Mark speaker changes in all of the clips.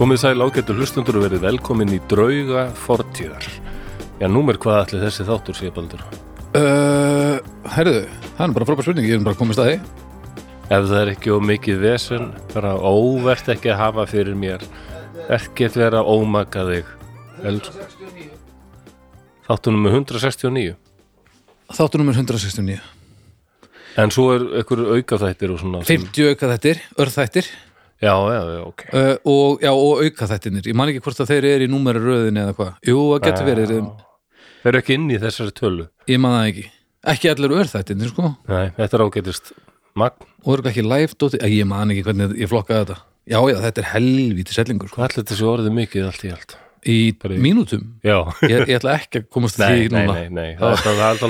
Speaker 1: Komið sæl ágættu hlustundur og verið velkomin í drauga fortíðar. Já, númer hvað ætli þessi þáttur sé, Baldur?
Speaker 2: Uh, herðu, það er bara frábær spurning, ég er bara komist að því.
Speaker 1: Ef það er ekki of mikið vesen, bara óvert ekki að hafa fyrir mér. Ekki að vera að ómaka þig. Els- Þáttur nummer 169.
Speaker 2: Þáttu nummer 169.
Speaker 1: En svo er ykkur aukaþættir og svona. sem-
Speaker 2: 50 auka þettir, örð þettir
Speaker 1: Já, já, já, ok.
Speaker 2: uh, og, já, og auka þettinir. Ég man ekki hvort að þeir eru í númeri röðin eða hvað. Jú, það getur verið, um,
Speaker 1: Þeir eru ekki inn í þessari tölu.
Speaker 2: ég man það ekki. Ekki allir örð þettinir, sko.
Speaker 1: Nei, þetta er ágætist magn.
Speaker 2: Og eru ekki live, dóti, ég man ekki hvernig ég flokkaði þetta. Já, já, þetta er helvítið sellingur, sko.
Speaker 1: Hvað ætli þetta sé orðið mikið allt í allt?
Speaker 2: Í
Speaker 1: Bara í-
Speaker 2: mínútum.
Speaker 1: Já.
Speaker 2: Ég, ég ætla ekki að komast að
Speaker 1: Nei,
Speaker 2: því
Speaker 1: nei,
Speaker 2: núna.
Speaker 1: nei, nei. Það er- það er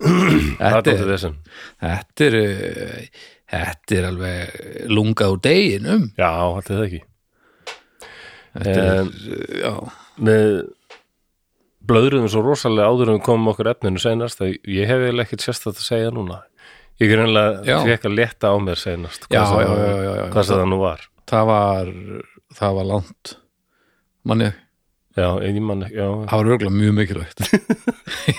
Speaker 1: aldrei... Það er
Speaker 2: Þetta
Speaker 1: aldrei
Speaker 2: er,
Speaker 1: þessum.
Speaker 2: þetta er, uh, þetta er alveg lungað úr deginum.
Speaker 1: Já, allir það ekki
Speaker 2: Þetta er,
Speaker 1: Em,
Speaker 2: uh, já.
Speaker 1: Við blöðruðum svo rosalega áður en við komum okkur efninu senast að ég hef eiginlega ekkert sérstætt að segja núna Ég er
Speaker 2: Já.
Speaker 1: einlega fekk að leta á mér senast
Speaker 2: Já,
Speaker 1: hvað
Speaker 2: já,
Speaker 1: það-
Speaker 2: já, já, já.
Speaker 1: hvað sem það nú var
Speaker 2: það var það var langt manni,
Speaker 1: Já, en ég man ekki já.
Speaker 2: það var örgulega mjög mikilvægt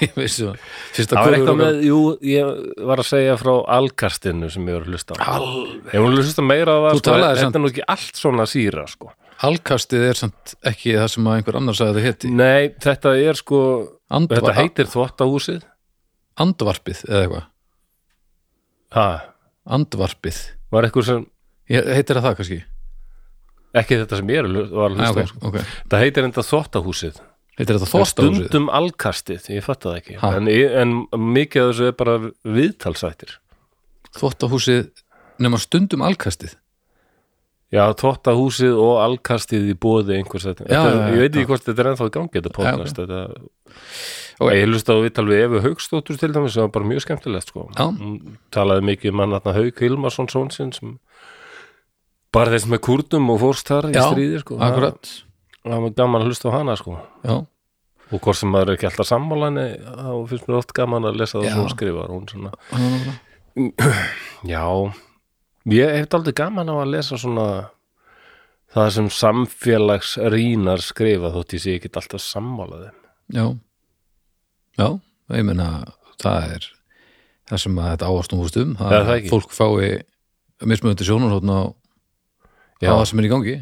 Speaker 2: ég veist það
Speaker 1: Það
Speaker 2: fyrsta
Speaker 1: var eitthvað
Speaker 2: kvöld örugglega-
Speaker 1: með, jú, ég var að segja frá alkastinu sem ég var að hlusta á
Speaker 2: Al-
Speaker 1: Ég var að hlusta meira á það, sko,
Speaker 2: Þú talaðir samt-
Speaker 1: þetta er nú ekki allt svona síra, sko
Speaker 2: alkastið er samt ekki það sem að einhver annar sagði að það heiti
Speaker 1: Nei, þetta er sko, þetta
Speaker 2: Andva,
Speaker 1: heitir þvottahúsið
Speaker 2: andvarpið eða eitthvað
Speaker 1: Ha,
Speaker 2: andvarpið,
Speaker 1: var eitthvað sem,
Speaker 2: ég, heitir það það kannski
Speaker 1: ekki þetta sem ég er að hlu- var að
Speaker 2: Æ,
Speaker 1: hlusta á,
Speaker 2: okay,
Speaker 1: sko
Speaker 2: okay.
Speaker 1: Það heitir enda þvottahúsið
Speaker 2: heitir þetta
Speaker 1: Það er
Speaker 2: þóstahúsið
Speaker 1: Stundum alkastið, ég fatt það ekki
Speaker 2: Ha.
Speaker 1: en, en mikið af þessu er bara viðtalsættir
Speaker 2: þóstahúsið nema stundum alkastið
Speaker 1: Já, tóttahúsið og alkastið í bóði einhvers þetta
Speaker 2: Já,
Speaker 1: þetta,
Speaker 2: já, já,
Speaker 1: Ég veit
Speaker 2: já.
Speaker 1: ekki hvort þetta er ennþá í gangi þetta podcast
Speaker 2: Já,
Speaker 1: þetta,
Speaker 2: Ok.
Speaker 1: Ég hlusta á viðtal við Efu Hauksdóttur til dæmis sem var bara mjög skemmtilegt sko.
Speaker 2: Já.
Speaker 1: Hún talaði mikið um hann þarna Hauk Hilmarsson són sinn sem bara þess með kurdum og fórst þar í
Speaker 2: Já,
Speaker 1: stríði sko. Það-
Speaker 2: akkurat
Speaker 1: Það var gaman að hlusta á hana sko.
Speaker 2: já,
Speaker 1: og hvort sem maður er ekki alltaf sammálan þá finnst mér oft gaman að lesa það
Speaker 2: Já.
Speaker 1: sem hún skrifar hún svona
Speaker 2: það var náttúrulega.
Speaker 1: Já, ég hef aldrei gaman á að lesa svona það sem samfélagsrýnar skrifa þótt ég sé ekki alltaf sammála þeim.
Speaker 2: já já, ég meina það er það sem að þetta áastumvust um það,
Speaker 1: Já, það ekki.
Speaker 2: fólk fái mismöndi sjónarhóttn á
Speaker 1: Já.
Speaker 2: á það sem er í gangi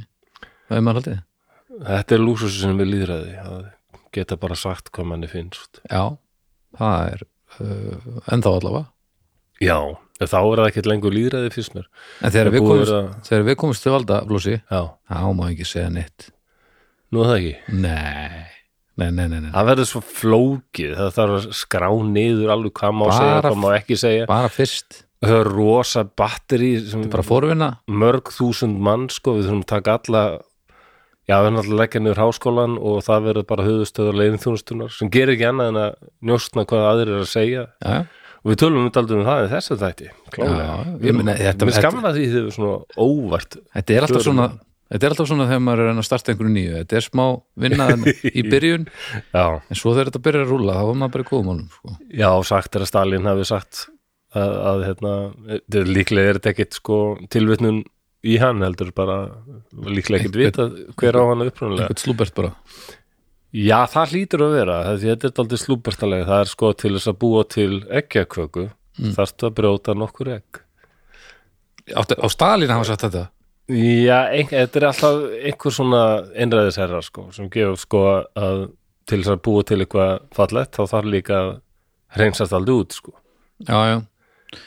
Speaker 2: það er maður haldið
Speaker 1: Þetta er lúsus sem við líðræði, að geta bara sagt hvað manni finnst.
Speaker 2: já, það er uh, ennþá allavega
Speaker 1: Já, en þá er það ekkert lengur líðræði fyrst mér.
Speaker 2: en þegar
Speaker 1: Það
Speaker 2: við,
Speaker 1: búið
Speaker 2: komumst,
Speaker 1: að-
Speaker 2: þegar við komumst til valda blósi,
Speaker 1: Já,
Speaker 2: þá má ekki segja neitt
Speaker 1: nú er það ekki.
Speaker 2: nei, nei, nei, nei, nei.
Speaker 1: Það verður svo flókið, það þarf að skrá niður alveg hvað má
Speaker 2: Bara-
Speaker 1: segja, hvað má ekki segja.
Speaker 2: bara fyrst,
Speaker 1: Það er rosa batteri sem
Speaker 2: bara forvinna
Speaker 1: mörg þúsund mann sko, við þurfum að taka alla já, við erum alltaf að leggja niður háskólan og það verður bara höfustöður leiðinþjónustunar sem gerir ekki annað en að njóstna hvað aðrir er að segja
Speaker 2: já, já.
Speaker 1: og við tölum þetta aldrei um það í þessu þætti klálega,
Speaker 2: Já, ég
Speaker 1: Við-
Speaker 2: meina, þetta-
Speaker 1: mér skamla því þau svona óvart
Speaker 2: þetta er alltaf
Speaker 1: Förum.
Speaker 2: svona þetta er alltaf svona þegar maður er að reyna að starta einhverju nýju þetta er smá vinnaðan í byrjun
Speaker 1: já,
Speaker 2: en svo þegar þetta byrjar að rúla þá er maður bara í góðum álum sko.
Speaker 1: já sagt er að Stalin hafi sagt að, að hérna, þetta er- líklega er þetta ekkit sko tilvitnun í hann heldur bara líklega ekkit vita hver á hann upprunalega
Speaker 2: einhvern slúbert bara
Speaker 1: Já, það hlýtur að vera, það- því þetta er aldrei slúbertalega, það er sko til þess að búa til eggjaköku, mm. þarftu að brjóta nokkur egg.
Speaker 2: á, á Stalin hafa sagt þetta
Speaker 1: Já, ein, þetta er alltaf einhver svona einræðisherra sko, sem gefur sko að til þess að búa til eitthvað fallett, þá þarf líka að hreinsast aldrei út sko.
Speaker 2: já, já.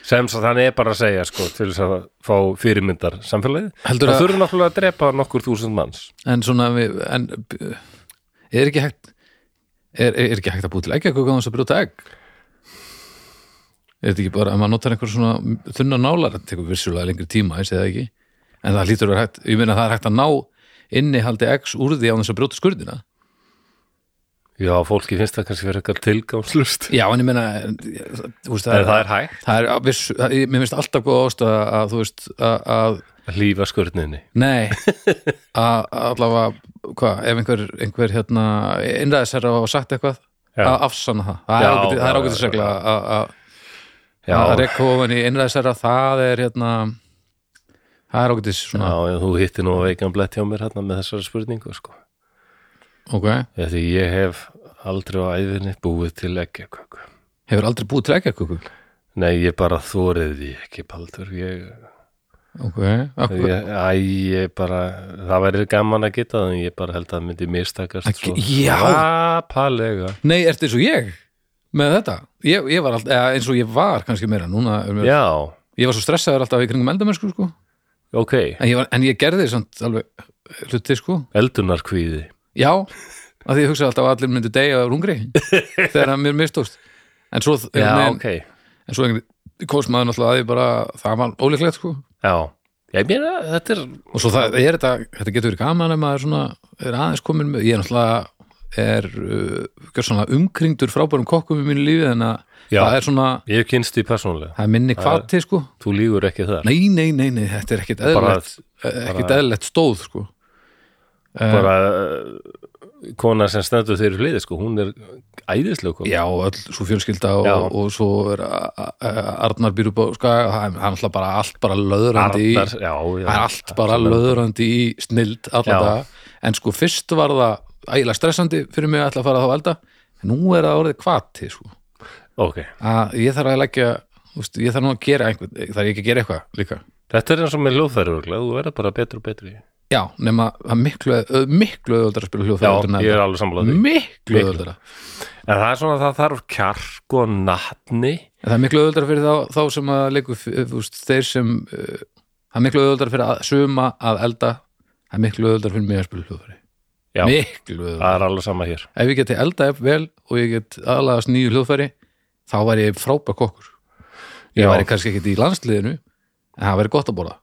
Speaker 1: sem svo þannig er bara að segja sko, til þess að fá fyrirmyndar samfélagið
Speaker 2: Heldur
Speaker 1: það
Speaker 2: að-
Speaker 1: þurfi náttúrulega að drepa nokkur þúsund manns
Speaker 2: En svona, við, en b- er ekki hægt er, er ekki hægt að búi til eggjaköku á þess að brjóta egg? Er þetta ekki bara, ef maður notar einhver svona þunna nálar, það tekur vissulega lengri tíma, ég segi það ekki, en það lítur að vera hægt, ég meina það er hægt að ná innihaldi eggs úr því á þess að brjóta skurðina.
Speaker 1: já, fólki finnst það kannski verið eitthvað tilgangslust
Speaker 2: Já, en ég meina, en, þú veist,
Speaker 1: en það er hægt
Speaker 2: það er vissu, það, ég- mér finnst alltaf góð ást að, að þú veist, að, að
Speaker 1: að lífa skurninni
Speaker 2: Nei, að allavega, hvað, ef einhver, einhver hérna, innræðisherra og sagt eitthvað,
Speaker 1: Já.
Speaker 2: að afsanna það. Það
Speaker 1: Já,
Speaker 2: er ágætis- það er
Speaker 1: já,
Speaker 2: ágætið
Speaker 1: já,
Speaker 2: segla að- að-
Speaker 1: já,
Speaker 2: að
Speaker 1: já,
Speaker 2: rekka ofan í innræðisherra, það er hérna, það er ágætið svona,
Speaker 1: já, þú hittir nú veikan blett hjá mér hérna með þessari spurningu sko.
Speaker 2: ok,
Speaker 1: Já, því ég hef aldrei á æðinni búið til eggjaköku
Speaker 2: hefur aldrei búið til eggjaköku,
Speaker 1: nei, ég bara þórið því ekki Baldur ég,
Speaker 2: ok, akkur,
Speaker 1: ég, æ, ég bara það væri gaman að geta það en ég bara held að það myndi mistakast sko.
Speaker 2: Ekki-
Speaker 1: svo
Speaker 2: já.
Speaker 1: rapalega
Speaker 2: nei, ertu eins og ég með þetta? Ég, ég var alltaf, eins og ég var kannski meira, núna, er mér,
Speaker 1: já,
Speaker 2: ég var svo stressaður alltaf í kringum eldamennsku, sko,
Speaker 1: ok,
Speaker 2: en ég, var, en ég gerði samt alveg hluti, sko,
Speaker 1: eldunarkvíði
Speaker 2: Já, af því ég hugsaði alltaf að allir myndu deyja af rungri þegar að mér mistókst en svo,
Speaker 1: já,
Speaker 2: en,
Speaker 1: ok,
Speaker 2: en svo einhvern komst maður náttúrulega að því bara það var ólíklegt sko
Speaker 1: já ég meina, þetta er
Speaker 2: og svo það er þetta, þetta getur verið gaman ef maður svona er aðeins komin með, ég er náttúrulega er uh, gjörsamlega umkringdur frábærum kokkum í mínu lífi þannig að
Speaker 1: Já.
Speaker 2: það er svona,
Speaker 1: ég hef kynst því persónulega,
Speaker 2: það er minni kvati sko
Speaker 1: þú lígur ekki þar
Speaker 2: nei, nei, nei, nei, þetta er ekkit
Speaker 1: bara,
Speaker 2: eðlilegt ekkit eðlilegt stóð sko
Speaker 1: bara eh, kona sem stendur þeirri hliði sko, hún er æðislega kona
Speaker 2: Já, og öll svo fjölskylda og,
Speaker 1: Já.
Speaker 2: og svo er a- a- a- Arnar býr upp á skaga og það er hann alltaf bara allt bara löðrandi í
Speaker 1: Arnar, já, já,
Speaker 2: það er allt bara löðrandi í snild
Speaker 1: Já.
Speaker 2: alltaf það, en sko fyrst var það ægilega stressandi fyrir mig að ætla að fara þá að elda en nú er það orðið kvati sko.
Speaker 1: ok,
Speaker 2: að ég þarf að leggja úst, ég þarf nú að gera einhvern þarf ég ekki að gera eitthvað líka
Speaker 1: þetta er eins og með hljóðfæri örugglega, þú verður bara betri og betri já,
Speaker 2: já, nema að miklu, ö- miklu öðuldar að spila hljóðfæra
Speaker 1: ég er alveg sammála því
Speaker 2: miklu
Speaker 1: Miklu.
Speaker 2: öðuldara
Speaker 1: en það er svona að það þarf kjark og natni
Speaker 2: En það er miklu auðvöldar fyrir þá, þá sem að leikur, úst, þeir sem uh, það er miklu auðvöldar fyrir að suma að elda það er miklu auðvöldar fyrir mig að spila hljóðfæri
Speaker 1: já,
Speaker 2: miklu auðvöldar
Speaker 1: það er alveg sama hér
Speaker 2: ef ég geti elda upp vel og ég get aðlagast nýju hljóðfæri þá væri ég frábær kokkur ég
Speaker 1: Já.
Speaker 2: væri kannski ekkit í landsliðinu en það væri gott að borða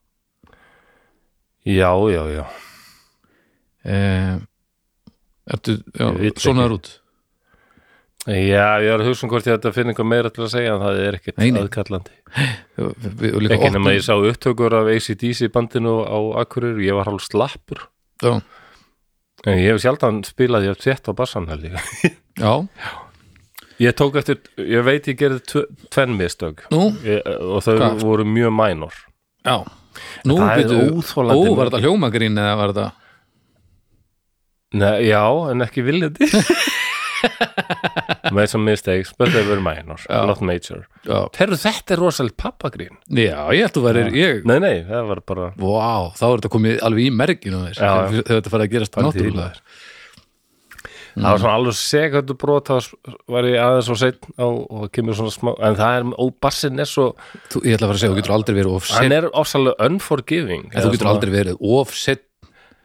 Speaker 1: já, já, já,
Speaker 2: eh, ertu, já,
Speaker 1: Ég veit
Speaker 2: svona er út
Speaker 1: já ég er að hugsa um hvort ég ætti að finna eitthvað meira til að segja en það er ekkert
Speaker 2: Nei, nei.
Speaker 1: aðkallandi
Speaker 2: Við- við- og líka
Speaker 1: ekki nema
Speaker 2: opnum-
Speaker 1: ég sá upptökur af ACDC bandinu á Akureyri, ég var hálf slappur
Speaker 2: já,
Speaker 1: en ég hef sjaldan spilað ég hef sett á bassan held ég
Speaker 2: já,
Speaker 1: ég tók eftir, ég veit ég gerði tve- tvenn mistök
Speaker 2: nú,
Speaker 1: ég, og þau
Speaker 2: Hvað?
Speaker 1: voru mjög mænor
Speaker 2: já nú
Speaker 1: Það er
Speaker 2: byrju-
Speaker 1: óþolandi
Speaker 2: ó, var þetta hljómagrín eða var þetta
Speaker 1: Nei, já, en ekki viljandi með some mistakes but they were minor,
Speaker 2: Já.
Speaker 1: not major
Speaker 2: já,
Speaker 1: Herru, þetta er rosalega pappagrín
Speaker 2: Já, ég held að þú værir, ég
Speaker 1: Nei, nei, það var bara
Speaker 2: Vá, þá er þetta komið alveg í merginu þess
Speaker 1: Já, já.
Speaker 2: þegar þegar þetta farið að gerast
Speaker 1: Bara til.
Speaker 2: náttúrulega Mm.
Speaker 1: það var svona alveg segjöndu brot þá var ég aðeins og seinn á, og kemur svona smá, en það er, ó, bassin er svo
Speaker 2: Þú, Ég ætla að fara að segja, þú getur aldrei verið of
Speaker 1: hann
Speaker 2: sett
Speaker 1: er ofsalega unforgiving
Speaker 2: En þú
Speaker 1: eða
Speaker 2: getur
Speaker 1: svona-
Speaker 2: aldrei verið of sett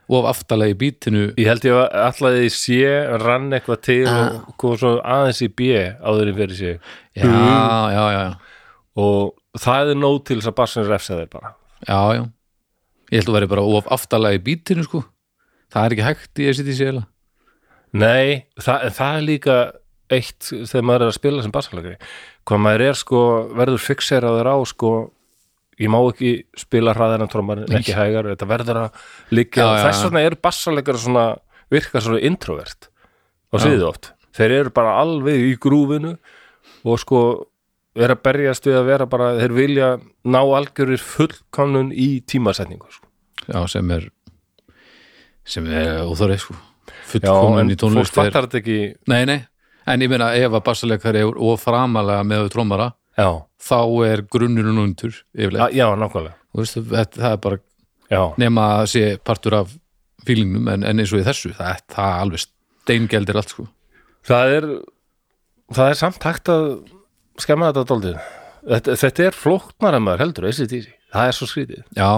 Speaker 2: of aftalega í bítinu
Speaker 1: Ég held ég að allaði í sé rann eitthvað til og kom svo aðeins í B áður en fyrir sig
Speaker 2: Já,
Speaker 1: Mm.
Speaker 2: já, já, já,
Speaker 1: og það er nóg til þess að bassin refsa þeir bara
Speaker 2: já, já. Ég held að þú verið bara of aftalega í bítinu sko. Það er ekki hægt í SCT séla
Speaker 1: Nei, það, það er líka eitt þegar maður er að spila sem bassalagri hvað maður er sko, verður fixeraður á sko, ég má ekki spila hraðar en trómar, ekki hægar þetta verður að líka,
Speaker 2: Já, já,
Speaker 1: þess
Speaker 2: já.
Speaker 1: vegna eru bassalegar svona, virka svona introvert á sviði oft, þeir eru bara alveg í grúfinu og sko er að berjast við að vera bara þeir vilja ná algjörir fullkomnun í tímasetningu sko.
Speaker 2: Já, sem er sem er óþórið sko.
Speaker 1: Já, en
Speaker 2: Fullkomin í
Speaker 1: fólk
Speaker 2: tónlist er
Speaker 1: fattar þetta ekki
Speaker 2: Nei, nei, en ég meina ef að bassalegkar er of framalega með trómara
Speaker 1: Já,
Speaker 2: þá er grunnurinn undur yfirlega,
Speaker 1: a- já, nákvæmlega
Speaker 2: þú veist, þetta, það er bara
Speaker 1: Já,
Speaker 2: nema að sé partur af fílingnum en, en eins og í þessu það, það alveg steingeldir allt sko
Speaker 1: Það er það er samt hægt að skemma þetta dóldið þetta, þetta er flóknar en maður heldur ACDC, það er svo skrítið
Speaker 2: já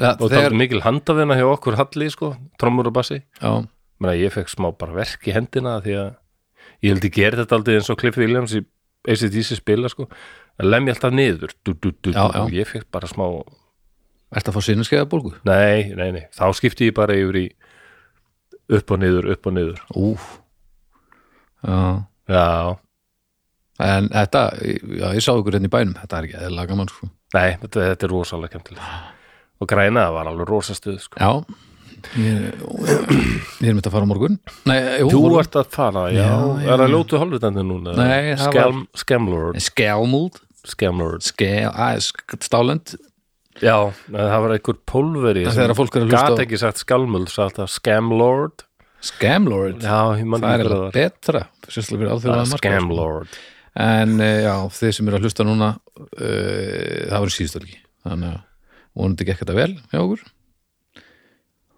Speaker 2: ja,
Speaker 1: og það er mikil handafina hjá okkur Halli sko, trommur og bassi
Speaker 2: já,
Speaker 1: Menna, ég fekk smá bara verk í hendina því að ég held ég gerði þetta aldrei eins og Cliff Williams í ACDC spila sko, að lemja alltaf niður du, du, du,
Speaker 2: Já,
Speaker 1: du,
Speaker 2: já.
Speaker 1: og ég fekk bara smá
Speaker 2: ertu að fá sinnskeiða bólgu?
Speaker 1: nei, nei, nei, þá skipti ég bara yfir í upp og niður, upp og niður
Speaker 2: Úf já,
Speaker 1: já,
Speaker 2: en þetta já, ég sá ykkur hérna í bænum, þetta er ekki eða gaman sko.
Speaker 1: nei, þetta, þetta er rosalega kemtilega og grænaða var alveg rosastuð sko.
Speaker 2: já ég, ég er mitt að fara á morgun nei, jú,
Speaker 1: Þú
Speaker 2: morgun.
Speaker 1: ert að fara, já,
Speaker 2: Já,
Speaker 1: er það ljótu hálfutandi núna?
Speaker 2: Nei, það
Speaker 1: Skelm, Skemlord,
Speaker 2: skjálmúld
Speaker 1: Skemlord
Speaker 2: skjál, að, sk- stálend
Speaker 1: Já, nei, það var einhver pólveri
Speaker 2: Það þegar að fólk er að hlusta
Speaker 1: Gat
Speaker 2: á-
Speaker 1: ekki sagt Skelmuld, sagt það Skemlord
Speaker 2: skjálmúld,
Speaker 1: Já, ég mann
Speaker 2: það er
Speaker 1: ekki
Speaker 2: eitthvað betra sérstaklega fyrir
Speaker 1: það
Speaker 2: alþjóðlega
Speaker 1: var
Speaker 2: markaði, sko.
Speaker 1: Skemlord
Speaker 2: en eh, já, þið sem eru að hlusta núna uh, það verður síðustölgi þannig að vonandi gekk þetta vel hjá okkur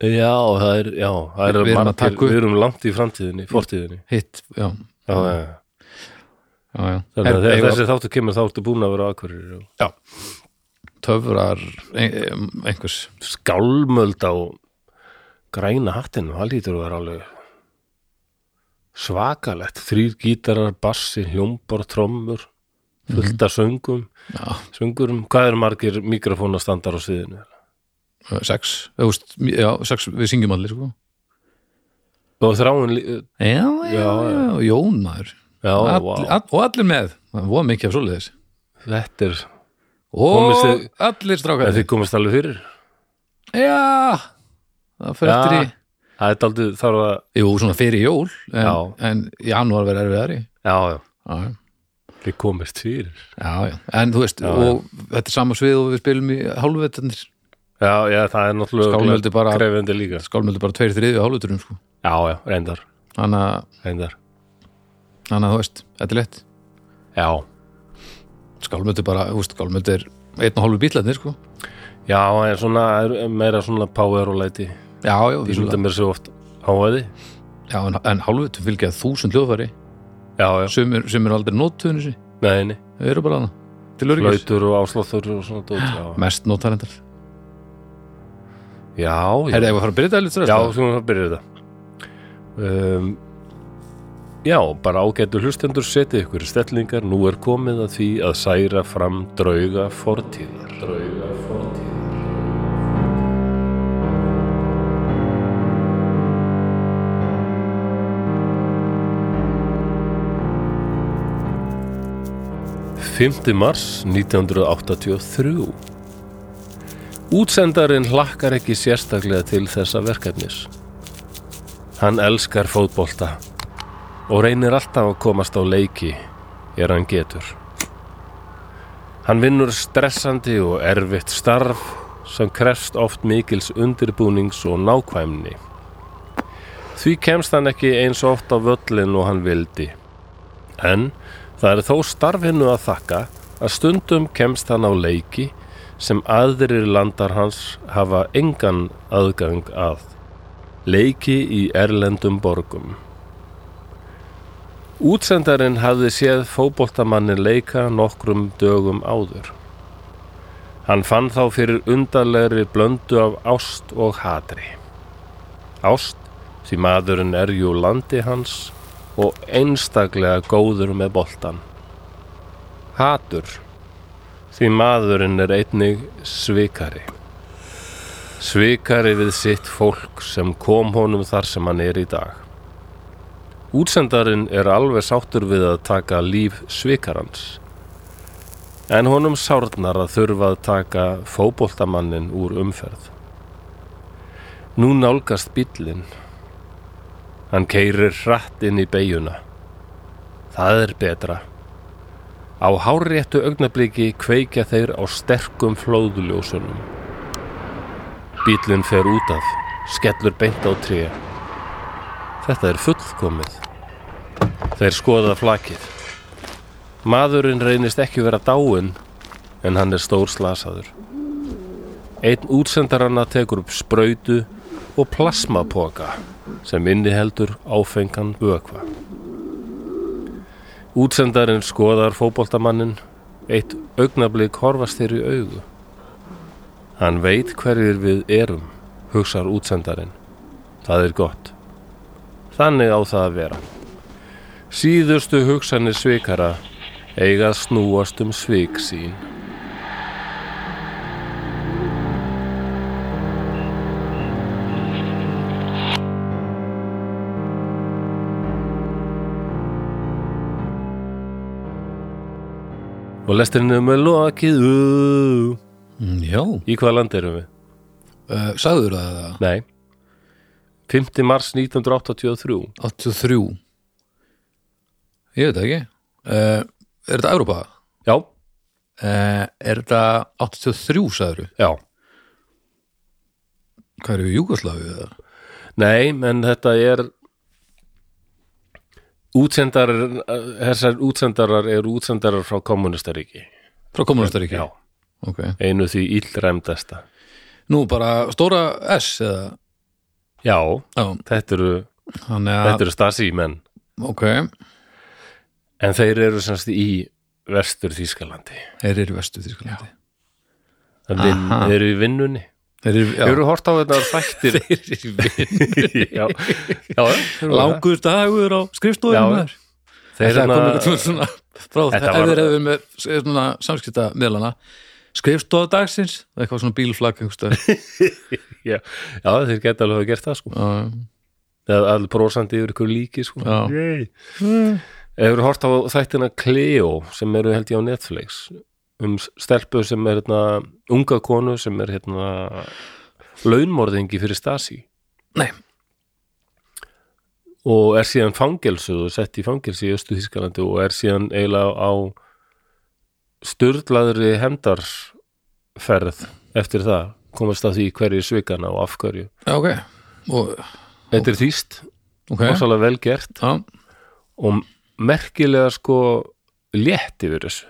Speaker 1: Já, það er, já, það er
Speaker 2: Við erum að taka upp-
Speaker 1: Við erum langt í framtíðinni, fortíðinni Mm.
Speaker 2: hitt, já,
Speaker 1: Já, já, já
Speaker 2: já, já.
Speaker 1: Þannig að
Speaker 2: Her-
Speaker 1: þegar
Speaker 2: eigum við
Speaker 1: þessi þáttu kemur þá ertu búin að vera akkurir
Speaker 2: að töfrar ein, einhvers
Speaker 1: Skálmöld á græna hattinu, það lítur að vera alveg svakalett þrýr gítarar, bassi, hljómbar trommur, fullta söngum
Speaker 2: Mhm. já,
Speaker 1: söngurum, hvað eru margir mikrofónastandar á sviðinu?
Speaker 2: eh, sex, þú veist, já, sex við syngjum allir sko
Speaker 1: Og þráin lí-
Speaker 2: já, já, já,
Speaker 1: Já, já.
Speaker 2: Jón maður
Speaker 1: Já,
Speaker 2: all,
Speaker 1: vá,
Speaker 2: all, og allir með, það voru mikið af svoleiðis
Speaker 1: þetta er
Speaker 2: og
Speaker 1: Komist þið-
Speaker 2: allir
Speaker 1: en
Speaker 2: strákar
Speaker 1: þið komist alveg fyrir
Speaker 2: já, það fyrir eftir í
Speaker 1: Já, það er aldrei þarf að
Speaker 2: jú, svona fyrir jól en,
Speaker 1: Já.
Speaker 2: en janúar verður erfiðari
Speaker 1: já, já,
Speaker 2: já, já
Speaker 1: þið komist fyrir
Speaker 2: Já, já, en þú veist,
Speaker 1: Já,
Speaker 2: og þetta er sama svið og við spilum í hálfvetarnir
Speaker 1: Já, já, það er
Speaker 2: Skálmöld er
Speaker 1: náttúrulega
Speaker 2: bara-
Speaker 1: greifindi líka
Speaker 2: skálmöldu bara tveir þriðju hálfveturum sko.
Speaker 1: Já, já, reyndar,
Speaker 2: þannig að-
Speaker 1: reyndar
Speaker 2: þannig að þú veist, þetta er lett
Speaker 1: Já,
Speaker 2: skálmöldu bara, þú veist, skálmöldu er einn og hálfu bílarnir, sko
Speaker 1: já, en svona er meira svona power og læti
Speaker 2: Já, já,
Speaker 1: Ég mynda
Speaker 2: vissulega.
Speaker 1: mér svo oft háaði
Speaker 2: já en, en hálfvetur fylgja þúsund hljóðfæri
Speaker 1: Já, já,
Speaker 2: sem er, sem er aldrei nóttuðinu sér,
Speaker 1: nei, nei,
Speaker 2: þau eru bara hana til öryggis,
Speaker 1: flautur og ásláttur og svona dót Já,
Speaker 2: mest nótarendar
Speaker 1: já, já,
Speaker 2: Herði, ég var að fara að byrja þetta litur
Speaker 1: já svo það byrja þetta um, Já, bara ágætu hlustendur setið ykkur í stellingar, nú er komið að því að særa fram drauga fortíðar Drauga fortíðar Fymti mars 1983 Útsendarinn hlakkar ekki sérstaklega til þessa verkefnis. Hann elskar fótbolta og reynir alltaf að komast á leiki er hann getur. Hann vinnur stressandi og erfitt starf sem krefst oft mikils undirbúnings og nákvæmni. Því kemst hann ekki eins oft á völlin og hann vildi. En það er þó starfinu að þakka að stundum kemst hann á leiki sem aðrir landar hans hafa engan aðgang að. Leiki í erlendum borgum. Útsendarinn hafði séð fótboltamannin leika nokkrum dögum áður. Hann fann þá fyrir undarlegri blöndu af ást og hatri. Ást, því maðurinn er jú landi hans og einstaklega góður með boltan. Hatur, því maðurinn er einnig svikari. Svikari við sitt fólk sem kom honum þar sem hann er í dag. Útsendarinn er alveg sáttur við að taka líf svikarans. En honum sárnar að þurfa að taka fótboltamannin úr umferð. Nú nálgast bíllinn. Hann keirir hratt inn í beiguna. Það er betra. Á háréttu augnabliki kveikja þeir á sterkum flóðuljósunum. Bílinn fer út af, skellur beint á tré. Þetta er fullkomið. Þeir skoða flakið. Maðurinn reynist ekki vera dáinn, en hann er stór slasaður. Einn útsendaranna tekur upp sprautu og plasmapoka sem inniheldur áfengan vökva. Útsendarinn skoðar fótboltamannin Eitt augnablík horfast þeir í augu. Hann veit hverjir við erum, hugsar útsendarinn. Það er gott. Þannig á það að vera. Síðustu hugsanir svikara eiga að snúast um svik sín. Og lesturinnum er lokið. Ú,
Speaker 2: Mm, já,
Speaker 1: Í hvaða land erum við?
Speaker 2: uh, sagður það eða?
Speaker 1: Nei. 5. mars 1983.
Speaker 2: 83 Ég veit það ekki uh, Er þetta Európa?
Speaker 1: Já,
Speaker 2: Uh, er þetta 83 sagður?
Speaker 1: já.
Speaker 2: Hvað eru Júkoslavi eða?
Speaker 1: Nei, en þetta er útsendar þessar útsendarar eru útsendarar frá kommunistaríki
Speaker 2: Frá kommunastaríki?
Speaker 1: Já,
Speaker 2: Ok.
Speaker 1: einu því illræmdasta
Speaker 2: Nú bara stóra S eða?
Speaker 1: Já,
Speaker 2: Já,
Speaker 1: þetta eru,
Speaker 2: þannig að
Speaker 1: þetta eru stasi menn
Speaker 2: Ok,
Speaker 1: en þeir eru semst í vestur Þýskalandi
Speaker 2: þeir eru í vestu Þýskalandi
Speaker 1: vin,
Speaker 2: Aha.
Speaker 1: þeir eru í vinnunni
Speaker 2: Þeir eru, já,
Speaker 1: Þeir eru hort á þetta þættir
Speaker 2: þeir eru í vinn
Speaker 1: Já, já þeir eru það.
Speaker 2: Langur dagur á
Speaker 1: Já,
Speaker 2: skrifstofunum þar
Speaker 1: Þeir
Speaker 2: Það er
Speaker 1: hérna-
Speaker 2: komið eitthvað svona frá
Speaker 1: Þetta
Speaker 2: þetta ef
Speaker 1: var-
Speaker 2: þeir hefur með eh, svona, samskipta meðlana skrifstofa dagsins eitthvað svona bílflag einhverstaðar.
Speaker 1: já, já, þeir geta alveg að gert það sko
Speaker 2: Já,
Speaker 1: eða all brosandi yfir ykkur líki sko.
Speaker 2: Já.
Speaker 1: Yay. hefur hort á þættina Cleo sem eru held ég á Netflix um stelpu sem er hérna, unga konu sem er hérna, launmorðingi fyrir Stasi
Speaker 2: Nei.
Speaker 1: og er síðan fangelsuð og sett í fangelsi í Östu Þískalandi og er síðan eiginlega á styrlaðri hendarferð eftir það komast að því hverju svikana og af hverju
Speaker 2: já, ok og,
Speaker 1: þetta er þýst,
Speaker 2: ok, já,
Speaker 1: ósalega vel gert og merkilega sko létt yfir þessu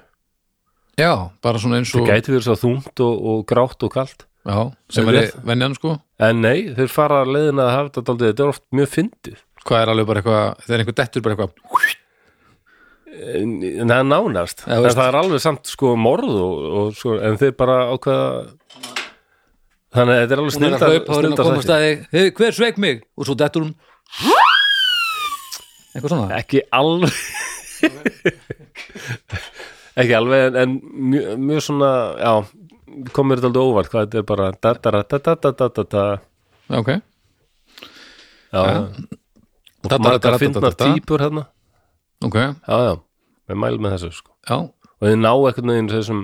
Speaker 2: já, bara svona eins og
Speaker 1: það gæti verið svo þungt og, og grátt og kalt
Speaker 2: já, sem
Speaker 1: Þeir
Speaker 2: er
Speaker 1: eru-
Speaker 2: venjan sko
Speaker 1: en nei, þeir fara leiðina að hafa þetta daldið, þetta er oft mjög fyndið
Speaker 2: hvað er alveg bara eitthvað, þegar einhver dettur bara eitthvað
Speaker 1: en, en það er nánast,
Speaker 2: Já,
Speaker 1: en
Speaker 2: veist.
Speaker 1: það er alveg samt sko morð og, og sko, en þeir bara ákveða þannig að þetta er alveg
Speaker 2: hún er að
Speaker 1: snildar
Speaker 2: hlaupa og reyna að komast að þig hey, hver sveik mig, og svo dettur hún eitthvað svona
Speaker 1: ekki alveg ekki alveg en, en mjög, mjög svona já, komur þetta aldrei óvart hvað þetta er bara da, da, da, da, da, da, da, da.
Speaker 2: já, ok,
Speaker 1: Já,
Speaker 2: Da, da, da, da,
Speaker 1: margar
Speaker 2: da, da,
Speaker 1: fyndnar
Speaker 2: da.
Speaker 1: týpur hérna
Speaker 2: ok,
Speaker 1: Já, já, við mælum með þessu sko.
Speaker 2: já
Speaker 1: og þið ná ekkert neginn þessum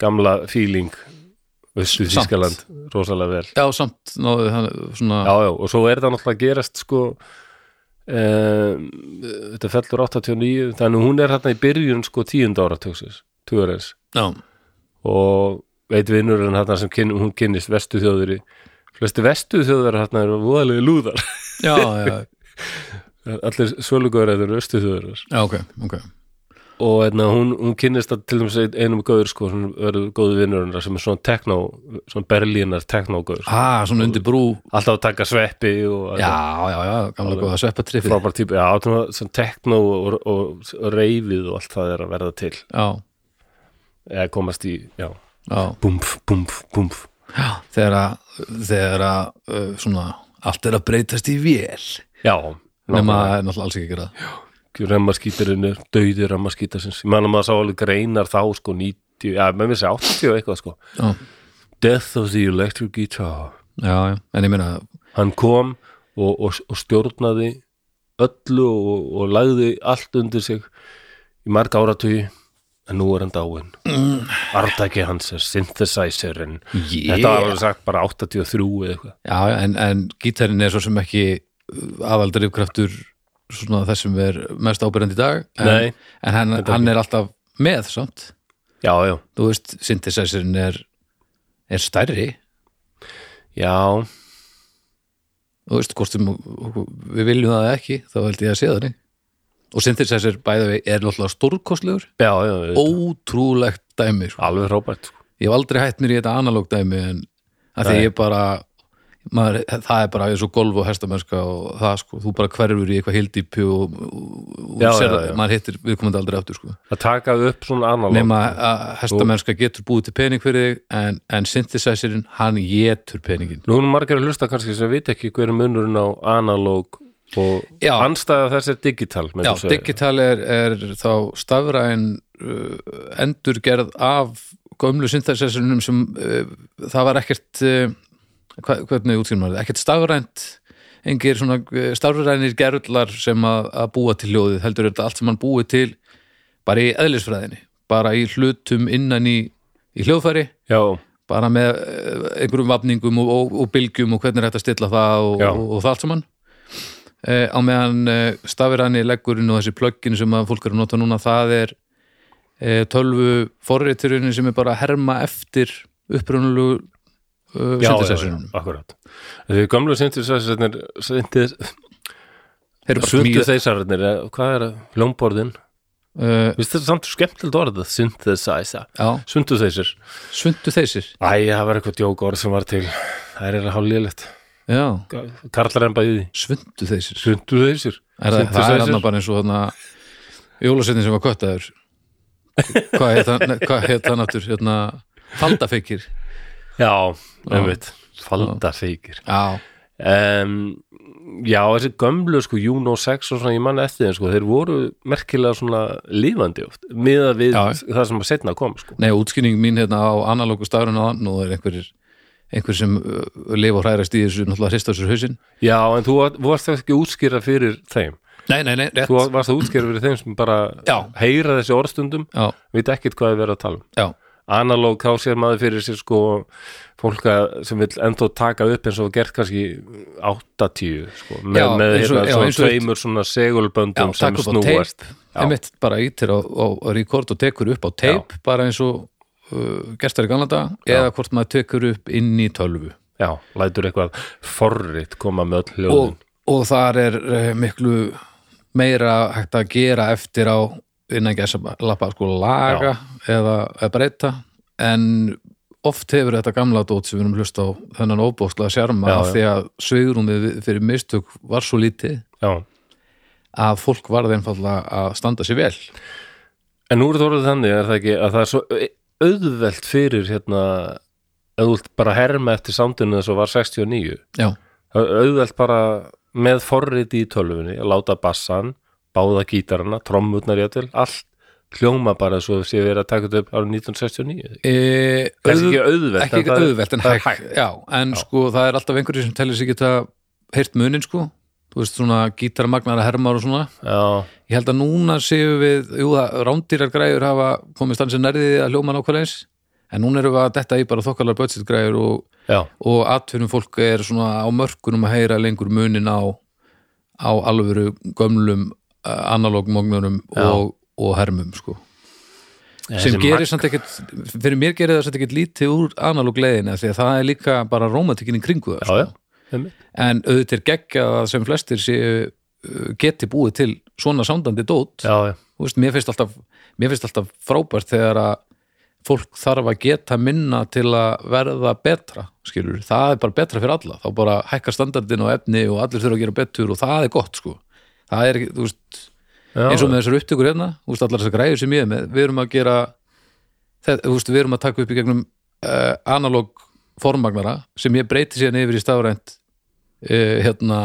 Speaker 1: gamla feeling Östu
Speaker 2: Samt.
Speaker 1: Þískaland, rosalega vel
Speaker 2: já, samt náðu það svona
Speaker 1: Já, já, og svo er það náttúrulega að gerast sko um, þetta fellur 89 þannig hún er hérna í byrjun sko tíund áratöksins, tugurins
Speaker 2: já,
Speaker 1: og veit vinnurinn hérna sem kyn, hún kynnist vestu þjóðveri flesti vestu þjóðveri hérna eru voðalegi lúðar
Speaker 2: já, já,
Speaker 1: allir svölugur eða östu þjóðveri
Speaker 2: já, ok, ok
Speaker 1: og einna, hún, hún kynnist að til dæmis ein- einum gauður sko, sem verður góðu vinnur hennar sem er svona tekno, svona berlínar teknogauður, sko.
Speaker 2: Ah, svona undir brú
Speaker 1: alltaf að taka sveppi og
Speaker 2: Já, já, já, gamla góða sveppatriffið
Speaker 1: frábær típa, já, svona- svona tekno og, og, og reyfið og allt það er að verða til
Speaker 2: Já,
Speaker 1: eða komast í, já,
Speaker 2: já,
Speaker 1: búmf, búmf, búmf
Speaker 2: já Þegar að, þegar að uh, svona, allt er að breytast í vél
Speaker 1: já,
Speaker 2: Nefna að það er náttúrulega alls ekki að gera það.
Speaker 1: remmaskítarinn er döði remmaskítarsins ég man að maður sá alveg greinar þá sko 90, já, með mér sé 80 og eitthvað sko
Speaker 2: Já,
Speaker 1: Death of the Electric Guitar
Speaker 2: já, já, en ég meina
Speaker 1: hann kom og, og, og stjórnaði öllu og, og lagði allt undir sig í marg áratugi en nú er hann dáinn Artaki hans er synthesizerin
Speaker 2: Yeah.
Speaker 1: þetta var alveg sagt bara 83 eða eitthvað
Speaker 2: Já, já, en, en gítarinn er svo sem ekki aðaldrifkraftur svona þess sem er mest ábyrjandi í dag en,
Speaker 1: Nei.
Speaker 2: en hann, hann er alltaf með samt
Speaker 1: já, já,
Speaker 2: Þú veist, synthesizerinn er, er stærri
Speaker 1: já,
Speaker 2: þú veist, hvort sem við viljum það eða ekki, þá held ég að sé það þannig og synthesizer bæða við er náttúrulega stórkostlegur,
Speaker 1: já, já, já
Speaker 2: ótrúlegt dæmi, sko.
Speaker 1: alveg Robert
Speaker 2: ég hef aldrei hætt mér í þetta analóg dæmi en að því ég bara maður, það er bara eins og golf og hestamennska og það sko, þú bara hverfur í eitthvað hildýpi og, og, og
Speaker 1: Já,
Speaker 2: sér
Speaker 1: já,
Speaker 2: að
Speaker 1: já.
Speaker 2: maður hittir viðkomandi aldrei aftur sko.
Speaker 1: að taka upp svona analóg
Speaker 2: nema að hestamennska getur búið til pening fyrir þig en, en synthesizerin, hann getur peningin
Speaker 1: Nú erum margir að hlusta kannski sem veit ekki hver er munurinn á analóg og
Speaker 2: Já.
Speaker 1: anstæða þess er digital myndi
Speaker 2: Já,
Speaker 1: ég segja.
Speaker 2: digital er, er þá stafræn uh, endurgerð af gömlu synthesizerinum sem uh, það var ekkert uh, hva, hvernig útskýrum maður, það? ekkert stafrænt engir svona uh, stafrænir gerðlar sem að, að búa til hljóðið heldur er þetta allt sem hann búið til bara í eðlisfræðinni, bara í hlutum innan í, í hljóðfæri
Speaker 1: Já,
Speaker 2: bara með eh, einhverjum vapningum og, og, og bylgjum og hvernig er hægt að stilla það og,
Speaker 1: Já.
Speaker 2: og, og það allt saman e, á meðan e, stafiranni leggurinn og þessi plöggin sem að fólk er að nota núna það er e, tölvu forriturinn sem er bara að herma eftir upprunalegu uh,
Speaker 1: já, já, já,
Speaker 2: synthesizerunum
Speaker 1: akkurat Þessi gömlu synthesæsarnir
Speaker 2: þeir eru bara smíð
Speaker 1: synthesæsarnir, hvað er hljómborðin?
Speaker 2: uh,
Speaker 1: Vist þetta er samt skemmtild orðið, synthesæsa
Speaker 2: já,
Speaker 1: Synthesæsir
Speaker 2: sundu þeysir
Speaker 1: Æ, það var eitthvað djók orð sem var til Það er hálflilegt
Speaker 2: já,
Speaker 1: Karlar en bæði
Speaker 2: sundu þeysir
Speaker 1: Synthesæsir
Speaker 2: er það, það er hann bara eins og þarna jólasveitin sem var köttaður hvað heit hann, hvað heit hann aftur hérna, faldafikir
Speaker 1: Já,
Speaker 2: Já.
Speaker 1: einmitt Falda feikir
Speaker 2: já,
Speaker 1: um, já, þessi gömlu sko, Juno 6 og svona, ég mann eftir þeim sko, þeir voru merkilega svona lífandi oft, miðað við
Speaker 2: Já.
Speaker 1: það sem að setna kom, sko.
Speaker 2: nei, útskýning mín hérna á analógu stafrun og ann og er einhverjir einhver sem uh, lifa og hrærast í þessu náttúrulega hrist á sér hausinn
Speaker 1: Já, en þú var- varst það ekki útskýra fyrir þeim
Speaker 2: nei, nei, nei, rétt
Speaker 1: þú var- varst það útskýra fyrir þeim sem bara
Speaker 2: Já.
Speaker 1: heyra þessi orðstundum,
Speaker 2: já,
Speaker 1: veit ekkit hvað er verið að tala um
Speaker 2: já,
Speaker 1: analóg þá sér maður fyrir sér sko fólka sem vill ennþá taka upp eins og var gert kannski 80 sko, með,
Speaker 2: Já,
Speaker 1: með
Speaker 2: eins og-
Speaker 1: hérna,
Speaker 2: já,
Speaker 1: svona
Speaker 2: eins og-
Speaker 1: tveimur svona
Speaker 2: já
Speaker 1: segulböndum sem
Speaker 2: takk upp á
Speaker 1: snúast
Speaker 2: teip
Speaker 1: Já.
Speaker 2: einmitt bara ítir á, á, á rekord og tekur upp á teip bara eins og uh, gestar í ganlanda eða hvort maður tekur upp inn í tölvu
Speaker 1: Já, lætur eitthvað forrit koma með öll
Speaker 2: og,
Speaker 1: hljóðin.
Speaker 2: og þar er eh, miklu meira hægt að gera eftir á innan gæsa lappa sko laga eða, eða breyta en oft hefur þetta gamla dót sem við erum hlust á þennan óbóðslega sjarma
Speaker 1: Já,
Speaker 2: af
Speaker 1: já.
Speaker 2: því að svigrúmið fyrir mistök var svo lítið
Speaker 1: Já.
Speaker 2: að fólk varði einfallega að standa sér vel
Speaker 1: En nú er það orðið þannig, er það ekki, að það er svo auðvelt fyrir hérna, ef þú vilt bara herma eftir samdunum þess og var 69.
Speaker 2: já,
Speaker 1: Það er auðvelt bara með forrit í tölvunni, að láta bassan, báða gítarana, trommutnar jætvel, allt hljóma bara svo sé verið að taka þetta upp árið 1969.
Speaker 2: e,
Speaker 1: Kannski ekki auðvelt.
Speaker 2: ekki
Speaker 1: það er-
Speaker 2: auðvelt en
Speaker 1: það er
Speaker 2: hægt, Já, en sko það er alltaf einhverjir sem tellir sig geta heyrt munin sko þú veist svona gítarmagnara hermar og svona
Speaker 1: Já,
Speaker 2: Ég held að núna séu við, jú, rándýrar græjur hafa komið stansi nærðið að hljóma nákvæmlega eins, en núna erum við að detta í bara þokkalar budget græjur og,
Speaker 1: já,
Speaker 2: og atvinnum fólk er svona á mörkunum að heyra lengur munin á, á alvöru gömlum analógmógnunum og, og hermum, sko.
Speaker 1: þessi
Speaker 2: Sem gerir
Speaker 1: magn-
Speaker 2: samt ekkit, fyrir mér gerir það samt ekkit lítið úr analógleðina, því að það er líka bara rómatikinn í kringu það,
Speaker 1: Já, já, einmitt.
Speaker 2: En auðvitað er geggja að sem flestir séu uh, geti búið til svona sándandi dót
Speaker 1: já, já.
Speaker 2: þú veist, mér finnst alltaf, mér finnst alltaf frábært þegar að fólk þarf að geta minna til að verða betra, skilur, það er bara betra fyrir alla, þá bara hækkar standardin og efni og allir þurfa að gera betur og það er gott sko, það er, ekki, þú veist
Speaker 1: já.
Speaker 2: eins og með þessar upptökur hérna, þú veist, allar þessar græður sem ég er með, við erum að gera það, þú veist, við erum að taka upp í gegnum uh, analóg formagnara sem ég breyti síðan yfir í stafrænt uh, hérna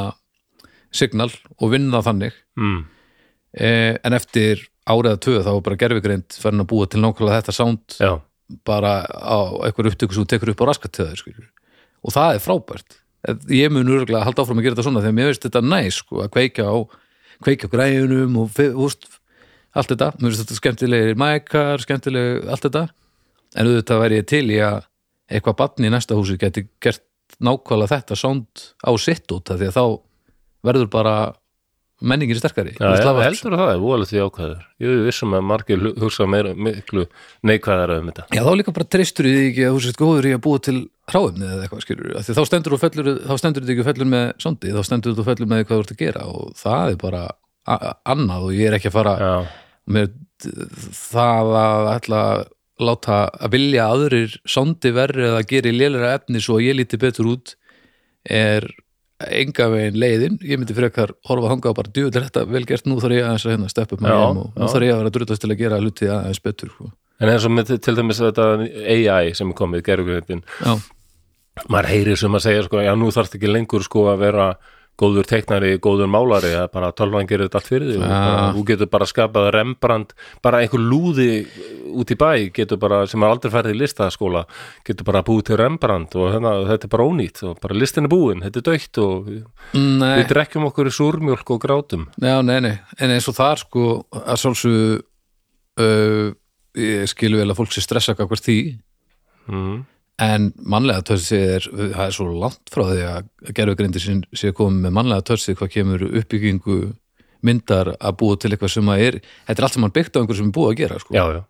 Speaker 2: signal og vinna þannig
Speaker 1: Mm.
Speaker 2: eh, en eftir áriða tvö þá var bara gerfigreind farin að búa til nákvæmlega þetta sound
Speaker 1: Já,
Speaker 2: bara á einhver upptöku sem þú tekur upp á raskat til þau og það er frábært Eh, ég mun örgulega að halda áfram að gera þetta svona þegar mér veist þetta næs sko, að kveikja á kveikja á græjunum og fe- úst, allt þetta, mér veist þetta skemmtilegir mækar, skemmtileg, allt þetta en auðvitað væri ég til í að eitthvað batn í næsta húsi geti gert nákvæmlega þetta sound á sitt út af því að þá verður bara menningin sterkari
Speaker 1: Já,
Speaker 2: Þú veist,
Speaker 1: já,
Speaker 2: það var-
Speaker 1: heldur að það er voðalegt því ákvæður Ég er vissum að margir hu- hugsa meira, miklu neikvæðar um þetta
Speaker 2: Já, þá líka bara treystur því ekki að þú sért góður í að búa til hráefni eða eitthvað skilur af því þá stendur þú fellur, þá stendur þú ekki og fellur með sondi, þá stendur þú og fellur með hvað þú ert að gera og það er bara a- a- annað og ég er ekki að fara
Speaker 1: Já,
Speaker 2: með það að ætla að láta að vilja að aðrir sondi verri eða geri lélera efni svo að ég líti betur út er enga veginn leiðin ég myndi frekar horfa að hanga og bara djúvill er þetta vel gert, nú þarf ég aðeins að hérna steppa upp með
Speaker 1: Já,
Speaker 2: þeim og nú
Speaker 1: já.
Speaker 2: þarf ég að vera að drutast til að gera hluti aðeins betur sko.
Speaker 1: En eins og með til dæmis þetta AI sem er komið, gerugreitin,
Speaker 2: já,
Speaker 1: maður heyrir sem að segja sko, já nú þarfst ekki lengur sko að vera góður teiknari, góður málari að bara tölvan gerir þetta allt fyrir þig
Speaker 2: Ja.
Speaker 1: bara, þú getur bara skapað Rembrandt bara einhver lúði út í bæ getur bara, sem er aldrei færið í listaskóla getur bara búið til Rembrandt og hérna, þetta er bara ónýtt og bara listin er búin þetta er dögt og
Speaker 2: nei,
Speaker 1: við drekkjum okkur í súrmjólk og grátum
Speaker 2: já, nei, nei en eins og þar sko að sálsögðu uh, ég skilu vel að fólk sé stressa hvert því
Speaker 1: mm.
Speaker 2: en mannlega törsi er það er svo langt frá því að gerfugrindi sé komið með mannlega törsi hvað kemur uppbyggingu myndar að búa til eitthvað sem að er þetta er allt sem mann byggt á einhverju sem er búið að gera sko.
Speaker 1: já, já,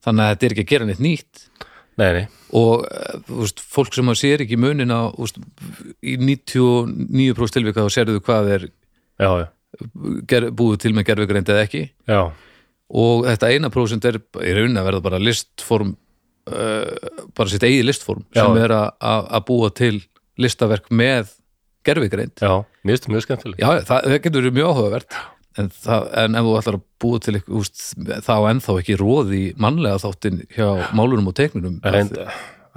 Speaker 2: þannig að þetta er ekki að gera neitt nýtt
Speaker 1: nei, nei
Speaker 2: og eh, þú veist, fólk sem að sér ekki munin á þú veist, í 99% tilvika þá sérðu hvað er
Speaker 1: já, já,
Speaker 2: ger, búið til með gerfugreind eða ekki
Speaker 1: já,
Speaker 2: og þetta eina prósent er í raunin að verða bara listform uh, bara sitt eigið listform
Speaker 1: Já.
Speaker 2: sem er að- að að búa til listaverk með gerfugreind
Speaker 1: já. mér finnst þetta mjög skemmtileg
Speaker 2: já, það, það getur verið mjög áhugavert en, það, en ef þú ætlar að búa til eitthvað, úst, þá ennþá ekki róði mannlega þáttin hjá málunum og teiknunum
Speaker 1: en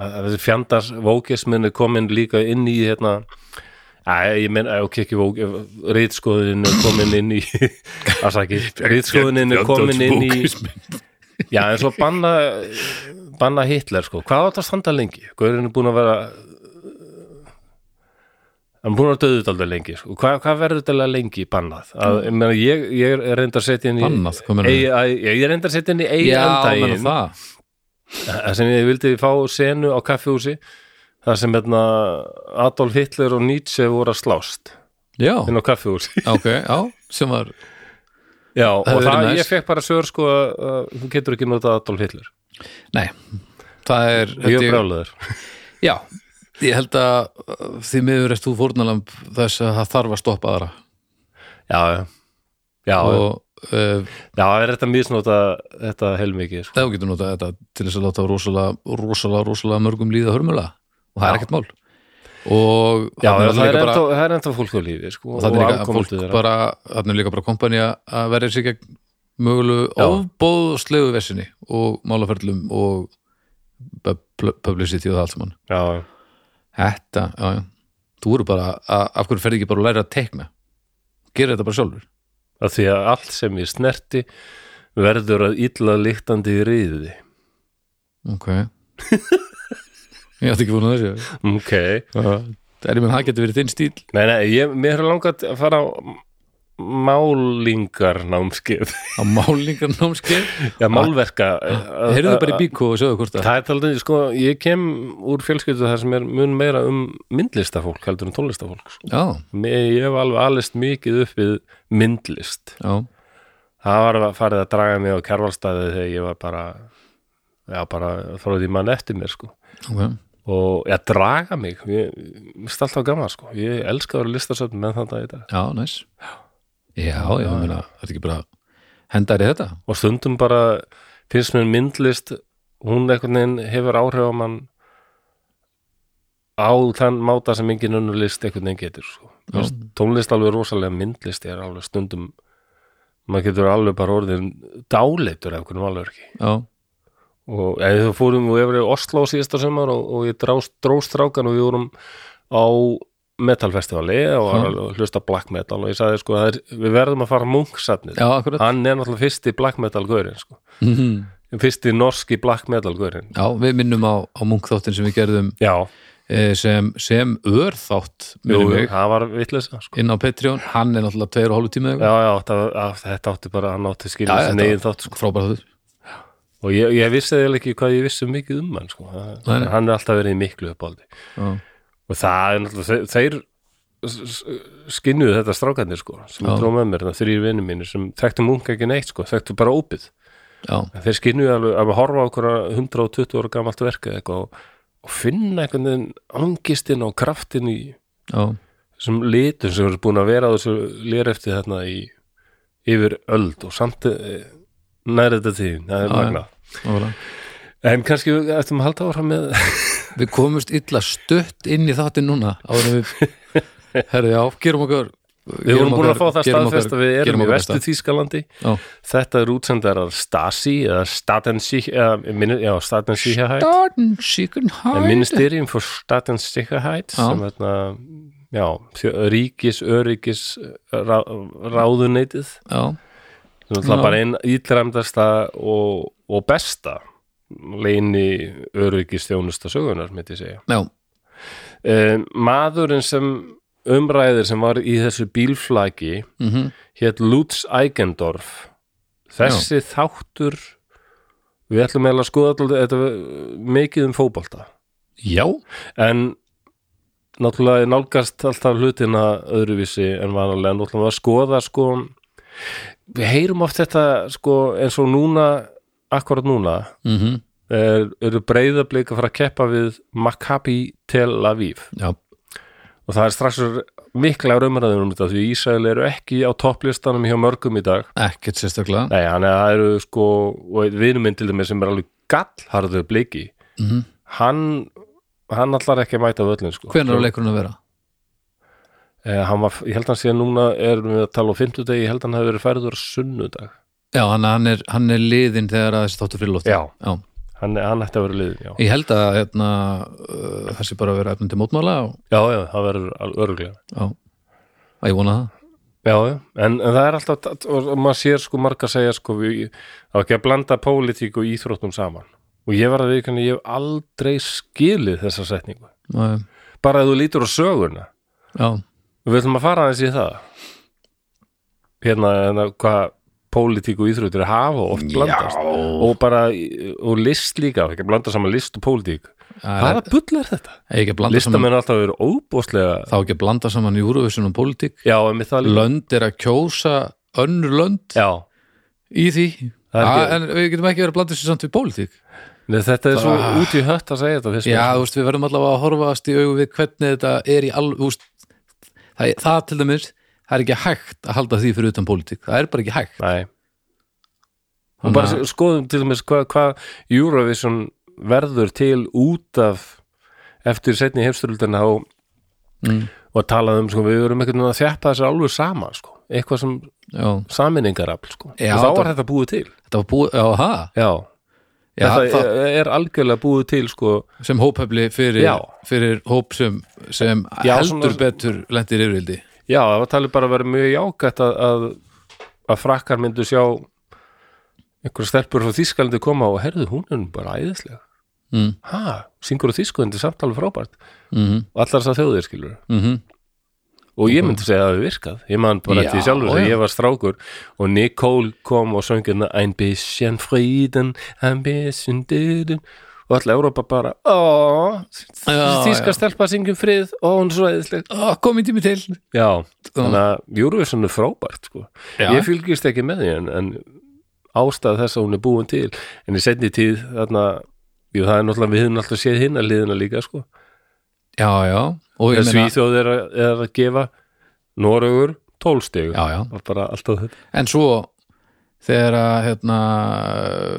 Speaker 1: að- að þessi fjandars vókismin er komin líka inn í hérna Æ, ég menn, ok, ekki vók rýtskoðin er komin inn í afsaki, rýtskoðin er komin inn í já, en svo banna banna Hitler, sko, hvað átt að standa lengi Guðurinn er búin að vera hann er búin að döðu daldið lengi, sko, hvað, hvað verður þetta eiginlega lengi bannað, að, ég meina, ég, ég er reyndar að setja inn í
Speaker 2: Bannað, hvað meinarðu?
Speaker 1: AI, ég er reyndar að setja inn í
Speaker 2: já,
Speaker 1: eigandaginn
Speaker 2: menn það
Speaker 1: Það sem ég vildi fá senu á kaffihúsi þar sem hérna Adolf Hitler og Nietzsche voru að slást
Speaker 2: já,
Speaker 1: inn á kaffihúsi
Speaker 2: ok, já, sem var
Speaker 1: Já, og
Speaker 2: verið
Speaker 1: það,
Speaker 2: næs.
Speaker 1: ég fekk bara sögur sko að að þú getur ekki notað Adolf Hitler
Speaker 2: nei, það er
Speaker 1: og ég
Speaker 2: þetta-
Speaker 1: brálaður
Speaker 2: já, ég held að uh, því miður erst þú fórnalamb þess að það þarf að stoppa aðra
Speaker 1: Já, já Já, og,
Speaker 2: og uh,
Speaker 1: já, það er þetta misnota þetta heilmikið sko.
Speaker 2: þá getur notað þetta til þess að láta rosalega, rosalega, rosalega mörgum líða hörmulega og það er
Speaker 1: Já.
Speaker 2: ekkert mál og
Speaker 1: Já,
Speaker 2: þarna
Speaker 1: það,
Speaker 2: er líka
Speaker 1: er
Speaker 2: bara-
Speaker 1: ennþá, það er ennþá fólk á lífi sko,
Speaker 2: og það er líka að
Speaker 1: afkomendur
Speaker 2: fólk bara þannig er líka bara kompanía að verja sig gegn mögulegu
Speaker 1: Já.
Speaker 2: ofbóðslegu vesinni og málaferlum og pub- publicity og það allt saman
Speaker 1: Já, já
Speaker 2: Þetta, já, já Þú eru bara, að, af hverju ferði ekki bara að læra að teikna Gera þetta bara sjálfur
Speaker 1: að því að allt sem ég snerti verður að illa líktandi í riði
Speaker 2: Ok Ég átti ekki búin að þessu
Speaker 1: Ok,
Speaker 2: Það er ég menn, það getur verið þinn stíl
Speaker 1: Nei, nei, ég, mér hefur langað að fara á málingar námskeið
Speaker 2: á málingar námskeið
Speaker 1: Já, málverka
Speaker 2: Ah.
Speaker 1: eh, Uh,
Speaker 2: Heyrðu bara í bíku og sjáðu hvort það
Speaker 1: Það er talað, sko, ég kem úr fjölskyldu þar sem er mun meira um myndlistafólk heldur en tónlistafólk sko.
Speaker 2: Já,
Speaker 1: Mér, Ég hef alveg alist mikið upp við myndlist
Speaker 2: já,
Speaker 1: Það var að farið að draga mig á kjærvalstaði þegar ég var bara já, bara þróið í mann eftir mér, sko
Speaker 2: ok
Speaker 1: og ég draga mig ég, ég er alltaf gaman, sko ég elska að vera listasöfn með þannig að þetta
Speaker 2: Já, næs Já, já, ég meina, þetta er ekki bara hendar í þetta
Speaker 1: og stundum bara finnst mér myndlist hún einhvern veginn hefur áhrif á mann á þann máta sem engin önnur list einhvern veginn getur sko. Mér finnst tónlist alveg rosalega myndlist er alveg stundum maður getur alveg bara orðin dáleitur af hvernig alveg ekki
Speaker 2: Já,
Speaker 1: og eða þú fórum og hefur í Oslo síðasta sumar og, og ég drást, dróst strákan og við vorum á metalfestivali og var alveg að hlusta black metal og ég sagði sko, það er, við verðum að fara á munksatnið
Speaker 2: já, akkurat
Speaker 1: hann er náttúrulega fyrsti black metal gaurin sko.
Speaker 2: Mhm.
Speaker 1: fyrsti norski black metal gaurin
Speaker 2: Já, við minnum á, á munkþáttin sem við gerðum
Speaker 1: já,
Speaker 2: eh, sem, sem örþátt
Speaker 1: jú,
Speaker 2: minnum
Speaker 1: jú,
Speaker 2: við,
Speaker 1: það var vitleisa sko.
Speaker 2: inn á Patreon hann er náttúrulega tveir og hálfu tíma
Speaker 1: já, já, það, að, þetta átti bara hann átti skilja
Speaker 2: Já,
Speaker 1: þessi
Speaker 2: þetta-
Speaker 1: negin þátt sko.
Speaker 2: frábæra þáttur
Speaker 1: og ég, ég vissi eða ekki hvað ég vissi mikið um hann sko. Það-
Speaker 2: Nei, nei.
Speaker 1: hann er alltaf verið í miklu uppáldi
Speaker 2: Já.
Speaker 1: og það er náttúrulega þeir, þeir s- s- skinnuðu þetta strákanir sko, sem
Speaker 2: Já.
Speaker 1: ég tróð með mér, það þrýr vinnum mínir sem þekktu munga ekki neitt, sko, þekktu bara ópið
Speaker 2: Já,
Speaker 1: En þeir skinnuðu alveg að horfa á okkur 120 ára gamalt verk eða eitthvað og, og finna einhvern veginn angistin og kraftin í
Speaker 2: já,
Speaker 1: þessum litum sem eru búin að vera á þessu lér eftir þarna í yfir öld og samt eh, nær þetta tíðin, það er
Speaker 2: Já,
Speaker 1: magna
Speaker 2: nákvæmlega.
Speaker 1: En kannski við ættum að halda áfram með
Speaker 2: Við komumst illa stutt inn í þáttinn núna áður en við herðu já, gerum okkur
Speaker 1: Við vorum búin að fá það staðfest að við erum í vestu Þýskalandi
Speaker 2: Já.
Speaker 1: Þetta er útsendarar Stasi eða Statensík eða, minni- já, Statensíkahætt
Speaker 2: Darn, síkun
Speaker 1: En
Speaker 2: hæ
Speaker 1: Ministerium for Statensíkahætt
Speaker 2: Já.
Speaker 1: sem þarna já, þjó- ríkis, öryggis rá, ráðuneytið
Speaker 2: Já,
Speaker 1: sem er alltaf
Speaker 2: Já.
Speaker 1: bara einn ítlæmdasta og, og besta leini öryggistjónusta sögunar, myndi ég segja
Speaker 2: já,
Speaker 1: um, maðurinn sem umræðir sem var í þessu bílflaki
Speaker 2: mhm
Speaker 1: hétt Lutz Eigendorf þessi þáttur við ætlum eiginlega að skoða alltaf, þetta var mikið um fótbolta
Speaker 2: Já,
Speaker 1: en náttúrulega nálgast alltaf hlutina öðruvísi en vanalega náttúrulega að skoða sko við heyrum oft þetta sko eins og núna akkurat núna
Speaker 2: mhm
Speaker 1: er, eru breyðablika að fara að keppa við Maccabi Tel Aviv
Speaker 2: já,
Speaker 1: og það er strax mikla raumræður um þetta því Ísrael eru ekki á topplistanum hjá mörgum í dag
Speaker 2: ekkert sérstaklega
Speaker 1: Nei, hann er það eru sko og vinuminn til þeim sem er alveg gallharður bliki
Speaker 2: Mhm.
Speaker 1: hann, hann allar ekki að mæta völlin sko.
Speaker 2: Hvenær á leikurinn að vera?
Speaker 1: Eh, hann var, ég held að hann sé núna erum við að tala á fimmtudegi, ég held að hann hefur verið færður á sunnudag
Speaker 2: Já, hann, hann, er, hann er liðin þegar að þessi þáttu fyrirlótt
Speaker 1: Já.
Speaker 2: já
Speaker 1: hann, hann ætti að vera liðin, já,
Speaker 2: Ég held að hérna, uh, það sé bara að vera efnum til mótmála og,
Speaker 1: já, já, það verður öruglega
Speaker 2: já, að ég vona það
Speaker 1: Já, já, en, en það er alltaf og og maður sér sko marga segja sko við, það var ekki að blanda pólitík og íþróttum saman og ég var að við ég hef aldrei skilið þessa setningu
Speaker 2: Æ,
Speaker 1: bara að þú lítur á söguna
Speaker 2: Já,
Speaker 1: og við ætlum að fara aðeins í það hérna, hérna hvað pólitík og íþróttir hafa oft blandast og bara, og list líka ekki að blanda saman list og pólitík
Speaker 2: það
Speaker 1: hvaða bull er þetta?
Speaker 2: er ekki að blanda saman
Speaker 1: Listamenn alltaf verið óbúslega
Speaker 2: þá ekki að blanda saman Eurovision og pólitík
Speaker 1: já, en við það líka
Speaker 2: Lönd er að kjósa önnur lönd
Speaker 1: já,
Speaker 2: í því
Speaker 1: Það er
Speaker 2: A,
Speaker 1: ekki-
Speaker 2: en við getum ekki verið að blanda sér samt við pólitík
Speaker 1: Nei, þetta er svo
Speaker 2: Ah.
Speaker 1: út í hött að segja þetta fyrst
Speaker 2: Já, þú veist, við verðum allavega að horfast í augu við hvernig þetta er í alveg, þú veist, það, það til dæmis, það er ekki hægt að halda því fyrir utan pólitík, það er bara ekki hægt.
Speaker 1: Nei Og bara
Speaker 2: Þannig
Speaker 1: skoðum til dæmis hvað hva Eurovision verður til út af eftir setni hefsturöldina og,
Speaker 2: Mm.
Speaker 1: og talað um sko, við verum einhvern veginn að þjappa þessu alveg sama sko, eitthvað sem
Speaker 2: Já,
Speaker 1: saminningarafl sko.
Speaker 2: Já,
Speaker 1: og þá
Speaker 2: þetta-
Speaker 1: var þetta búið til
Speaker 2: þetta var búið, já, það,
Speaker 1: Já,
Speaker 2: já,
Speaker 1: þetta
Speaker 2: það
Speaker 1: er algjörlega búið til sko,
Speaker 2: sem hóphefli fyrir,
Speaker 1: Já.
Speaker 2: fyrir hóp sem, sem
Speaker 1: Já,
Speaker 2: heldur
Speaker 1: svona-
Speaker 2: betur lendir yfirildi.
Speaker 1: Já, það var talið bara að vera mjög jákvætt að, að, að frakkar myndu sjá einhverja stelpur frá Þýskalandi koma og herðu, hún er nú bara æðislega
Speaker 2: Mm.
Speaker 1: Ha, syngur á Þýskalandi samtala frábært
Speaker 2: Mm -hmm.
Speaker 1: og allar þess að þjóðir skilur
Speaker 2: Mm
Speaker 1: og ég myndi segja að það hafi virkað ég man bara
Speaker 2: Mhm. Já,
Speaker 1: eftir því sjálfur
Speaker 2: já.
Speaker 1: þegar ég var strákur og Nicole kom og söng hérna ein bisschen frieden ein bisschen dyrun og alltaf Europa bara ó,
Speaker 2: Já, já.
Speaker 1: þíska stelpa syngjum frið og hún er svo eðisleg
Speaker 2: komið Ah, tími til.
Speaker 1: já, þannig að Eurovision er frábært sko.
Speaker 2: Já.
Speaker 1: ég fylgist ekki með því en, en ástæð þess að hún er búin til en í setni tíð þarna jú, það er náttúrulega, við höfum alltaf séð hinna liðina líka sko
Speaker 2: Já, já, og ég
Speaker 1: en
Speaker 2: meina,
Speaker 1: Svíþjóð er, að- er að gefa Noregur 12 stig
Speaker 2: já, já,
Speaker 1: og bara alltaf þetta
Speaker 2: en svo þegar að, hérna,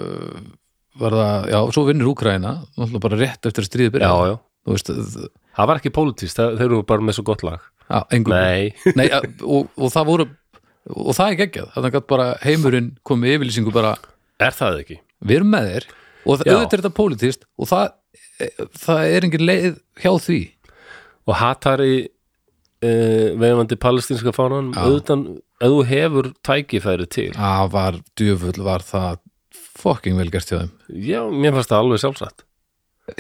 Speaker 2: var það, já, svo vinnur Úkraina, náttúrulega bara rétt eftir að stríði byrja.
Speaker 1: já, já.
Speaker 2: þú veist, þ-
Speaker 1: það var ekki pólitíst, þeir eru bara með svo gott lag
Speaker 2: Já, engum
Speaker 1: nei,
Speaker 2: Nei, ja, og, og það voru og það er geggjað, þannig að bara heimurinn komið yfirlýsingu bara,
Speaker 1: er það ekki
Speaker 2: við erum með þér og það,
Speaker 1: Já.
Speaker 2: auðvitað er þetta pólitíst og það, það er engin leið hjá því
Speaker 1: og Hatari uh, veifandi palestinska fánan
Speaker 2: Já.
Speaker 1: auðvitað, ef þú hefur tækifæri til
Speaker 2: að var djöfull var það fucking vel gert hjá þeim
Speaker 1: já, mér fannst það alveg sjálfsagt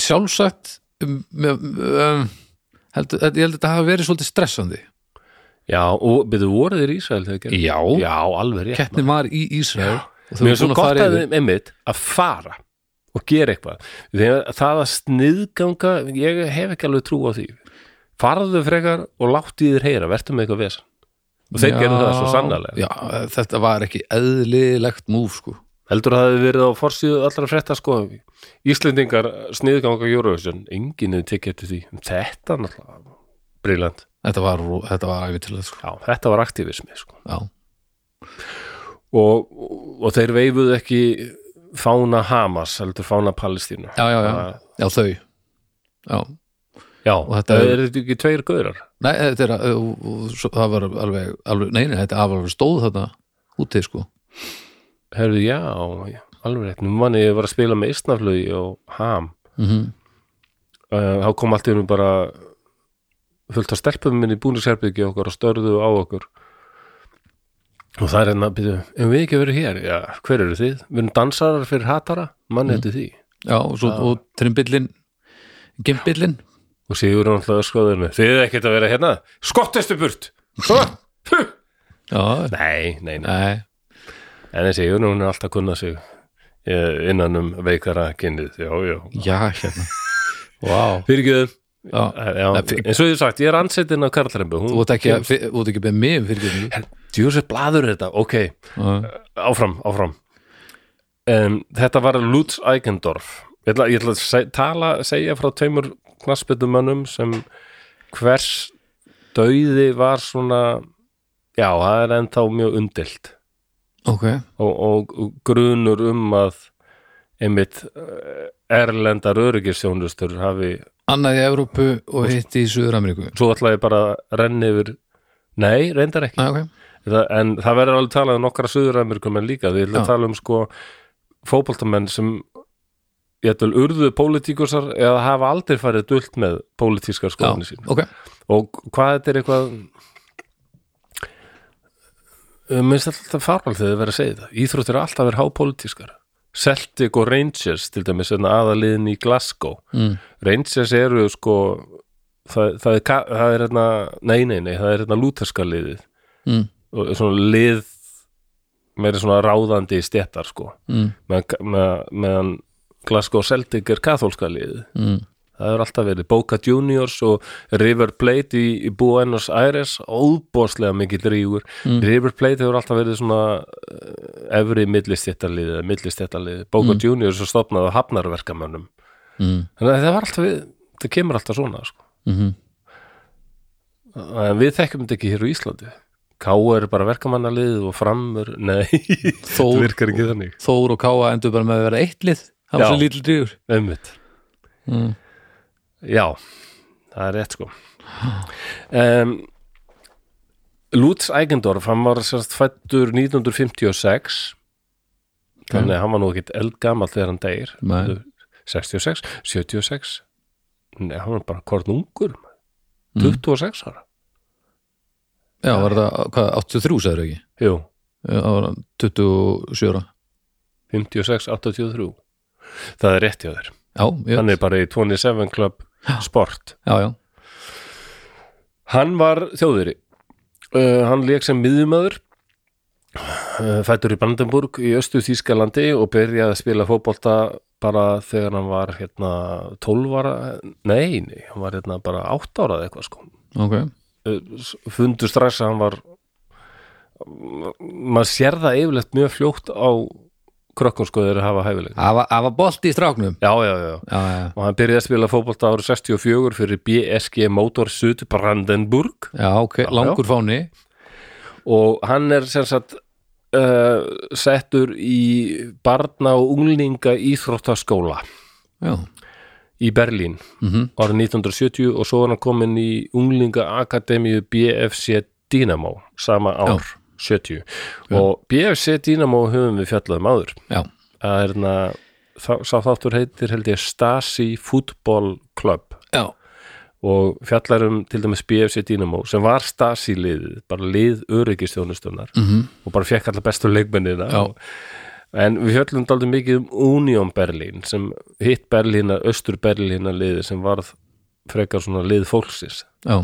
Speaker 2: sjálfsagt um, um, um, held, ég held að þetta hafa verið svolítið stressandi
Speaker 1: já, og byrðu voru þeir í Ísrael þegar gerðu?
Speaker 2: já,
Speaker 1: já, alveg rétt maður.
Speaker 2: keppnin var í Ísrael og
Speaker 1: Mér er
Speaker 2: þau voru
Speaker 1: svo
Speaker 2: búin að
Speaker 1: gott
Speaker 2: fara
Speaker 1: að
Speaker 2: yfir
Speaker 1: þeim einmitt að fara og gera eitthvað þegar það að sniðganga ég hef ekki alveg trú á því farðu frekar og láttu í þér heyra vertu með eitthvað vesen og þeir gerðu það svo sannarlega
Speaker 2: já, þetta var ekki eðlilegt múf sko
Speaker 1: heldur að það hefði verið á forsíðu allra frétta sko Íslendingar sniðganga Eurovision enginn hefði tekið eftir því þetta náttúrulega briljant
Speaker 2: þetta var, ro- þetta var ævitilega sko
Speaker 1: já, þetta var aktivismi sko
Speaker 2: já,
Speaker 1: og, og þeir veifuðu ekki fána Hamas heldur fána Palestínu
Speaker 2: já, já, já,
Speaker 1: Ah.
Speaker 2: já, þau já,
Speaker 1: Já,
Speaker 2: Og þetta
Speaker 1: þetta
Speaker 2: er-
Speaker 1: er þetta ekki tveir gaurar
Speaker 2: nei, þetta er að- og- og svo- það var alveg, alveg nei, nei, þetta var alveg stóð þarna úti, sko
Speaker 1: Herðu, já, já, alveg rétt Nú manni ég var að spila með Ísnaflögi og Ham
Speaker 2: mm
Speaker 1: Eh, þá kom allt í hennu bara fullt af stelpum minni búnisherbyggi okkar og störðu á okkur og það er hérna byrju, ef við ekki verið hér, já, hver eru þið? við erum dansarar fyrir hatara, mann heiti því
Speaker 2: já, og, svo, og trimbillin gimbillin
Speaker 1: og Sigur er náttúrulega skoðinu þið er ekkert að vera hérna, skottestu burt Svona. Puh.
Speaker 2: já,
Speaker 1: nei, nei, nei,
Speaker 2: nei,
Speaker 1: en þessi Sigur hún er alltaf að kunna sig eh, innan um veikara kynnið, já, já
Speaker 2: já, hérna vá,
Speaker 1: fyrirgjöðum
Speaker 2: já
Speaker 1: Eh, já,
Speaker 2: Nei, fyr-
Speaker 1: eins og ég hef sagt, ég er ansettin af Karlrembu,
Speaker 2: þú
Speaker 1: hún
Speaker 2: ert ekki, fyr- þú ert ekki beðið mig um fyrirgefningu
Speaker 1: djúsið blaður er þetta, ok
Speaker 2: Já.
Speaker 1: áfram, áfram um, þetta var Lutz Eigendorf ég ætla, ég ætla að se tala, segja frá tveimur knassbyttumönnum sem hvers dauði var svona já, það er ennþá mjög umdilt
Speaker 2: ok,
Speaker 1: og, og, og grunur um að einmitt eh, erlendar öryggisjónustur hafi,
Speaker 2: annað í Evrópu og hitt í Suður-Ameríku
Speaker 1: svo ætla ég bara að renni yfir, nei, reyndar ekki
Speaker 2: Nei, ok,
Speaker 1: Það, en það verður alveg talað um nokkra suðuramerikumenn líka, því ég ætla að
Speaker 2: Já.
Speaker 1: tala um sko fótboltamenn sem ég ætla urðu pólitíkusar eða hafa aldrei farið dult með pólitískar
Speaker 2: já,
Speaker 1: skoðinni sín
Speaker 2: ok
Speaker 1: og hvað þetta er eitthvað Eh, minnst alltaf farvald þegar þið verið að segja það Íþróttir er alltaf verið hápólitískar Celtic og Rangers til dæmis aðaliðin í Glasgow
Speaker 2: mm.
Speaker 1: Rangers eru sko það, það er, ka- það er hérna nei, nei, nei, það er hérna lúterska liðið
Speaker 2: Mm.
Speaker 1: og svona lið meira svona ráðandi stéttar sko
Speaker 2: Mm.
Speaker 1: með, með, meðan Glasgow Celtic er kathólska liðið
Speaker 2: Mm.
Speaker 1: það er alltaf verið Boca Juniors og River Plate í, í Buenos Aires óbóðslega mikið drígur River Plate hefur alltaf verið svona uh, efri millistéttarliðið eða millistéttarliðið, Boca Juniors er stopnað af hafnarverkamönnum
Speaker 2: Mm.
Speaker 1: þannig að það var alltaf við, það kemur alltaf svona sko.
Speaker 2: Mm
Speaker 1: en við þekkjum þetta ekki hér á Íslandi K.O. er bara verkamannalið og framur nei, það
Speaker 2: Þór,
Speaker 1: virkar ekki þannig
Speaker 2: Þór og Káa endur bara með að vera eitt lið það var
Speaker 1: Já.
Speaker 2: svo lítil drífur
Speaker 1: Einmitt.
Speaker 2: Mm.
Speaker 1: Já, það er rétt sko um, Lutz Eigendorf hann var sérst fættur 1956 þannig að hann var nú ekkit eldgamall þegar hann degir
Speaker 2: Nei.
Speaker 1: 66, 76 Nei, hann var bara hvort ungur 26 ára
Speaker 2: Mm. já, var það, hvað, 83 sagður ekki
Speaker 1: Jú,
Speaker 2: Já, það var 27 ára
Speaker 1: 56, 83 Það er rétt hjá þér
Speaker 2: já, ég,
Speaker 1: Hann er bara í 27 Club Sport
Speaker 2: já, já,
Speaker 1: Hann var þjóðveri uh, Hann leik sem miðumöður uh, fættur í Brandenburg í östu Þýskalandi og byrjaði að spila fótbolta bara þegar hann var hérna 12 ára, nei, nei hann var hérna bara 8 ára eða eitthvað sko
Speaker 2: ok
Speaker 1: uh, fundu strax að hann var um, maður sér það yfirleitt mjög fljótt á krökkum sko þeir hafa hæfileg
Speaker 2: það var- það var bolt í stráknum
Speaker 1: já, já, já,
Speaker 2: já, já,
Speaker 1: og hann byrjaði að spila fótbolta árið 64 fyrir BSG Motor Sud Brandenburg
Speaker 2: já, ok, langur fáni
Speaker 1: og hann er sem sagt uh, settur í barna og unglinga íþróttaskóla
Speaker 2: já,
Speaker 1: í Berlín
Speaker 2: Mhm.
Speaker 1: árið 1970 og svo er hann kominn í unglinga akademíu BFC Dynamo sama ár, 70 og BFC Dynamo höfum við fjallaðum áður
Speaker 2: já,
Speaker 1: það er hérna þá- sá þáttur heitir held ég Stasi Football Club
Speaker 2: já,
Speaker 1: og fjallar um til dæmis BFC Dynamo sem var Stasi liðið, bara lið öryggistjónustunar
Speaker 2: mhm,
Speaker 1: og bara fekk alla bestu leikmennina
Speaker 2: Já.
Speaker 1: en við fjöllum daldið mikið um Union Berlin sem hitt Berlína, Östur Berlína liði sem varð frekar svona lið fólksins
Speaker 2: já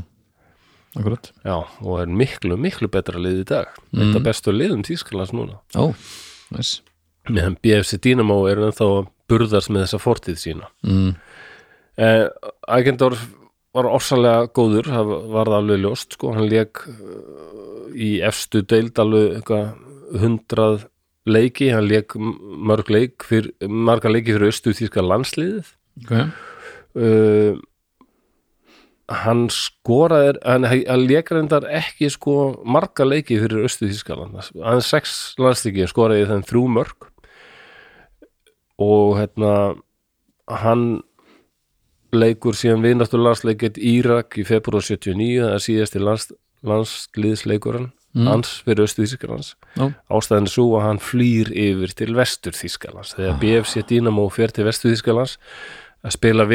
Speaker 2: akkurat,
Speaker 1: já, og er miklu, miklu betra lið í dag mm. þetta bestu liðum tískalans núna
Speaker 2: já, næs
Speaker 1: meðan BFC Dynamo er ennþá að burðast með þessa fortíð sína
Speaker 2: mm.
Speaker 1: eh, Agendorf var orsalega góður, það var það alveg ljóst sko, hann leik í efstu deild alveg eitthvað hundrað leiki, hann leik mörg leik fyrir, marga leiki fyrir östu þýska landsliðið
Speaker 2: ok,
Speaker 1: uh, hann skoraði hann, hann leik reyndar ekki sko marga leiki fyrir östu þýskaland aðeins sex landsliki skoraði þann þrjú mörg og hérna hann leikur síðan vinastur landsleikett Írak í februar 79 það er síðasti lands, landsliðsleikurinn hans fyrir Östu-Þýskalands
Speaker 2: Já.
Speaker 1: ástæðan er svo að hann flýr yfir til Vestur-Þýskalands
Speaker 2: Ah.
Speaker 1: þegar BFC Dynamo fer til Vestur-Þýskalands að spila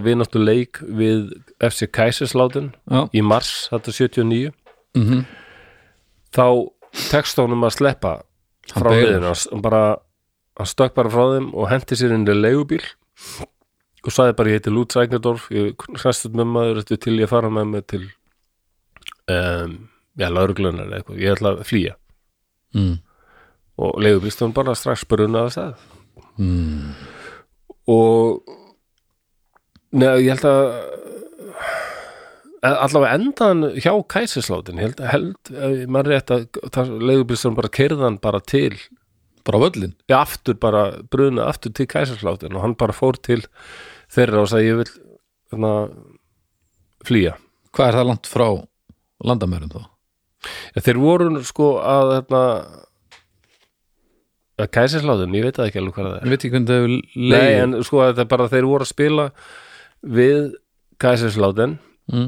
Speaker 1: vinasturleik við FC Kaiserslautern
Speaker 2: Já.
Speaker 1: í mars þetta 79
Speaker 2: Mm
Speaker 1: þá tekst honum að sleppa
Speaker 2: Hann
Speaker 1: frá
Speaker 2: beygir.
Speaker 1: liðinu hann bara, hann stökk bara frá þeim og hendi sér inn í leigubíl og sagði bara ég heiti Lutz Eignardorf ég hræstut með maður þetta til ég fara með mig til um, já, lauruglunar eða eitthvað, ég ætla að flýja
Speaker 2: Mm.
Speaker 1: og leigubílstofan bara strax bruna að stað mm. og neða, ég held að eh, allavega endaðan hjá kæsislátin held, held, ef maður rétt að leigubílstofan bara kerðan bara til
Speaker 2: Bara völlin
Speaker 1: ég aftur bara bruna aftur til kæsarsláttun og hann bara fór til þeirra og sagði ég vil hérna, flýja
Speaker 2: Hvað er það langt frá landamærum þá?
Speaker 1: en þeir voru sko að hérna, að kæsarsláttun, ég veit það ekki alveg hvað það
Speaker 2: Ég
Speaker 1: er
Speaker 2: veit ekki hvernig það hefur
Speaker 1: nei
Speaker 2: leið
Speaker 1: en sko þetta er bara þeir voru að spila við kæsarsláttun
Speaker 2: mm.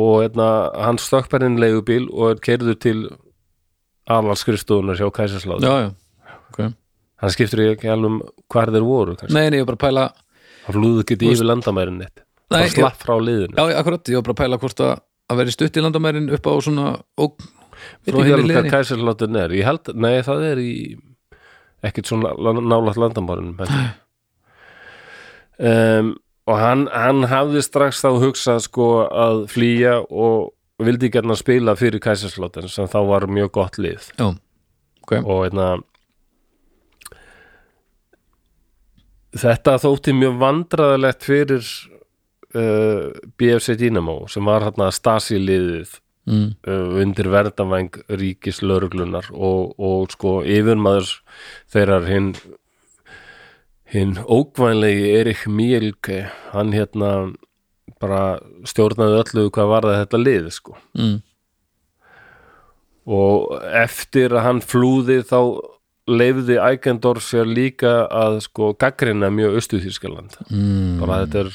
Speaker 1: og hérna, hann stökkparinn leigubíl og er keirður til aðalskristofunar hjá kæsarsláttun
Speaker 2: Já, já okay.
Speaker 1: hann skiptur ekki alveg um hvar þeir voru kannski.
Speaker 2: Nei, nei, ég var bara að pæla
Speaker 1: hann flúðu ekki yfir landamærin neitt
Speaker 2: Nei,
Speaker 1: bara slapp frá liðinu
Speaker 2: Já, já, akkurat, ég var bara að pæla hvort að að vera í stutt í landamærin upp á svona ógn
Speaker 1: Veit
Speaker 2: frá
Speaker 1: ekki
Speaker 2: hinni
Speaker 1: alveg hvað
Speaker 2: liðinni
Speaker 1: kæsarsláttin er Ég held, nei það er í ekkert svona nálaðt landamárunum um, og hann, hann hafði strax þá hugsað sko að flýja og vildi gerna spila fyrir kæsarsláttin sem þá var mjög gott lið
Speaker 2: Já, ok
Speaker 1: og hérna, einna þetta þótti mjög vandræðalegt fyrir uh, BFC Dynamo sem var hérna, hann að stasi liðið
Speaker 2: mm.
Speaker 1: uh, undir verðavæng ríkis lörglunar og, og sko yfirmaður þeirrar hinn hinn ókvænlegi Erik Mjölke hann hérna bara stjórnaði öllu hvað var það þetta lið sko
Speaker 2: Mm.
Speaker 1: og eftir að hann flúði þá leifði Ægendorf sér líka að sko gaggrina mjög austuþýrskaland
Speaker 2: Mm.
Speaker 1: bara þetta er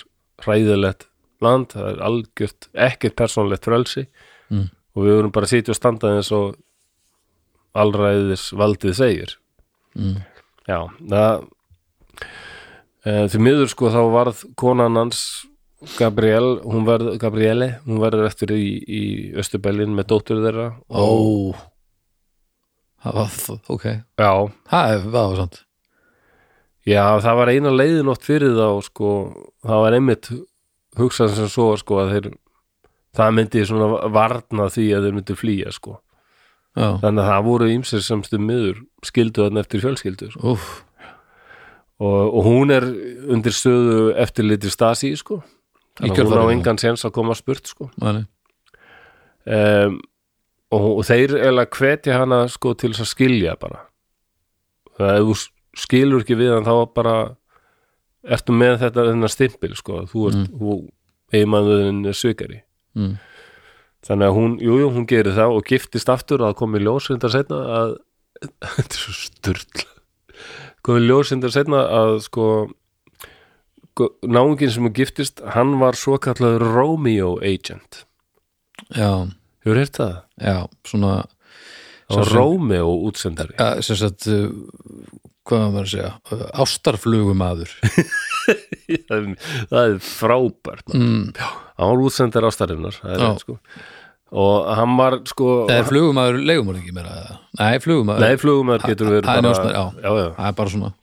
Speaker 1: hræðilegt land, það er algjört ekkert persónlegt frelsi
Speaker 2: Mm.
Speaker 1: og við vorum bara að sitja og standa eins og allræðis valdið segir
Speaker 2: Mm.
Speaker 1: já, það e, því miður sko þá varð konan hans Gabriel, hún verð, Gabriele hún verður eftir í, í Östurbelin með dóttur þeirra
Speaker 2: Ó Það var, ok
Speaker 1: já,
Speaker 2: Það er- það var sant
Speaker 1: Já, það var eina leiðin oft fyrir þá sko, það var einmitt hugsað sem svo sko að þeir það myndi svona varna því að þeir myndi flýja sko
Speaker 2: Já,
Speaker 1: þannig að það voru ýmsir semstu miður skildu þarna eftir fjölskyldu sko.
Speaker 2: úf,
Speaker 1: og, og hún er undir stöðu eftir liti stasi sko þannig að hún á
Speaker 2: kjölfarið, já.
Speaker 1: engan sens að koma spurt sko
Speaker 2: manni
Speaker 1: um, og, og þeir eiginlega hvetja hana sko til þess að skilja bara það ef þú s- skilur ekki við hann þá bara ertu með þetta þennan stimpil sko þú ert, mm. þú eiginmaðurinn er svikari
Speaker 2: mm.
Speaker 1: þannig að hún, jújú, jú, hún gerir það og giftist aftur að komi ljósindar setna að þetta er svo styrl komi ljósindar setna að sko náungin sem hún giftist hann var svo kallað Romeo Agent
Speaker 2: Já,
Speaker 1: hefur heyrt það?
Speaker 2: já, svona
Speaker 1: Það var
Speaker 2: sem-
Speaker 1: Rómeó útsendari
Speaker 2: Já, sem sagt, uh, hvað var maður að segja, uh, ástarflugumadur.
Speaker 1: það er- það er frábært mm.
Speaker 2: Mm,
Speaker 1: hann var útsendari ástarinnar það er
Speaker 2: Já. Eh,
Speaker 1: rétt, sko. og hann var sko
Speaker 2: það er flugumadur leigumorðingi meira eða? Nei, flugumadur.
Speaker 1: nei flugumæður getur verið
Speaker 2: það er
Speaker 1: bara
Speaker 2: njósnari, já.
Speaker 1: já, já.
Speaker 2: Það er bara svona.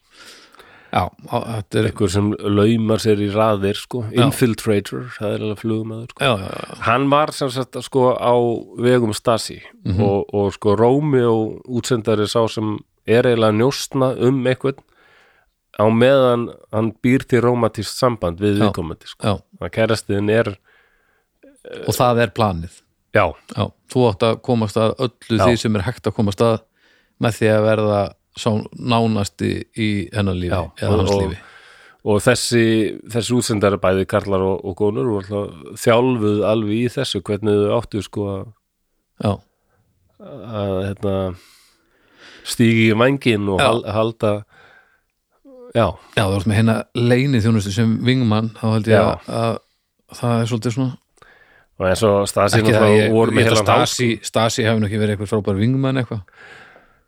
Speaker 2: Já, á, þetta er,
Speaker 1: einhver sem laumar sér í raðir sko. infiltrator, það er alveg flugumæður sko.
Speaker 2: já, já, já,
Speaker 1: hann var sem sagt sko á vegum Stasi
Speaker 2: Mhm.
Speaker 1: og, og sko Rómeó útsendari sá sem er eiginlega að njóstna um eitthvað á meðan hann býr til rómatist samband við
Speaker 2: Já.
Speaker 1: viðkomandi sko.
Speaker 2: já,
Speaker 1: að kærastiðin er
Speaker 2: og það er planið.
Speaker 1: já,
Speaker 2: Já, þú átt að komast að öllu
Speaker 1: Já.
Speaker 2: því sem er hægt að komast að með því að verða sá nánasti í hennar lífi,
Speaker 1: Já,
Speaker 2: eða hans
Speaker 1: og-
Speaker 2: lífi.
Speaker 1: og þessi, þessi útsendari bæði karlar og, og konur og alltaf þjálfuð alveg í þessu hvernig þau áttu sko að,
Speaker 2: Já,
Speaker 1: að hérna, stígi í vængin og
Speaker 2: Já.
Speaker 1: hal, halda já,
Speaker 2: Já, þú ert með hérna leini þjónustu sem vingmann, þá held ég
Speaker 1: Já.
Speaker 2: að, að það er svolítið svona
Speaker 1: og eins og Stasi
Speaker 2: ekki það,
Speaker 1: náttúrulega
Speaker 2: ég,
Speaker 1: voru
Speaker 2: ég
Speaker 1: með
Speaker 2: held að
Speaker 1: heilan háskóla
Speaker 2: Stasi, Stasi hefði nú ekki verið eitthvað frábær vingmann eitthvað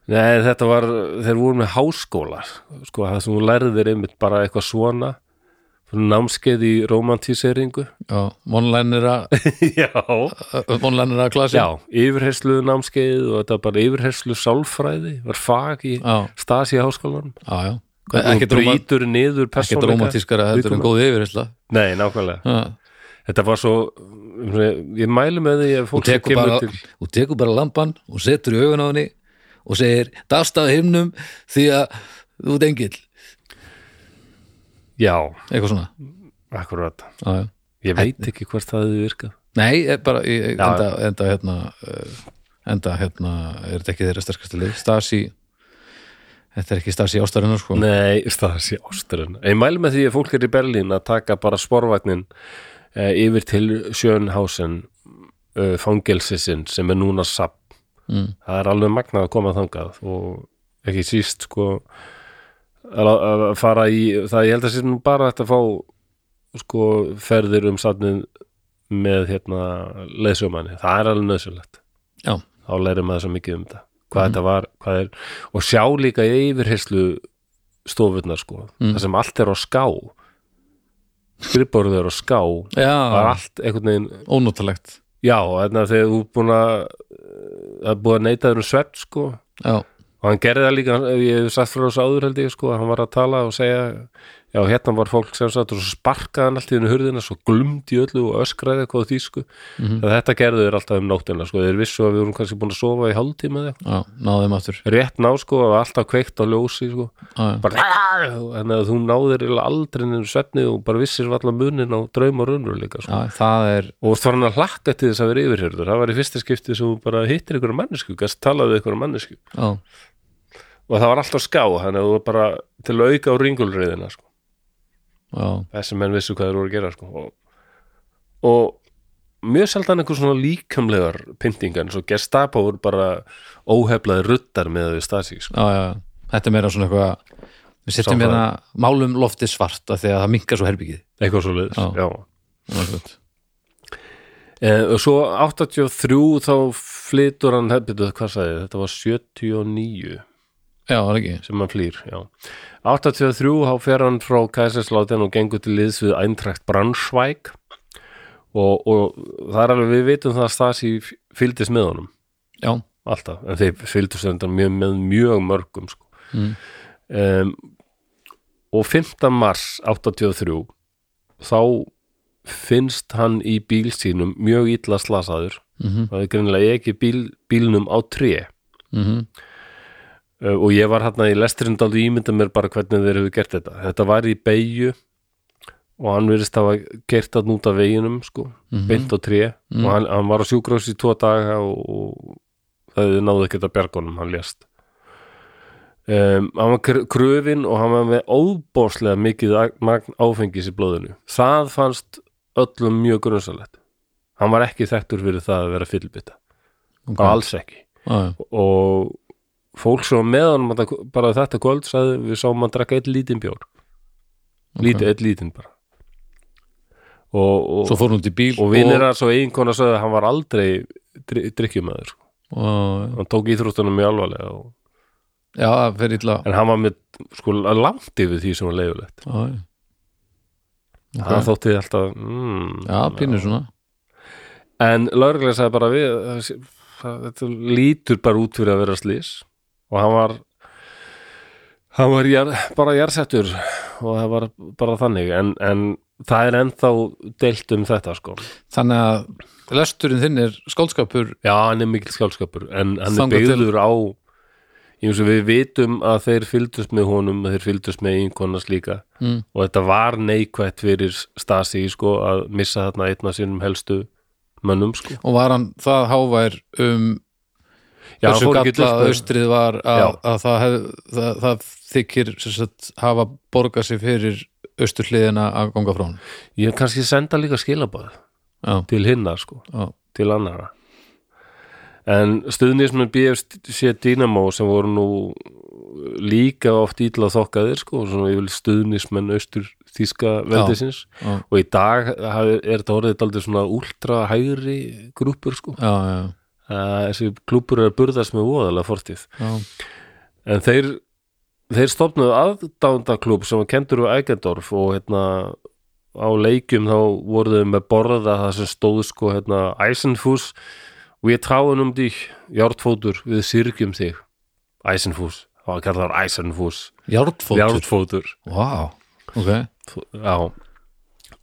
Speaker 1: Nei, þetta var, þeir voru með háskóla sko, það sem þú lærðir einmitt bara eitthvað svona námskeið í romantíseringu
Speaker 2: Já, vonlænir að
Speaker 1: Já
Speaker 2: vonlænir að klasi
Speaker 1: Já, yfirherslu námskeið og þetta bara yfirherslu sálfræði var fag í
Speaker 2: já,
Speaker 1: Stasi háskólanum
Speaker 2: já, já.
Speaker 1: og
Speaker 2: Ekkert róma-
Speaker 1: brýtur niður
Speaker 2: ekkert
Speaker 1: persónleika
Speaker 2: romantískara heldur en
Speaker 1: viðkomandi.
Speaker 2: góð yfirhersla
Speaker 1: Nei, nákvæmlega,
Speaker 2: Já.
Speaker 1: þetta var svo um, ég mælu með því að
Speaker 2: og
Speaker 1: fólk sem
Speaker 2: tekur bara,
Speaker 1: til
Speaker 2: og tekur bara lampan og setur í augun á henni og segir, dast af himnum því að þú ert engill
Speaker 1: Já,
Speaker 2: eitthvað svona
Speaker 1: akkurat
Speaker 2: já, já.
Speaker 1: Ég veit ekki hvort það hefði virkað
Speaker 2: Nei, eh, bara ég,
Speaker 1: Já,
Speaker 2: enda, enda hérna eh, enda hérna er þetta ekki þeirra sterkasta lið Stasi þetta er ekki Stasi ástarinnar sko
Speaker 1: Nei, það sé ásturinn Ég mælu með því að fólk er í Berlín að taka bara sporvagnin eh, yfir til Sjönhausen eh, fangelsisinn sem er núna sapp
Speaker 2: Mm.
Speaker 1: Það er alveg magnað að koma þangað og ekki síst sko að lá- að fara í það ég held að sér nú bara hægt að fá sko ferðir um satnið með hérna leysjómanni, það er alveg nöðsynlegt
Speaker 2: Já.
Speaker 1: þá lærir maður svo mikið um þetta hvað
Speaker 2: Mhm.
Speaker 1: þetta var, hvað er og sjá líka yfirheyslu stofurnar sko,
Speaker 2: Mm.
Speaker 1: það sem allt er á ská skrifbórið er á ská það er
Speaker 2: Já,
Speaker 1: allt einhvern veginn
Speaker 2: ónótalegt
Speaker 1: já, þannig að þegar þú er búin að það er búin að neita þér um svefn sko
Speaker 2: Já,
Speaker 1: og hann gerði það líka, hann- ég hef sagt frá þessu áður held ég sko, að hann var að tala og segja já, hérna var fólk sem satt og svo sparkaði hann allt í hennu hurðina, svo glumdi í öllu og öskraði eitthvað á því sko
Speaker 2: Mhm.
Speaker 1: að þetta gerðu þér alltaf um nóttina sko, þeir vissu að við vorum kannski búin að sofa í hálftíma eða eitthvað.
Speaker 2: já, náðum aftur
Speaker 1: rétt ná sko, það var alltaf kveikt á ljósi sko,
Speaker 2: já, já.
Speaker 1: bara "Ah!" þannig að þú náðir eiginlega aldrei nefnir svefni og bara vissir allar munin á draum og raunur líka sko.
Speaker 2: Já, það er
Speaker 1: og þú var hann að hlakka til þess að vera yfirhjörður það var í fyrsta skipti sem þú bara hittir ykkur mannesku, gæst talaði ykkur mannesku
Speaker 2: já,
Speaker 1: og það var alltaf ská, þannig að þú var bara til að auka á ringulriðina sko.
Speaker 2: já,
Speaker 1: þessi menn vissu hvað þeir voru að gera sko. og, og mjög sjaldan einhver svona líkamlegar pyntingar eins og Gestapo voru bara óheflaði ruttar með við Stasi sko.
Speaker 2: já, já, já. Þetta er meira svona eitthvað við setjum
Speaker 1: Sálfræði.
Speaker 2: hérna málum lofti svart af því að það minkar svo herbyggið
Speaker 1: eitthvað svo liðs
Speaker 2: Já.
Speaker 1: Já.
Speaker 2: Já, gott.
Speaker 1: E, og svo 83 þá flytur hann hefbyrðu, hvað sagði, ég? þetta var 79
Speaker 2: Já, það er ekki
Speaker 1: sem hann flýr, já 83 þá fer hann frá Kæsinsláten og gengur til liðs við Eintrakt Bransvæk og, og það er alveg við vitum það að Stasi fylgdist með honum
Speaker 2: Já,
Speaker 1: alltaf, en þeir fylgdust þetta mjög með mjög mörgum sko.
Speaker 2: Mm.
Speaker 1: um, og 5. mars 83 þá finnst hann í bíl sínum mjög illa slasaður
Speaker 2: mhm,
Speaker 1: það er greinilega ekki bíl, bílnum á tré
Speaker 2: mhm
Speaker 1: Uh, og ég var hérna í lesturinn dálítið ímynda mér bara hvernig þeir hefur gert þetta þetta var í beigju og hann virðist hafa gert það út af veginum sko,
Speaker 2: mhm.
Speaker 1: beint á tré og hann, hann var á sjúkrós í tvo daga og, og það náði ekkert að bjargunum hann lést um, hann var kr- kröfin og hann var með óbóðslega mikið ag- magn áfengis í blóðinu það fannst öllum mjög grunnsalett hann var ekki þekktur fyrir það að vera fyllbytta,
Speaker 2: ok.
Speaker 1: okay. alls ekki
Speaker 2: Já, já,
Speaker 1: og fólk sem var með honum þetta- bara þetta kvöld sagði við sáum að drakka eitt lítinn bjór lítið, eitt lítinn bara og, og,
Speaker 2: Svo fór hún út í bíl
Speaker 1: og vinnir hans og eiginkona sagði að hann var aldrei drikkjumæður, sko.
Speaker 2: og-
Speaker 1: hann tók íþróttunum mjög alvarlega og,
Speaker 2: Já, það fer illa
Speaker 1: en hann var með sko langt yfir því sem var leifulegt
Speaker 2: Já, já. Ok.
Speaker 1: það þótti alltaf mm,
Speaker 2: Já, pínur svona
Speaker 1: en lögreglega sagði bara við það sé- það- þetta lítur bara út fyrir að vera slís og hann var hann var jar, bara jarsettur og það var bara þannig en, en það er ennþá deilt um þetta sko
Speaker 2: Þannig að lesturinn þinn er skóldskapur
Speaker 1: já, hann er mikill skjálskapur en hann
Speaker 2: Þangað
Speaker 1: er
Speaker 2: til-
Speaker 1: byggður á ég veist við vitum að þeir fylgdust með honum og þeir fylgdust með einkonas líka
Speaker 2: mm.
Speaker 1: og þetta var neikvætt fyrir Stasi sko að missa þarna einn af sínum helstu mönnum sko
Speaker 2: og var hann það hávær um
Speaker 1: Já, hann
Speaker 2: hversu
Speaker 1: fór ekki
Speaker 2: galla
Speaker 1: dult með-
Speaker 2: austrið var
Speaker 1: sko.
Speaker 2: að,
Speaker 1: Já.
Speaker 2: að það, hef, það, það þykir sem sagt, hafa borgað sér fyrir austurhliðina að ganga frá hann
Speaker 1: ég hef kannski senda líka skilabað
Speaker 2: Já,
Speaker 1: til hinna sko,
Speaker 2: já,
Speaker 1: til annara en stuðnismenn BFC Dynamo sem voru nú líka oft ítla þokkaðir sko, svona yfir stuðnismenn austur þýska veldisins
Speaker 2: já.
Speaker 1: og í dag hafi- er þetta orðið daldið svona últra hægri grúpur sko.
Speaker 2: já, já,
Speaker 1: uh, þessi klúpur er að burðast með voðalega fortíð
Speaker 2: já,
Speaker 1: en þeir, þeir stopnuðu aðdándaklúb sem var kendur við Eigendorf og hérna á leikjum þá voru þau með borða það sem stóð sko hérna Eisenfuss og ég tráin um því jártfótur við syrgjum þig Eisenfuss, það var kallar Eisenfuss
Speaker 2: járnfótur
Speaker 1: jártfótur
Speaker 2: Vá, ok
Speaker 1: já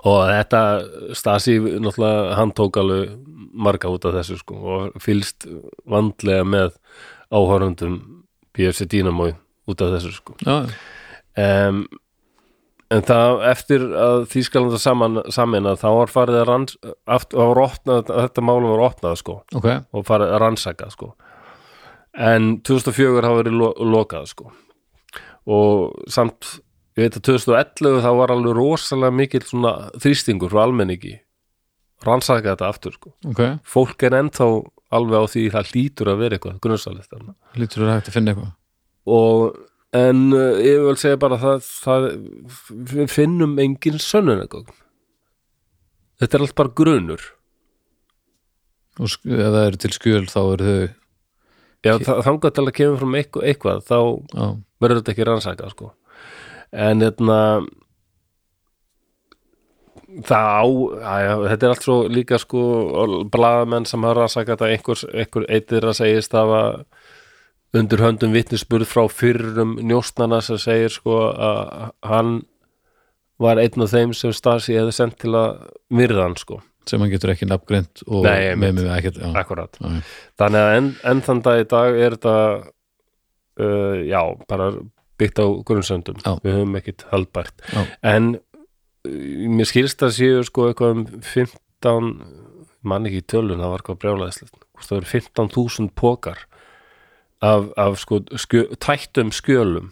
Speaker 1: og þetta Stasi náttúrulega hann tók alveg marga út af þessu sko og fylgst vandlega með áhorfundum BFC Dynamo út af þessu sko
Speaker 2: já,
Speaker 1: um, en það eftir að Þýskalanda saman, samin þá var farið að ranns aft, var opnað, þetta málum var opnað sko
Speaker 2: ok,
Speaker 1: og farið að rannsaka sko en 2004 hafa verið lo lokað sko og samt ég veit að 2011 þá var alveg rosalega mikill svona þrýstingur frá almenningi rannsaka þetta aftur sko
Speaker 2: ok
Speaker 1: fólk er ennþá alveg á því það hlýtur að vera eitthvað grunnsalegt þarna
Speaker 2: lítur þér hægt að finna eitthvað
Speaker 1: og en uh, ég vil segja bara það, það við finnum engin sönnunagögn þetta er allt bara grunur
Speaker 2: og sk- ef það eru til skjöl þá eru þau
Speaker 1: já, þa- þangað til að kemur fram eitthvað, eitthvað þá
Speaker 2: já,
Speaker 1: verður þetta ekki rannsaka sko. en hérna það á aðja, þetta er allt svo líka sko blaðamenn sem hafa rannsaka þetta einhvers, einhver eitir að segist hafa undir höndum vitnisburð frá fyrrum njóstnana sem segir sko að hann var einn af þeim sem Stasi hefði sendt til að myrða hann sko,
Speaker 2: sem hann getur ekki nafngreint og
Speaker 1: Nei, ég
Speaker 2: með mig ekkert já,
Speaker 1: akkurat
Speaker 2: já,
Speaker 1: þannig að enn en þann dag í dag er þetta uh, já, bara byggt á grunnsöndum,
Speaker 2: Já.
Speaker 1: við höfum ekkit haldbært
Speaker 2: Já.
Speaker 1: en uh, mér skilst að séu sko eitthvað um 15 mann ekki í tölun, það var eitthvað brjálæðislegt Hvort það eru 15.000 pokar af, af sko skjö, tættum skjölum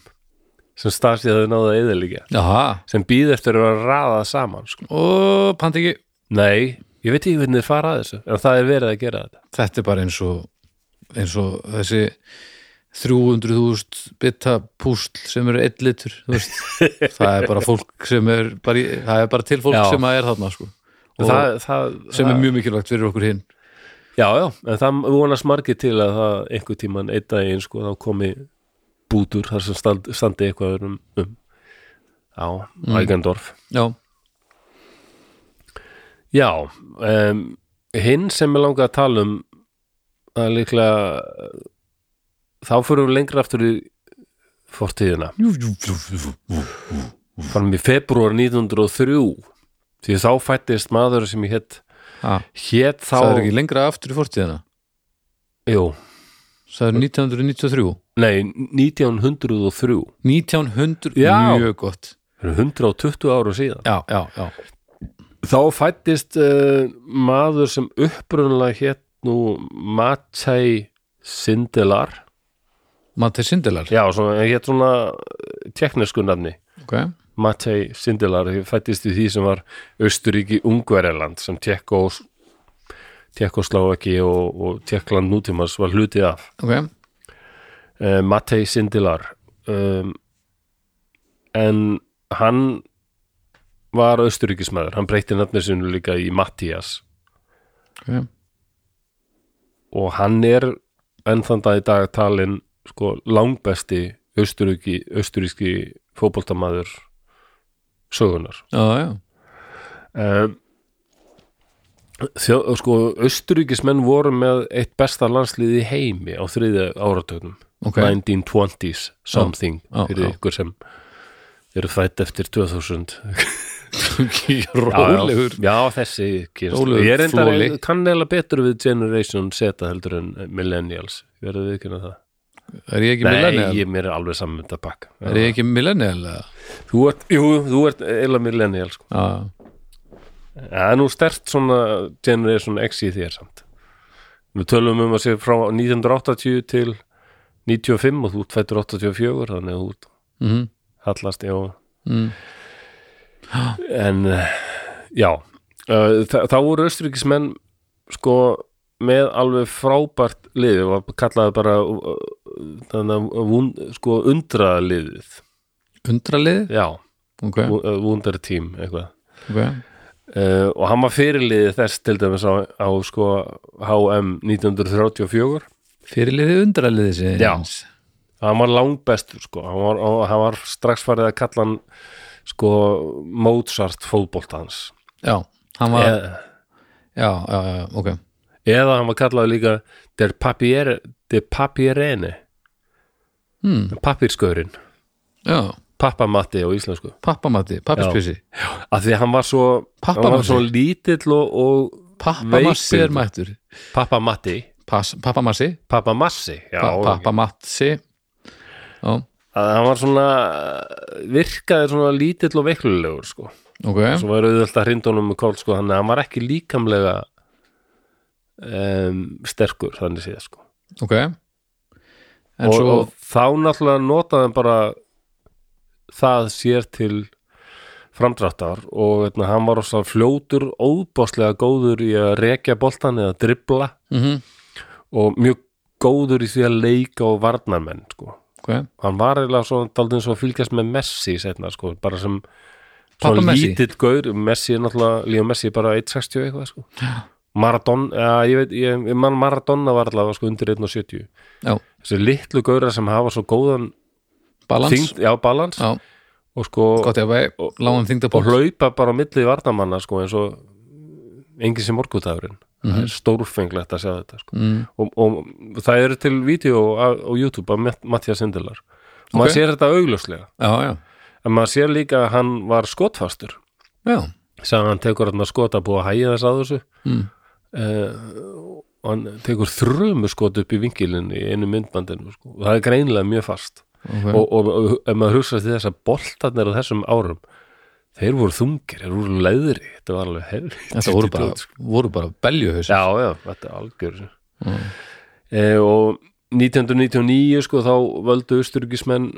Speaker 1: sem Stasi hafði náða eðilíkja
Speaker 2: Jaha,
Speaker 1: sem býð eftir að vera raðað saman sko.
Speaker 2: og pandi ekki
Speaker 1: nei, ég veit ekki hvernig þið fara að þessu en það er verið að gera þetta
Speaker 2: þetta er bara eins og eins og þessi 300.000 bita púsl sem eru 1 litur þú veist. það er bara fólk sem er bara, í- það er bara til fólk
Speaker 1: Já.
Speaker 2: sem að er þarna sko. og
Speaker 1: það, það,
Speaker 2: sem
Speaker 1: það,
Speaker 2: er mjög mikilvægt fyrir okkur hinn
Speaker 1: Já, já, en það vonast margir til að það einhver tíman einn daginn sko þá komi bútur þar sem stand, standi eitthvað um, um. Já, mm. Ægendorf
Speaker 2: já,
Speaker 1: Já, um, hinn sem er langað að tala um það er líklega þá fyrir við lengra aftur í fortíðina
Speaker 2: jú, jú, jú, jú, jú.
Speaker 1: fannum í februar 1903 því þá fættist maður sem ég hétt
Speaker 2: Ha,
Speaker 1: hétt þá
Speaker 2: það er ekki lengra aftur í fortíðina
Speaker 1: Jú,
Speaker 2: það er 1993
Speaker 1: nei, 1903
Speaker 2: 1900,
Speaker 1: Já.
Speaker 2: mjög gott
Speaker 1: Það eru 120 ára síðan
Speaker 2: já, já, já,
Speaker 1: Þá fættist uh, maður sem upprunalega hétt nú Matei Sindelar
Speaker 2: Matti Sindelar
Speaker 1: Já, svona, hétt svona teknisku nafni
Speaker 2: ok,
Speaker 1: Matei Sindelar ég fættist í því sem var Austuríki Ungverjaland sem Tjekko Tjekkoslavaki og, og Tjekkland nútímas var hlutið af
Speaker 2: ok,
Speaker 1: uh, Matei Sindelar um, en hann var austuríkismæður, hann breytti nafnir sinu líka í Mattias
Speaker 2: okay.
Speaker 1: og hann er enn þann dag í dag talin sko, langbesti austuríki, austuríski fótboltamaður sögunar
Speaker 2: já, já, Eh,
Speaker 1: um, þjó, sko, austuríkismenn voru með eitt besta landslið í heimi á þriðja áratögnum
Speaker 2: ok
Speaker 1: 1920s something
Speaker 2: Já, já,
Speaker 1: fyrir
Speaker 2: já.
Speaker 1: ykkur sem eru fætt eftir 2000
Speaker 2: rólegur
Speaker 1: já, já, þessi kynslóð.
Speaker 2: Rólegur
Speaker 1: ég er
Speaker 2: flóli.
Speaker 1: enda kannlega betur við Generation Z heldur en Millennials verður við ekki að það
Speaker 2: er ég ekki
Speaker 1: Nei,
Speaker 2: millennial?
Speaker 1: ég mér er alveg saman með þetta pakka
Speaker 2: er ég ekki millennial? eða?
Speaker 1: Þú ert, jú, þú ert eila millennial sko.
Speaker 2: já,
Speaker 1: Það er nú stert svona Generation X í þér samt Við tölum um að sé frá 1980 til 95 og þú ert fættur 84 þannig að þú ert
Speaker 2: mhm,
Speaker 1: hallast, já
Speaker 2: mhm
Speaker 1: Mm. en eh, já eh, þa þá voru austuríkismenn sko með alveg frábært lið og kallaði bara eh, þannig að vund, sko undraliðið
Speaker 2: Undralið?
Speaker 1: já,
Speaker 2: Ok,
Speaker 1: Wu- eh, Wunderteam eitthvað
Speaker 2: ok
Speaker 1: uh, og hann var fyrirliðið þess til dæmis á, á sko HM 1934
Speaker 2: Fyrirliðið undraliðið sinns
Speaker 1: hann var langbestur sko hann var, og hann var strax farið að kalla hann sko Mozart fótboltans
Speaker 2: Já, hann var
Speaker 1: eða,
Speaker 2: Já, já, já, já, ok
Speaker 1: eða hann var kallað líka der papier, de papierene
Speaker 2: hmm.
Speaker 1: papírskaurin,
Speaker 2: Já,
Speaker 1: pappamatti á íslensku
Speaker 2: pappamatti, pappispísi
Speaker 1: að því að hann var svo, hann var
Speaker 2: Pappamatti.
Speaker 1: svo lítill og, og
Speaker 2: Pappamassi
Speaker 1: Veikur.
Speaker 2: er mættur
Speaker 1: pappamatti
Speaker 2: Pass- Pappamassi,
Speaker 1: pappamassi já,
Speaker 2: pa- pappamatsi Já,
Speaker 1: að hann var svona virkaði svona lítill og veiklulegur sko.
Speaker 2: ok
Speaker 1: svo var auðvitað að hrindunum með kól sko, þannig að hann var ekki líkamlega um, sterkur þannig séð sko.
Speaker 2: Ok En
Speaker 1: og,
Speaker 2: svo
Speaker 1: og þá náttúrulega notaði hann bara það sér til framdráttar og veitna, hann var rosa fljótur óbáslega góður í að rekja boltan eða dribla
Speaker 2: mm
Speaker 1: og mjög góður í því að leika og varnarmenn sko.
Speaker 2: Ok,
Speaker 1: hann var eiginlega svo daldið eins og að fylgjast með Messi setna, sko, bara sem
Speaker 2: Pabba
Speaker 1: svona
Speaker 2: Messi?
Speaker 1: lítill gaur, Messi er náttúrulega Líó Messi er bara 1.60 eitthvað sko. Maradona, ja, ég veit ég, ég man Maradona var allavega sko, undir 1.70
Speaker 2: já,
Speaker 1: þessi litlu gaurar sem hafa svo góðan
Speaker 2: balans
Speaker 1: þyngd, já, balans
Speaker 2: Já,
Speaker 1: og sko,
Speaker 2: gott ég að væri
Speaker 1: og-
Speaker 2: lágum þingdaból
Speaker 1: og hlaupa bara á milli varnamanna sko, eins og engin sem morgutafurinn það er stórfenglegt að sjá þetta sko.
Speaker 2: Mhm. mm.
Speaker 1: og, og það eru til vídeo á, á YouTube af Matt- Matthías Sindelar og
Speaker 2: Ok.
Speaker 1: maður sér þetta augljóslega
Speaker 2: Já, já,
Speaker 1: en maður sér líka að hann var skotfastur
Speaker 2: já
Speaker 1: sem hann tekur hann skot að búa að hæja þess að þessu
Speaker 2: mm.
Speaker 1: uh, og hann tekur þrömu skot upp í vingilin í einu myndbandinu sko. og það er greinilega mjög fast
Speaker 2: okay.
Speaker 1: og, og, og ef maður hugsa til þess að boltarnir á þessum árum þeir voru þungir, þeir voru leðri þetta var alveg helvítið
Speaker 2: Þetta voru bara,
Speaker 1: dót, sko.
Speaker 2: voru bara beljuhaus
Speaker 1: já, já, þetta er algjör
Speaker 2: Mm.
Speaker 1: uh, og 1999 sko þá völdu austuríkismenn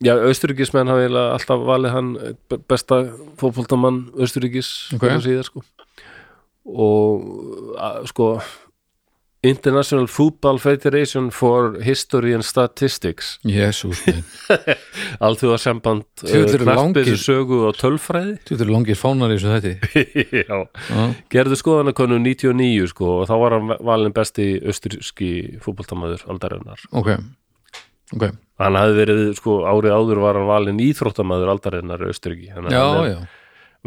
Speaker 1: já, austuríkismenn hafa eiginlega alltaf valið hann be- besta fótboltamann austuríkis
Speaker 2: Ok.
Speaker 1: síðar, sko. og að, sko International Football Federation for History and Statistics
Speaker 2: Jésús minn
Speaker 1: alþjóða samband
Speaker 2: Djöfull eru langir.
Speaker 1: sögu eh, og tölfræði
Speaker 2: Þú ert langir fánar í þessu þetta
Speaker 1: já, gerðu skoðanakönnum 99 sko og þá var hann valin besti austuríski fótboltamaður aldarinnar
Speaker 2: Ok, ok
Speaker 1: hann hafði verið, sko, árið áður var hann valinn íþróttamaður aldarinnar í Östuríki þannig að
Speaker 2: Já,
Speaker 1: hann er
Speaker 2: já,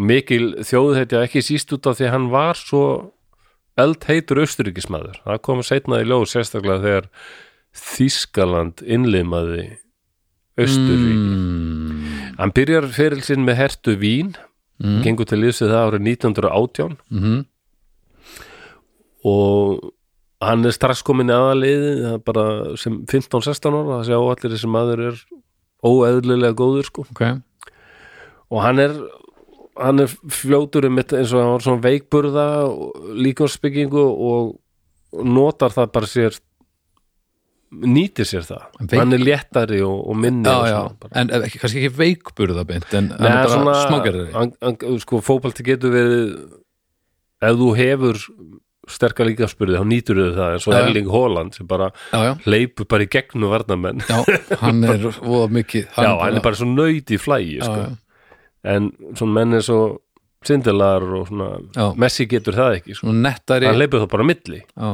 Speaker 1: mikil þjóðheitja ekki síst út af því að hann var svo eldheitur Östuríkismaður það kom seinna í ljóð sérstaklega þegar Þískaland innlimaði Östuríki
Speaker 2: mm.
Speaker 1: hann byrjar feril sinn með hertu vín
Speaker 2: Mm.
Speaker 1: gengur til liðsið það árið 1918
Speaker 2: mhm,
Speaker 1: og hann er strax komin aðaliði bara sem 15-16 ára það sé á allir þessi maður er óeðlilega góður sko
Speaker 2: Ok,
Speaker 1: og hann er hann er fljótur um eins og hann var svona veikburða og líkansbyggingu og notar það bara sér nýtir sér það
Speaker 2: En veik-
Speaker 1: hann er léttari og, og minni
Speaker 2: já,
Speaker 1: og
Speaker 2: já
Speaker 1: svona bara.
Speaker 2: En eh, ekki, kannski ekki veikburða beint En Nei,
Speaker 1: Nei,
Speaker 2: bara svona...
Speaker 1: hann, hann, sko, fótbalti getur verið ef þú hefur sterkar líkansbyrði, þá nýtur þau það eins og
Speaker 2: Já, já.
Speaker 1: Erling Haaland sem bara
Speaker 2: Já, já,
Speaker 1: leipur bara í gegnum varnamenn
Speaker 2: já, hann er voða mikið
Speaker 1: já, hann er bara svo nöyt í flægi
Speaker 2: já,
Speaker 1: sko.
Speaker 2: já,
Speaker 1: en svona menn er svo sindilar og svona
Speaker 2: Já.
Speaker 1: Messi getur það ekki, sko.
Speaker 2: Svona nettari
Speaker 1: hann leipur það bara á milli
Speaker 2: já,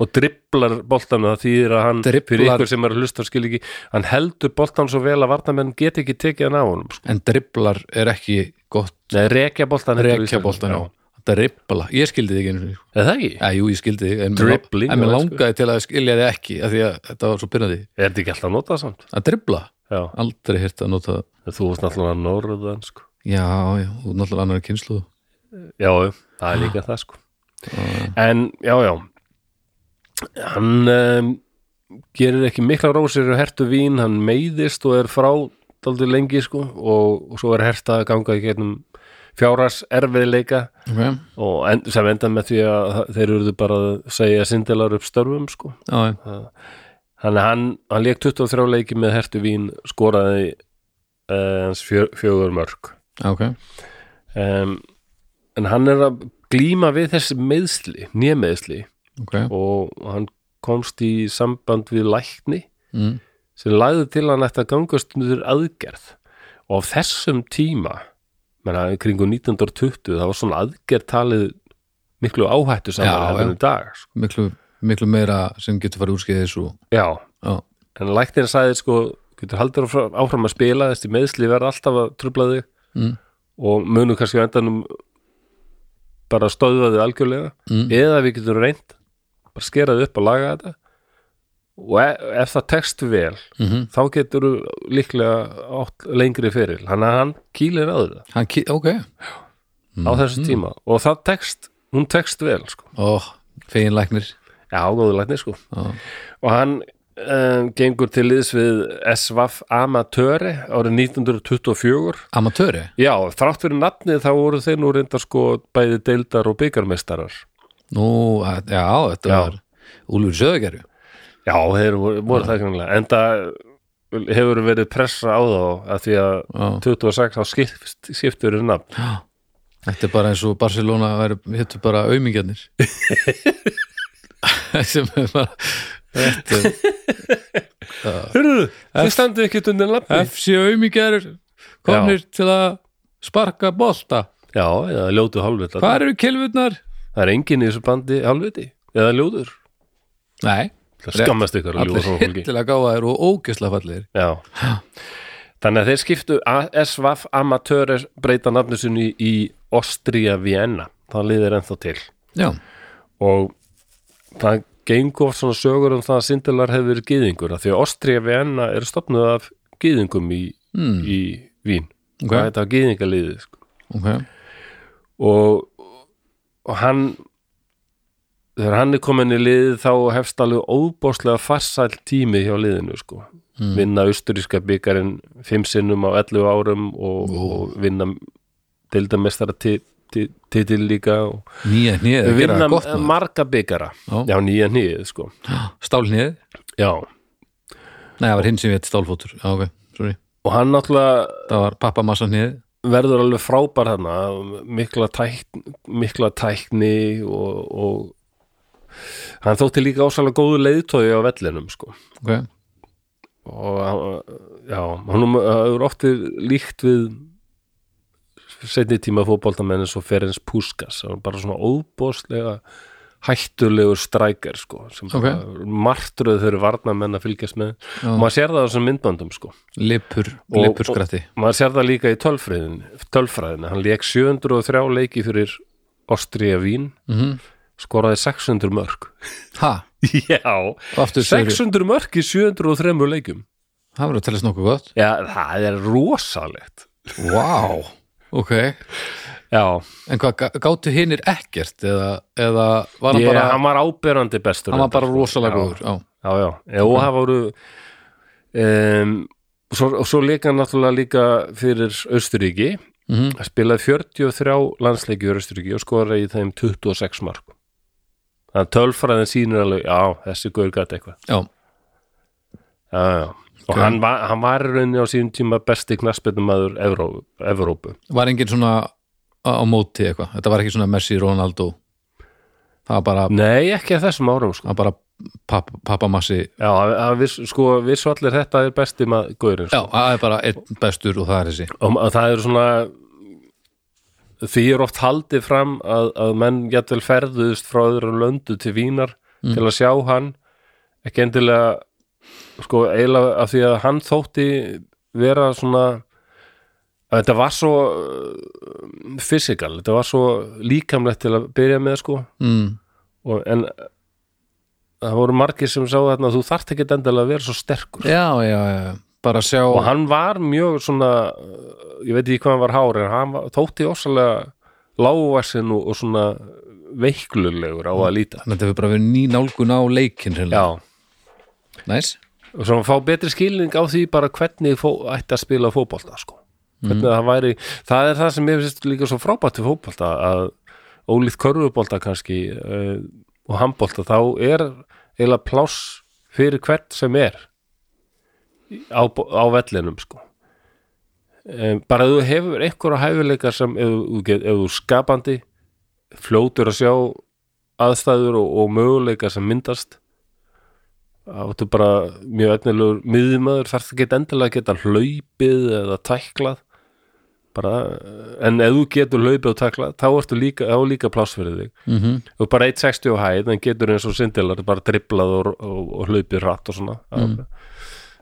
Speaker 1: og driblar boltan það þýðir að hann,
Speaker 2: Dribblar.
Speaker 1: fyrir ykkur sem er að hlusta skil ekki, hann heldur boltan svo vel að varnamenn get ekki tekið hann á honum sko.
Speaker 2: En driblar er ekki gott
Speaker 1: Nei, rekja boltan heitir á
Speaker 2: Rekja
Speaker 1: íslensku.
Speaker 2: boltan
Speaker 1: Já.
Speaker 2: já. Dribbla, ég skildi þig einu sinni, sko.
Speaker 1: er það ekki?
Speaker 2: Já, jú, ég skildi þig En mér-
Speaker 1: Dribbling,
Speaker 2: en mér
Speaker 1: já,
Speaker 2: langaði til að skilja þig ekki af Því að þetta var svo byrjandi
Speaker 1: Er þetta ekki alltaf að nota það samt?
Speaker 2: Að dribla,
Speaker 1: Já,
Speaker 2: aldrei hirt að nota
Speaker 1: þú varst náttúrulega norðan sko.
Speaker 2: Já, já, þú er náttúrulega annar kynslu
Speaker 1: Já, já, það er líka það sko En, já, já Hann um, gerir ekki mikla rósir og hertu vín, hann meiðist og er frá daldið lengi sko og, og svo er herta að ganga í gegnum fjáras erfiðleika
Speaker 2: okay.
Speaker 1: og en, sem enda með því að þeir eruðu bara að segja sindelar upp störfum sko
Speaker 2: Já, já,
Speaker 1: þannig að hann, hann leik 23 leiki með hertu vín skoraði uh, hans fjö, fjögur mörg
Speaker 2: já, ok
Speaker 1: um, en hann er að glíma við þessi meðsli, nýja meðsli
Speaker 2: Ok,
Speaker 1: og hann komst í samband við lækni
Speaker 2: Mm.
Speaker 1: sem lagði til að hann ætti að gangast undir aðgerð og á þessum tíma menna, kringu 1920 það var svona aðgerð talið miklu áhættu
Speaker 2: Já,
Speaker 1: saman
Speaker 2: já.
Speaker 1: en í dag sko.
Speaker 2: miklu, miklu meira sem getur farið úrskeiðis og
Speaker 1: já,
Speaker 2: já,
Speaker 1: en læknir sagði sko, getur haldur áfram- áfram að spila þessi meðsli verða alltaf að trubla þig
Speaker 2: Mm.
Speaker 1: og munu kannski á endanum bara stöðva þig algjörlega
Speaker 2: Mm.
Speaker 1: eða við getum reynd bara skera þig upp og laga þetta og e ef það tekst vel
Speaker 2: mhm.
Speaker 1: þá getur þú líklega átt lengri fyrir hann, hann kýlir aður það
Speaker 2: hann kýr, ok
Speaker 1: á þessu tíma og það tekst, hún tekst vel sko.
Speaker 2: ó, feginlæknir
Speaker 1: já, góðulætni sko
Speaker 2: Já.
Speaker 1: og hann um, gengur til liðs við SVAF Amatöri árið 1924
Speaker 2: amatöri,
Speaker 1: já, þrátt fyrir nafnið þá voru þeir nú reyndar sko bæði deildar og byggarmeistarar
Speaker 2: nú, að- já, þetta
Speaker 1: Já.
Speaker 2: var Úlfur Söðagerju
Speaker 1: já, þeir voru, voru það kannlega en það hefur verið pressa á þá að því að
Speaker 2: Já.
Speaker 1: 26 þá skipt, skiptur er nafn
Speaker 2: þetta er bara eins og Barcelona væri, héttu bara aumingjarnir sem er bara þetta er
Speaker 1: Hörru, þið standið ekki undir nafni
Speaker 2: FC aumingjarnir komnir til að sparka bolta
Speaker 1: Já, eða ljótu hálfvitar
Speaker 2: hvað eru kelvurnar?
Speaker 1: Það er enginn í þessu bandi hálfviti Eða ljóður
Speaker 2: nei,
Speaker 1: Það
Speaker 2: Rétt.
Speaker 1: skammast ykkur að ljóða
Speaker 2: allir
Speaker 1: svona fólki
Speaker 2: hittilega gáðaðir og ógisla fallir
Speaker 1: Já Þannig að þeir skiptu SVAF Amatörer breyta nafnu sinni í Ostria Vienna Það liðir ennþá til
Speaker 2: já,
Speaker 1: og það gengur svona sögur um það að Sindelar hefur verið gýðingur af því að Ostria Vienna er stopnuð af gýðingum í, í Vín
Speaker 2: Hmm. Ok.
Speaker 1: Það heita gýðingaliðið sko.
Speaker 2: ok
Speaker 1: og, og hann þegar hann er komin í liðið þá hefst alveg óbóðslega farsæl tími hjá liðinu sko
Speaker 2: Mm.
Speaker 1: vinna austuríska byggarinn fimm sinnum á 11 árum og, og vinna deildamestara titil líka og
Speaker 2: nýja hnið, gera
Speaker 1: vinna
Speaker 2: það gott maður.
Speaker 1: marga byggara
Speaker 2: Já.
Speaker 1: já, nýja nýið sko
Speaker 2: stál hnið,
Speaker 1: já,
Speaker 2: nei það var hinn sem við þetta stálfótur já, ok, sorry,
Speaker 1: og hann náttúrulega
Speaker 2: það var pappamassa hnið
Speaker 1: verður alveg frábær þarna mikla, tækn, mikla tækni og, og hann þótti líka ásalega góðu leiðtói á vellinum sko
Speaker 2: ok,
Speaker 1: og hann- já, hann er oft við- líkt við setni tíma fótboltamenn eins og Ferenc Puskas hann er bara svona óbóðslega hættulegur strækar sko sem bara martröð þau eru varnamenn að fylgjast með og maður sér það á þessum myndbandum sko
Speaker 2: lipur,
Speaker 1: Og-
Speaker 2: lipur skratti
Speaker 1: maður sér það líka í tölfræðin tölfræðin, hann leik 703 leiki fyrir Ástriða Vín skoraði 600 mörg
Speaker 2: Mhm. ha,
Speaker 1: já,
Speaker 2: og aftur segir
Speaker 1: 600 mörg í 703 leikum
Speaker 2: það verður að tellast nokkuð gott
Speaker 1: já, það er rosalegt
Speaker 2: wow, ok
Speaker 1: já,
Speaker 2: en hvað, gá- gátu hinnir ekkert eða, eða var hann
Speaker 1: ég,
Speaker 2: bara
Speaker 1: hann var áberandi bestur
Speaker 2: hann var bara
Speaker 1: reyndar, sko. Já,
Speaker 2: rosalega góður já,
Speaker 1: já, já, já og það voru um, svo, og svo leika hann náttúrulega líka fyrir Östuríki
Speaker 2: Mhm.
Speaker 1: Hann spilaði 43 landsleiki fyrir Östuríki og skoraði í þeim 26 mark þannig að tölfræðin sýnir alveg, já, þessi guður gæti eitthvað
Speaker 2: já,
Speaker 1: já, já, og
Speaker 2: Ok.
Speaker 1: hann, var, hann var í rauninni á síðum tíma besti knassbyrnumæður Evró, Evrópu
Speaker 2: var enginn svona á á móti eitthvað, þetta var ekki svona Messi, Ronaldo það var bara,
Speaker 1: nei, ekki að þessum árum sko.
Speaker 2: það var bara papp, pappamassi
Speaker 1: já, að, að, viss- sko, við svo allir þetta er besti sko. maður guðurinn
Speaker 2: já, það er bara einn bestur og það er þessi
Speaker 1: og að það eru svona því er oft haldið fram að, að menn jættvel ferðuðust frá öðru löndu til Vínar til að sjá hann ekki endilega sko eiginlega af því að hann þótti vera svona að þetta var svo uh, physical, þetta var svo líkamlegt til að byrja með sko
Speaker 2: mm.
Speaker 1: og, en uh, það voru margir sem sá þarna þú þarft ekki endilega að vera svo sterkur
Speaker 2: já, já, já, bara sjá
Speaker 1: og hann var mjög svona uh, ég veit ekki hvað hann var hár en hann var, þótti ósalega lágvaxin og, og svona veiklulegur á að líta
Speaker 2: þetta hefur bara verið ný nálgun á leikin
Speaker 1: já,
Speaker 2: hreinlega. næs,
Speaker 1: og svona fá betri skilning á því bara hvernig fó, ætti að spila fótbolta sko. hvernig það væri það er það sem ég finnst líka svo frábætt til fótbolta að ólíkt körfubolta kannski uh, og handbolta þá er eiginlega pláss fyrir hvert sem er á, á vellinum sko um, bara ef þú hefur einhverja hæfileika sem ef, þú get- ef þú er skapandi fljótur að sjá aðstæður og, og möguleika sem myndast áttu bara mjög efnilegur miðumöður þarf það geta endilega að geta hlaupið eða tæklað bara, en ef þú getur hlaupið og tæklað, þá ertu líka, þá er líka pláss fyrir þig,
Speaker 2: mm
Speaker 1: þú er bara 1.60 á hæð en getur eins og sindilar bara driblað og, og, og hlaupið rætt og svona mm.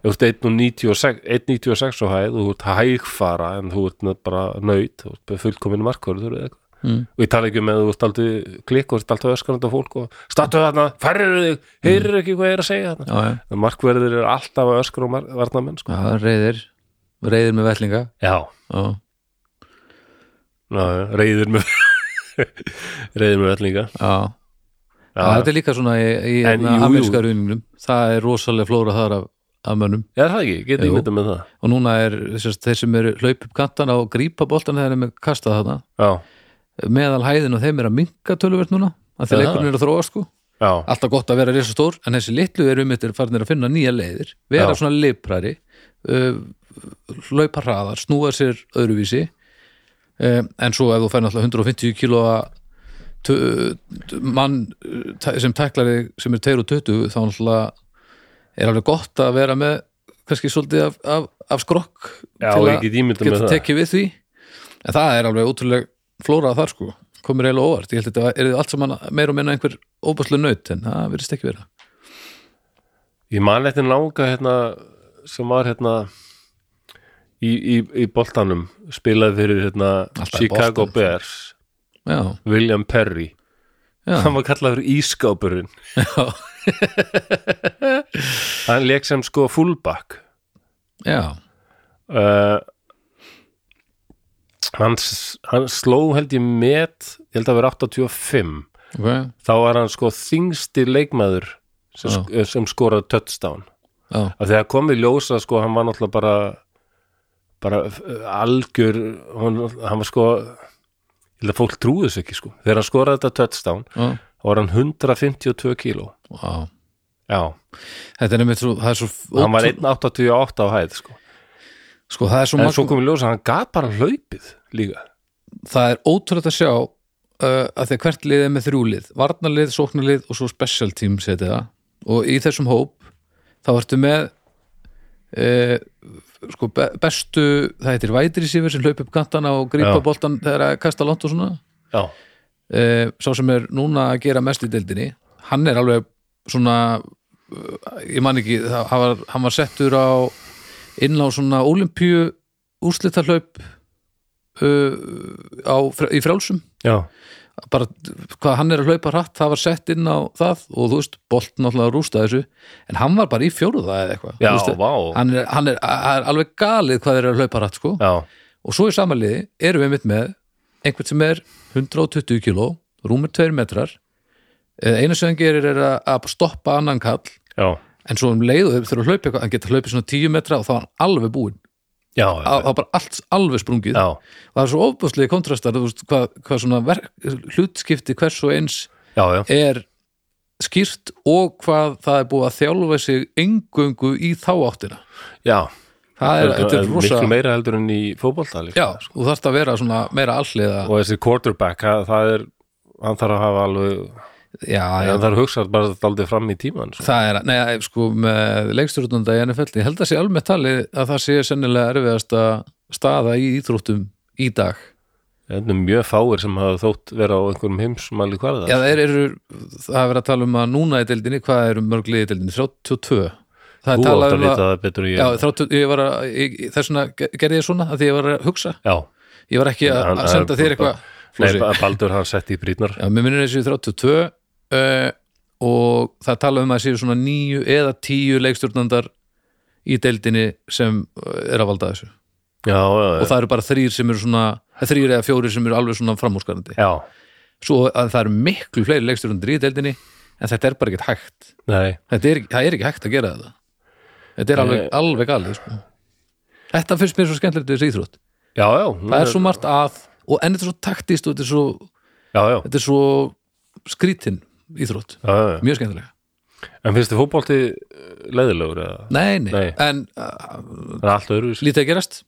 Speaker 1: þú ert 1.96 1.96 á hæð og þú ert hægfara en þú ert nefn- bara nöyt þú ert fullkomin markvörður eða eitthvað
Speaker 2: Mm.
Speaker 1: og ég tala ekki um að þú ert aldrei klikk og ert alltaf öskarandi á fólk og statu þarna, færður þig, heyrir ekki hvað ég er að segja þarna
Speaker 2: Já, já,
Speaker 1: en markverðir eru alltaf að öskur og mar- varnarmenn sko.
Speaker 2: já, reyðir reyðir með vellinga
Speaker 1: já,
Speaker 2: já,
Speaker 1: já, já reyður með reyður með öll líka
Speaker 2: já. Já,
Speaker 1: já,
Speaker 2: þetta er líka svona í, í
Speaker 1: En
Speaker 2: hérna,
Speaker 1: jú, jú.
Speaker 2: ameríska runningum það er rosalega flóra þar af, af mönnum
Speaker 1: Já, er það ekki, getur
Speaker 2: Jú.
Speaker 1: ég myndið með það
Speaker 2: og núna er sérst, þeir sem eru hlaup upp kantana og grípa boltan þegar þeir eru með kastað þarna
Speaker 1: já,
Speaker 2: meðal hæðin og þeim er að minka töluvert núna að þeir
Speaker 1: Já.
Speaker 2: leikurinn eru að þróa sko
Speaker 1: já,
Speaker 2: alltaf gott að vera risa stór en þessi litlu eru um eittir farnir að finna nýja leiðir vera
Speaker 1: Já.
Speaker 2: svona liprari uh, hlaupa hraðar, snúa sér öðruvísi uh, en svo ef þú fær náttúrulega 150 kílóa tö- t- mann uh, tæ- sem tæklari sem er 22 þá náttúrulega er alveg gott að vera með kannski svolítið af, af, af skrokk
Speaker 1: já
Speaker 2: til
Speaker 1: ég
Speaker 2: að
Speaker 1: get ímyndið með
Speaker 2: geta
Speaker 1: það
Speaker 2: tekið við því en það er alveg ótrúlega flórað þar sko komur eiginlega óvart, ég held að þetta er allt saman meira og minna einhver óbæslu nöyt en það verðist ekki vera
Speaker 1: ég man eftir langa hérna, sem var hérna í, í, í boltanum spilaði fyrir hérna,
Speaker 2: Alltaf í
Speaker 1: Chicago
Speaker 2: boltanum.
Speaker 1: Bears
Speaker 2: já,
Speaker 1: William Perry
Speaker 2: já,
Speaker 1: hann var kallaður Ískápurinn
Speaker 2: já,
Speaker 1: hann leik sem sko fullback
Speaker 2: já,
Speaker 1: uh, hann, s- hann sló held ég met ég held að vera 85
Speaker 2: ok
Speaker 1: þá var hann sko þingsti leikmaður sem,
Speaker 2: Já.
Speaker 1: sk eh, sem skoraði touchdown
Speaker 2: já,
Speaker 1: af því að komið ljósa sko hann var náttúrulega bara bara uh, algjör hann, hann var sko ég held að fólk trúið þessu ekki sko þegar hann skoraði þetta touchdown
Speaker 2: já,
Speaker 1: þá var hann 152 kíló
Speaker 2: já.
Speaker 1: já,
Speaker 2: þetta er einmitt svo, það er svo
Speaker 1: hann var 188 á hæð sko
Speaker 2: sko, það er svo,
Speaker 1: en
Speaker 2: marg,
Speaker 1: svo komið ljósa hann gaf bara hlaupið líka
Speaker 2: það er ótrúlega að sjá uh, að því að hvert lið er með þrjúlið varnarlið, sóknarlið og svo special team setið það og í þessum hóp þá ertu með uh, sko be bestu það heitir vætri sífur sem hlaup upp kantana og grípa
Speaker 1: Já.
Speaker 2: boltan þegar að kasta langt og svona
Speaker 1: já
Speaker 2: uh, sá sem er núna að gera mest í deildinni hann er alveg svona eh, ég man ekki, það- hann var, hann var settur á inn á svona olimpíu úrslitahlaup uh, á, fr- í frjálsum
Speaker 1: Já,
Speaker 2: bara hvað hann er að hlaupa hratt það var sett inn á það og þú veist bolt náttúrulega rústa þessu en hann var bara í fjóruða eða eitthvað
Speaker 1: já
Speaker 2: Þú veist,
Speaker 1: vá
Speaker 2: hann, er, hann er, hann er alveg galið hvað þeir eru að hlaupa hratt sko
Speaker 1: Já,
Speaker 2: og svo í samanliði erum við mitt með einhvern sem er 120 kíló rúmur 2 metrar Eh, eina sem hann gerir er að- að stoppa annan kall
Speaker 1: já,
Speaker 2: en svo um leiðu þau þurfa að hlaupa eitthvað hann getur hlaupið svona 10 metra og þá er hann alveg búinn
Speaker 1: já,
Speaker 2: Á- þá er bara allt alveg sprungið
Speaker 1: já,
Speaker 2: og það er svo ofbúslega kontrastar þú veist, hvað, hvað svona verk, hlutskipti hvers og eins
Speaker 1: já, já,
Speaker 2: er skýrt og hvað það er búið að þjálfa sig engöngu í þá áttina
Speaker 1: já.
Speaker 2: það er, þetta er rosa
Speaker 1: miklu meira heldur en í fótbolta líka.
Speaker 2: já, þú þarft að vera svona meira alliða
Speaker 1: og þessi quarterback, það, það er hann þarf að hafa alveg,
Speaker 2: já, já,
Speaker 1: hann þarf að hugsa bara aldrei fram í tíman sko.
Speaker 2: Það er, nei, sko, með leikstjórnunda í NFL, ég held að sé almennt talið að það sé sennilega erfiðasta staða í íþróttum í dag.
Speaker 1: þetta er mjög fáir sem hafa þótt vera á einhverjum heimsmæli
Speaker 2: Já,
Speaker 1: hverða
Speaker 2: það eru, það er verið að tala um að núna í deildinni, hvað eru mörg lið í deildinni? 32. Það
Speaker 1: þú
Speaker 2: er
Speaker 1: átt
Speaker 2: talað
Speaker 1: að
Speaker 2: um
Speaker 1: vita
Speaker 2: að,
Speaker 1: það betur en
Speaker 2: já,
Speaker 1: ég
Speaker 2: 30, ég var að, ég, þess vegna ge- gerði ég svona, að því ég var að hugsa.
Speaker 1: já.
Speaker 2: Ég var ekki að,
Speaker 1: Hann-
Speaker 2: að senda
Speaker 1: hann-
Speaker 2: þér eitthvað.
Speaker 1: Nei,
Speaker 2: Flósi.
Speaker 1: Ba- Baldur hann sett í brýtnar
Speaker 2: Já, mér minnir þessi 32 uh, og það tala um að séu svona nýju eða tíu leikstjórnandar í deildinni sem eh, er að valda þessu
Speaker 1: já, já,
Speaker 2: og
Speaker 1: já,
Speaker 2: það eru bara þrýr sem eru svona þrýr eða fjórir sem eru alveg svona framúrskarandi
Speaker 1: já.
Speaker 2: svo að það eru miklu fleiri leikstjórnundir í deildinni en þetta er bara ekkert hægt
Speaker 1: Nei,
Speaker 2: þetta er, ekki- það er ekki hægt að gera þetta þetta er alveg,
Speaker 1: Nei.
Speaker 2: alveg galið sko. þetta finnst mér svo skemmtilegt við þessi íþrótt
Speaker 1: já, já
Speaker 2: það er svo margt að og en þetta er svo taktist og þetta er svo,
Speaker 1: já, já,
Speaker 2: þetta er svo skrítin íþrótt,
Speaker 1: já, já.
Speaker 2: mjög skemmtilega
Speaker 1: En finnst þið fótbolti eh, leiðilegur eða?
Speaker 2: nei, nei,
Speaker 1: Nei.
Speaker 2: en uh,
Speaker 1: Það er allt öðruvísi
Speaker 2: lítið að gerast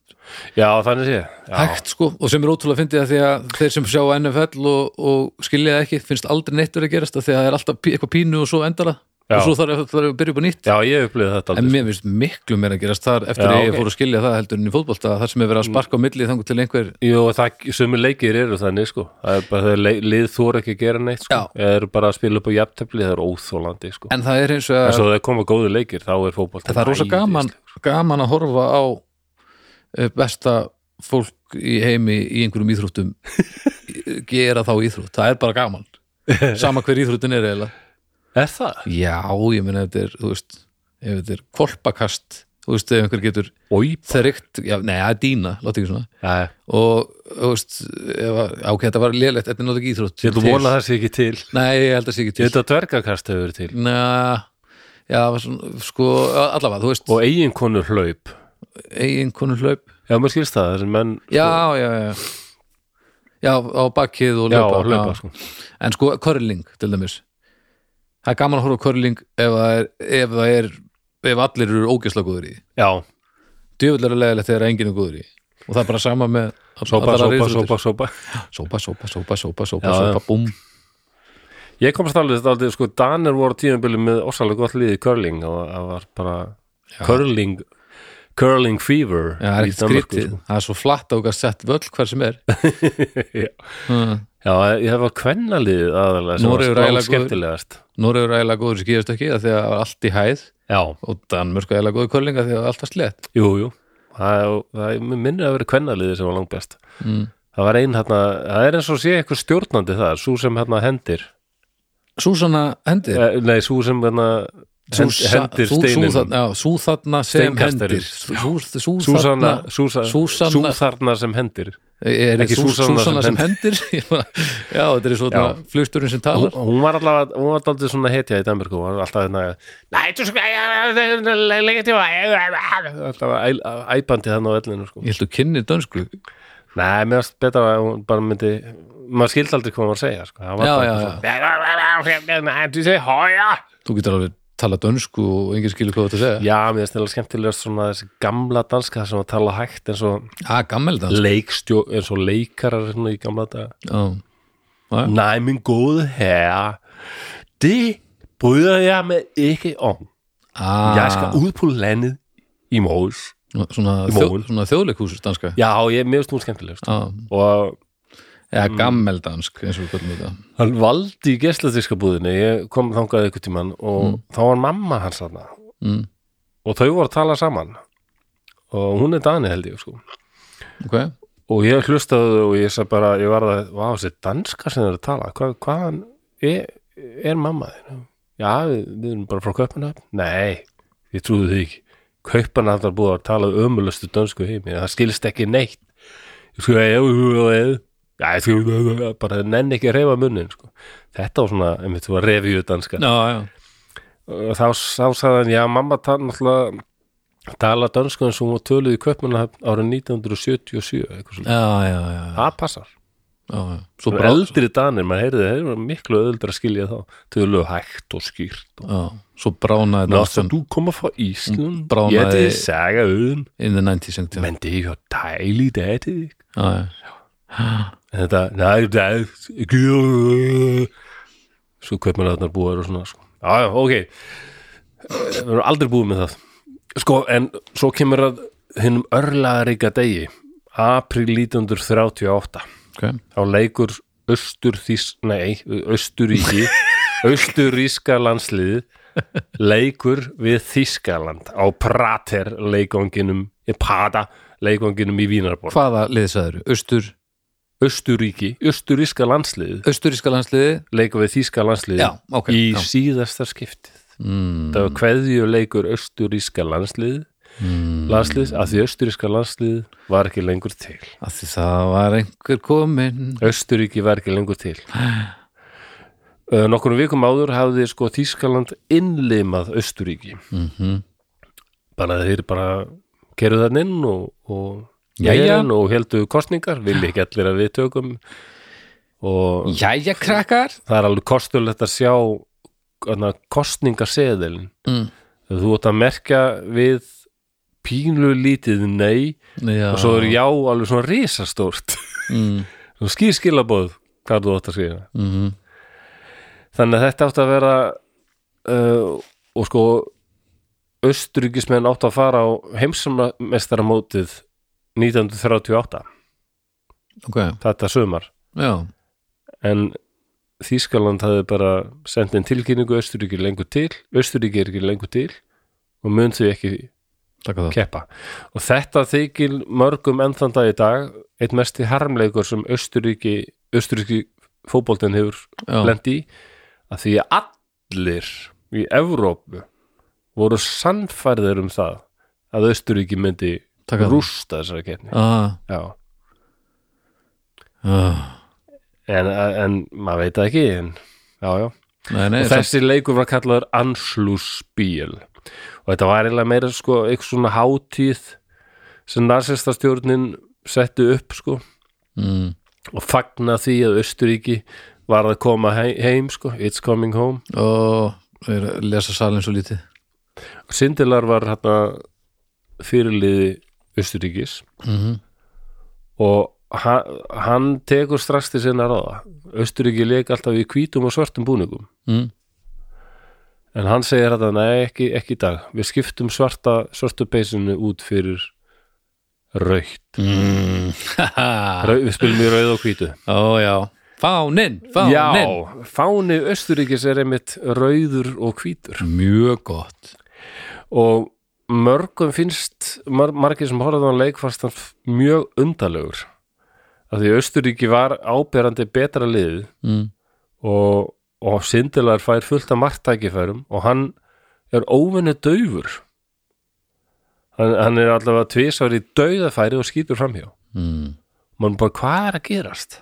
Speaker 1: Já, þannig sé ég. Já.
Speaker 2: hægt sko og sem er ótrúlega fyndið að því að þeir sem sjá NFL og, og skilja það ekki finnst aldrei neittur að gerast að því að það er alltaf pí- eitthvað pínu og svo endara
Speaker 1: Já.
Speaker 2: og svo þarf þarf að byrja upp á nýtt
Speaker 1: Já, ég upplýði þetta
Speaker 2: en
Speaker 1: aldrei sko.
Speaker 2: mér finnst miklu meira að gerast þar eftir
Speaker 1: Já,
Speaker 2: að ég
Speaker 1: ok.
Speaker 2: fór að skilja það heldur en í fótbolta þar sem er verið að sparka á milli þangur til einhver
Speaker 1: Jú, það, sömu leikir eru þannig sko það er bara þegar le- lið þóra ekki að gera neitt sko
Speaker 2: Já.
Speaker 1: eða eru bara að spila upp á jafntefli það er óþólandi sko en
Speaker 2: en það er eins og
Speaker 1: svo þegar koma góðu leikir þá er sko. fótbolt
Speaker 2: En það er rosa gaman, gaman að horfa á eh, besta fólk í heimi í einhverjum íþróttum gera þá íþrótt, það er bara gaman sama hver íþróttin er eiginlega
Speaker 1: Er það?
Speaker 2: já, ég meina þetta er, þú veist ef þetta er kolpakast, þú veist ef einhver getur
Speaker 1: Ói
Speaker 2: þrygt, já, nei, það er dýna láta ekki svona,
Speaker 1: Nei,
Speaker 2: og þú veist, ef að, ákveð þetta var lélegt þetta er náttúrulega ekki íþrótt
Speaker 1: ég ætla að vona það sé ekki til
Speaker 2: nei, ég held að sé ekki til
Speaker 1: Þetta dvergakast hefur verið til
Speaker 2: Næ, já, það var svona, sko, allavega, þú veist
Speaker 1: og eiginkonu hlaup
Speaker 2: eigin konur hlaup
Speaker 1: Já, mér skilst það, þessi menn
Speaker 2: já, já, já já, á bakkið og
Speaker 1: sko, já,
Speaker 2: löpa,
Speaker 1: hlaupa, hlaupa sko.
Speaker 2: en sko curling til dæmis það er gaman að horfa á curling ef það er ef, það er, ef allir eru ógeðslega góður í því.
Speaker 1: Já,
Speaker 2: djöfull er að leðilegt þegar enginn er góður í því. og það er bara sama með all-
Speaker 1: sópa,
Speaker 2: allar
Speaker 1: sópa,
Speaker 2: aðrar
Speaker 1: sópa,
Speaker 2: íþróttir.
Speaker 1: sópa
Speaker 2: sópa, sópa, sópa, sópa,
Speaker 1: Já,
Speaker 2: sópa,
Speaker 1: já.
Speaker 2: sópa, búm
Speaker 1: Ég komst alveg þetta aldrei, sko, Danir voru tíðanbili með ósalega gott liði curling og það var bara curling curling fever
Speaker 2: já, það er
Speaker 1: í
Speaker 2: ekkert
Speaker 1: Danmörku, sko.
Speaker 2: skrítið, það er svo flatt og gæst sett völl hver sem er
Speaker 1: Já.
Speaker 2: Hmm.
Speaker 1: Já, ég hef að kvenna liðið aðalega sem
Speaker 2: Noregur
Speaker 1: var
Speaker 2: ægilega góður.
Speaker 1: skemmtilegast
Speaker 2: Nóri er eiginlega góður í skýðastökki af því að það var allt í hæð
Speaker 1: Já,
Speaker 2: og Danmörk er eiginlega góður í curling af því að það var allt var slett
Speaker 1: jú, jú Það, er- það er- mig minnir að vera kvenna liðið sem var langt best
Speaker 2: mm.
Speaker 1: Það var ein hérna, það er eins og sé eitthvað stjórnandi þar, sú sem hérna hendir
Speaker 2: Súsanna Hendir
Speaker 1: Eh, Nei, sú sem hérna
Speaker 2: Sú
Speaker 1: hend,
Speaker 2: sa-
Speaker 1: hendir
Speaker 2: sú-
Speaker 1: steinin
Speaker 2: sú þarna- já, Sú þarna sem
Speaker 1: Steinkastari.
Speaker 2: hendir Sú- sú- Sú
Speaker 1: Súsanna,
Speaker 2: þarna
Speaker 1: Súsa,
Speaker 2: Súsanna-
Speaker 1: Sú þarna sem hendir
Speaker 2: Er
Speaker 1: ekki
Speaker 2: ekki sú,
Speaker 1: Súsanna
Speaker 2: Súsanna
Speaker 1: sem
Speaker 2: sem hendir Ég bara- Já, þetta er svona
Speaker 1: Já.
Speaker 2: flugsturinn sem
Speaker 1: Hún
Speaker 2: talar
Speaker 1: hún var allavega, hún var aldrei svona hetja í Danmarku, hún var alltaf hérna Nei, þú sko, leikir tíma Alltaf æ- æpandi þannig á ellinu sko.
Speaker 2: Ég held að kynni dönsku
Speaker 1: Nei, mér varst betra að hún bara myndi maður skildi aldrei hvað hún var að segja sko.
Speaker 2: Já, já,
Speaker 1: já Þú segir hója
Speaker 2: Þú getur alveg tala dönsku og enginn skilur hvað þetta segja
Speaker 1: Já, mér finnst þetta skemmtilegast svona þessi gamla danska sem að tala hægt eins og
Speaker 2: Já, Ah, gammel dans
Speaker 1: leikstjó, eins og leikarar svona í gamla daga
Speaker 2: Ja.
Speaker 1: Nej, min gode herre det bryder jeg mig ikke om Jeg skal ud på landet i morges
Speaker 2: Ah, Svona,
Speaker 1: Í
Speaker 2: þjó,
Speaker 1: móin.
Speaker 2: svona þjóðleikhúsur danska
Speaker 1: Já, og ég, mér finnst hún skemmtilegast
Speaker 2: Já,
Speaker 1: og
Speaker 2: ja,
Speaker 1: Mm.
Speaker 2: gammel dansk eins og við kvöldum þetta
Speaker 1: Hann valdi í gesladiskabúðinni, ég kom þangað einhvern tímann og þá var mamma hans þarna
Speaker 2: mm,
Speaker 1: og þau voru að tala saman og hún er Dani held ég sko
Speaker 2: okay.
Speaker 1: og ég hlustaði og ég sagði bara, ég var að, vá, þessi danska sem þeir eru að tala, Hva, hvaðan er, er mamma þín? Já, við, við erum bara frá Kaupanöfn. Nei, ég trúði því ekki. Kaupanöfn var búið að tala ömulustu dönsku í heimi, það skilst ekki neitt. Ég sko, já, já, já, já, ég sko, bara nenni ekki að reyfa munnin, sko. Þetta var svona, einmitt, þú var revju danska.
Speaker 2: Já, já,
Speaker 1: Og þá, þá sagði hann, já, mamma tala náttúrulega tala dönsku eins og hún var töluð í Kaupanöfn árið 1977, eitthvað svona.
Speaker 2: já, já, já,
Speaker 1: Það passar.
Speaker 2: já, já.
Speaker 1: Svo
Speaker 2: Svo bara
Speaker 1: eldri danir, maður heyrði þeir eru miklu öðuldra að skilja þá tölu hægt og skýrt og
Speaker 2: já, Svo bránaði
Speaker 1: Nátt
Speaker 2: danskan
Speaker 1: að þú koma frá Ísland
Speaker 2: Bránaði-
Speaker 1: Ég ætti að segja auðum
Speaker 2: in the 90s einhvern tímann.
Speaker 1: Men det er jo dejligt af det ikke?
Speaker 2: Já, já.
Speaker 1: Þetta, nei, nei, ekki Svo kaupmanarnar búar og svona sko. Já, já, ok Við erum aldrei búið með það Sko, en svo kemur að hinnum örlaðaríka degi April 1938
Speaker 2: ok
Speaker 1: þá leikur austur þís, nei, austuríki austuríska landslið leikur við Þískaland á Prater leikonginum eh, Prata leikonginum í Vínarborg
Speaker 2: Hvaða liðsæður? Östur,
Speaker 1: austuríki, austuríska landslið
Speaker 2: östuríska landsliði?
Speaker 1: leikur við Þíska landslið
Speaker 2: Já, ok,
Speaker 1: í
Speaker 2: já.
Speaker 1: síðasta skiptið
Speaker 2: Mm,
Speaker 1: það var kveðju leikur austuríska landslið
Speaker 2: mm,
Speaker 1: landslið, að því austuríska landslið var ekki lengur til
Speaker 2: að því það var einhver komin
Speaker 1: Östuríki var ekki lengur til uh, Nokkur vikum áður hafði sko Þískaland innlimað Östuríki
Speaker 2: mm
Speaker 1: bara þeir bara gerðu þann inn og, og,
Speaker 2: Jæja.
Speaker 1: Inn og heldu kostningar vilja ekki allir að við tökum og
Speaker 2: Jæja krakkar
Speaker 1: það er alveg kostulegt að sjá hana, kostningaseðilin
Speaker 2: mm.
Speaker 1: þú ert að merkja við pínlu lítið nei
Speaker 2: Já,
Speaker 1: og svo er já alveg svona risastórt
Speaker 2: mm,
Speaker 1: Svo skýr skilabóð hvað þú átt að skrifa
Speaker 2: mm,
Speaker 1: þannig að þetta átti að vera uh, og sko austuríkismenn átt að fara á heimsmestaramótið 1938
Speaker 2: ok,
Speaker 1: þetta sumar
Speaker 2: já,
Speaker 1: en Þískaland hafði bara sendt inn tilkynningu Östuríki lengur til Östuríki er ekki lengur til og mun þau ekki
Speaker 2: taka það
Speaker 1: keppa og þetta þykir mörgum ennþann dag í dag eitt mesti harmleikur sem Östuríki Östuríki fótboltinn hefur
Speaker 2: Já.
Speaker 1: lendi í að því að allir í Evrópu voru sannfærðir um það að Östuríki myndi
Speaker 2: Taka það.
Speaker 1: rústa þessari keppni
Speaker 2: ah,
Speaker 1: Já.
Speaker 2: ah,
Speaker 1: en, en maður veit það ekki en, já, já
Speaker 2: nei, nei,
Speaker 1: og
Speaker 2: þess,
Speaker 1: þessi leikur var kallaður Anschlussbíl og þetta var eiginlega meira sko eitthvað svona hátíð sem nasistastjórnin setti upp sko
Speaker 2: mm,
Speaker 1: og fagna því að Östuríki var að koma he- heim sko It's coming home
Speaker 2: og er að lesa salin svo lítið
Speaker 1: og Sindelar var hérna fyrirliði Östuríkis
Speaker 2: mm
Speaker 1: og ha- hann tekur strax til sinna ráða Östuríki leik alltaf í hvítum og svartum búningum
Speaker 2: mm,
Speaker 1: En hann segir þetta, nei, ekki, ekki í dag. Við skiptum svarta, svartu peysinu út fyrir raukt.
Speaker 2: mm, haha,
Speaker 1: Rau, við spilum í rauð og hvítu.
Speaker 2: ó já fáninn, fáninn
Speaker 1: Já, fáni Östuríkis er einmitt rauður og hvítur.
Speaker 2: mjög gott
Speaker 1: Og mörgum finnst, mar margir sem horfði á hann leik fannst hann f- mjög undalegur. Af því Östuríki var áberandi betra liðið
Speaker 2: mm,
Speaker 1: og, og sindilegar fær fullt af marktækifærum og hann er óvenni daufur hann, hann er allavega tvisar í dauðafæri og skýtur framhjá
Speaker 2: mm,
Speaker 1: mann bara hvað er að gerast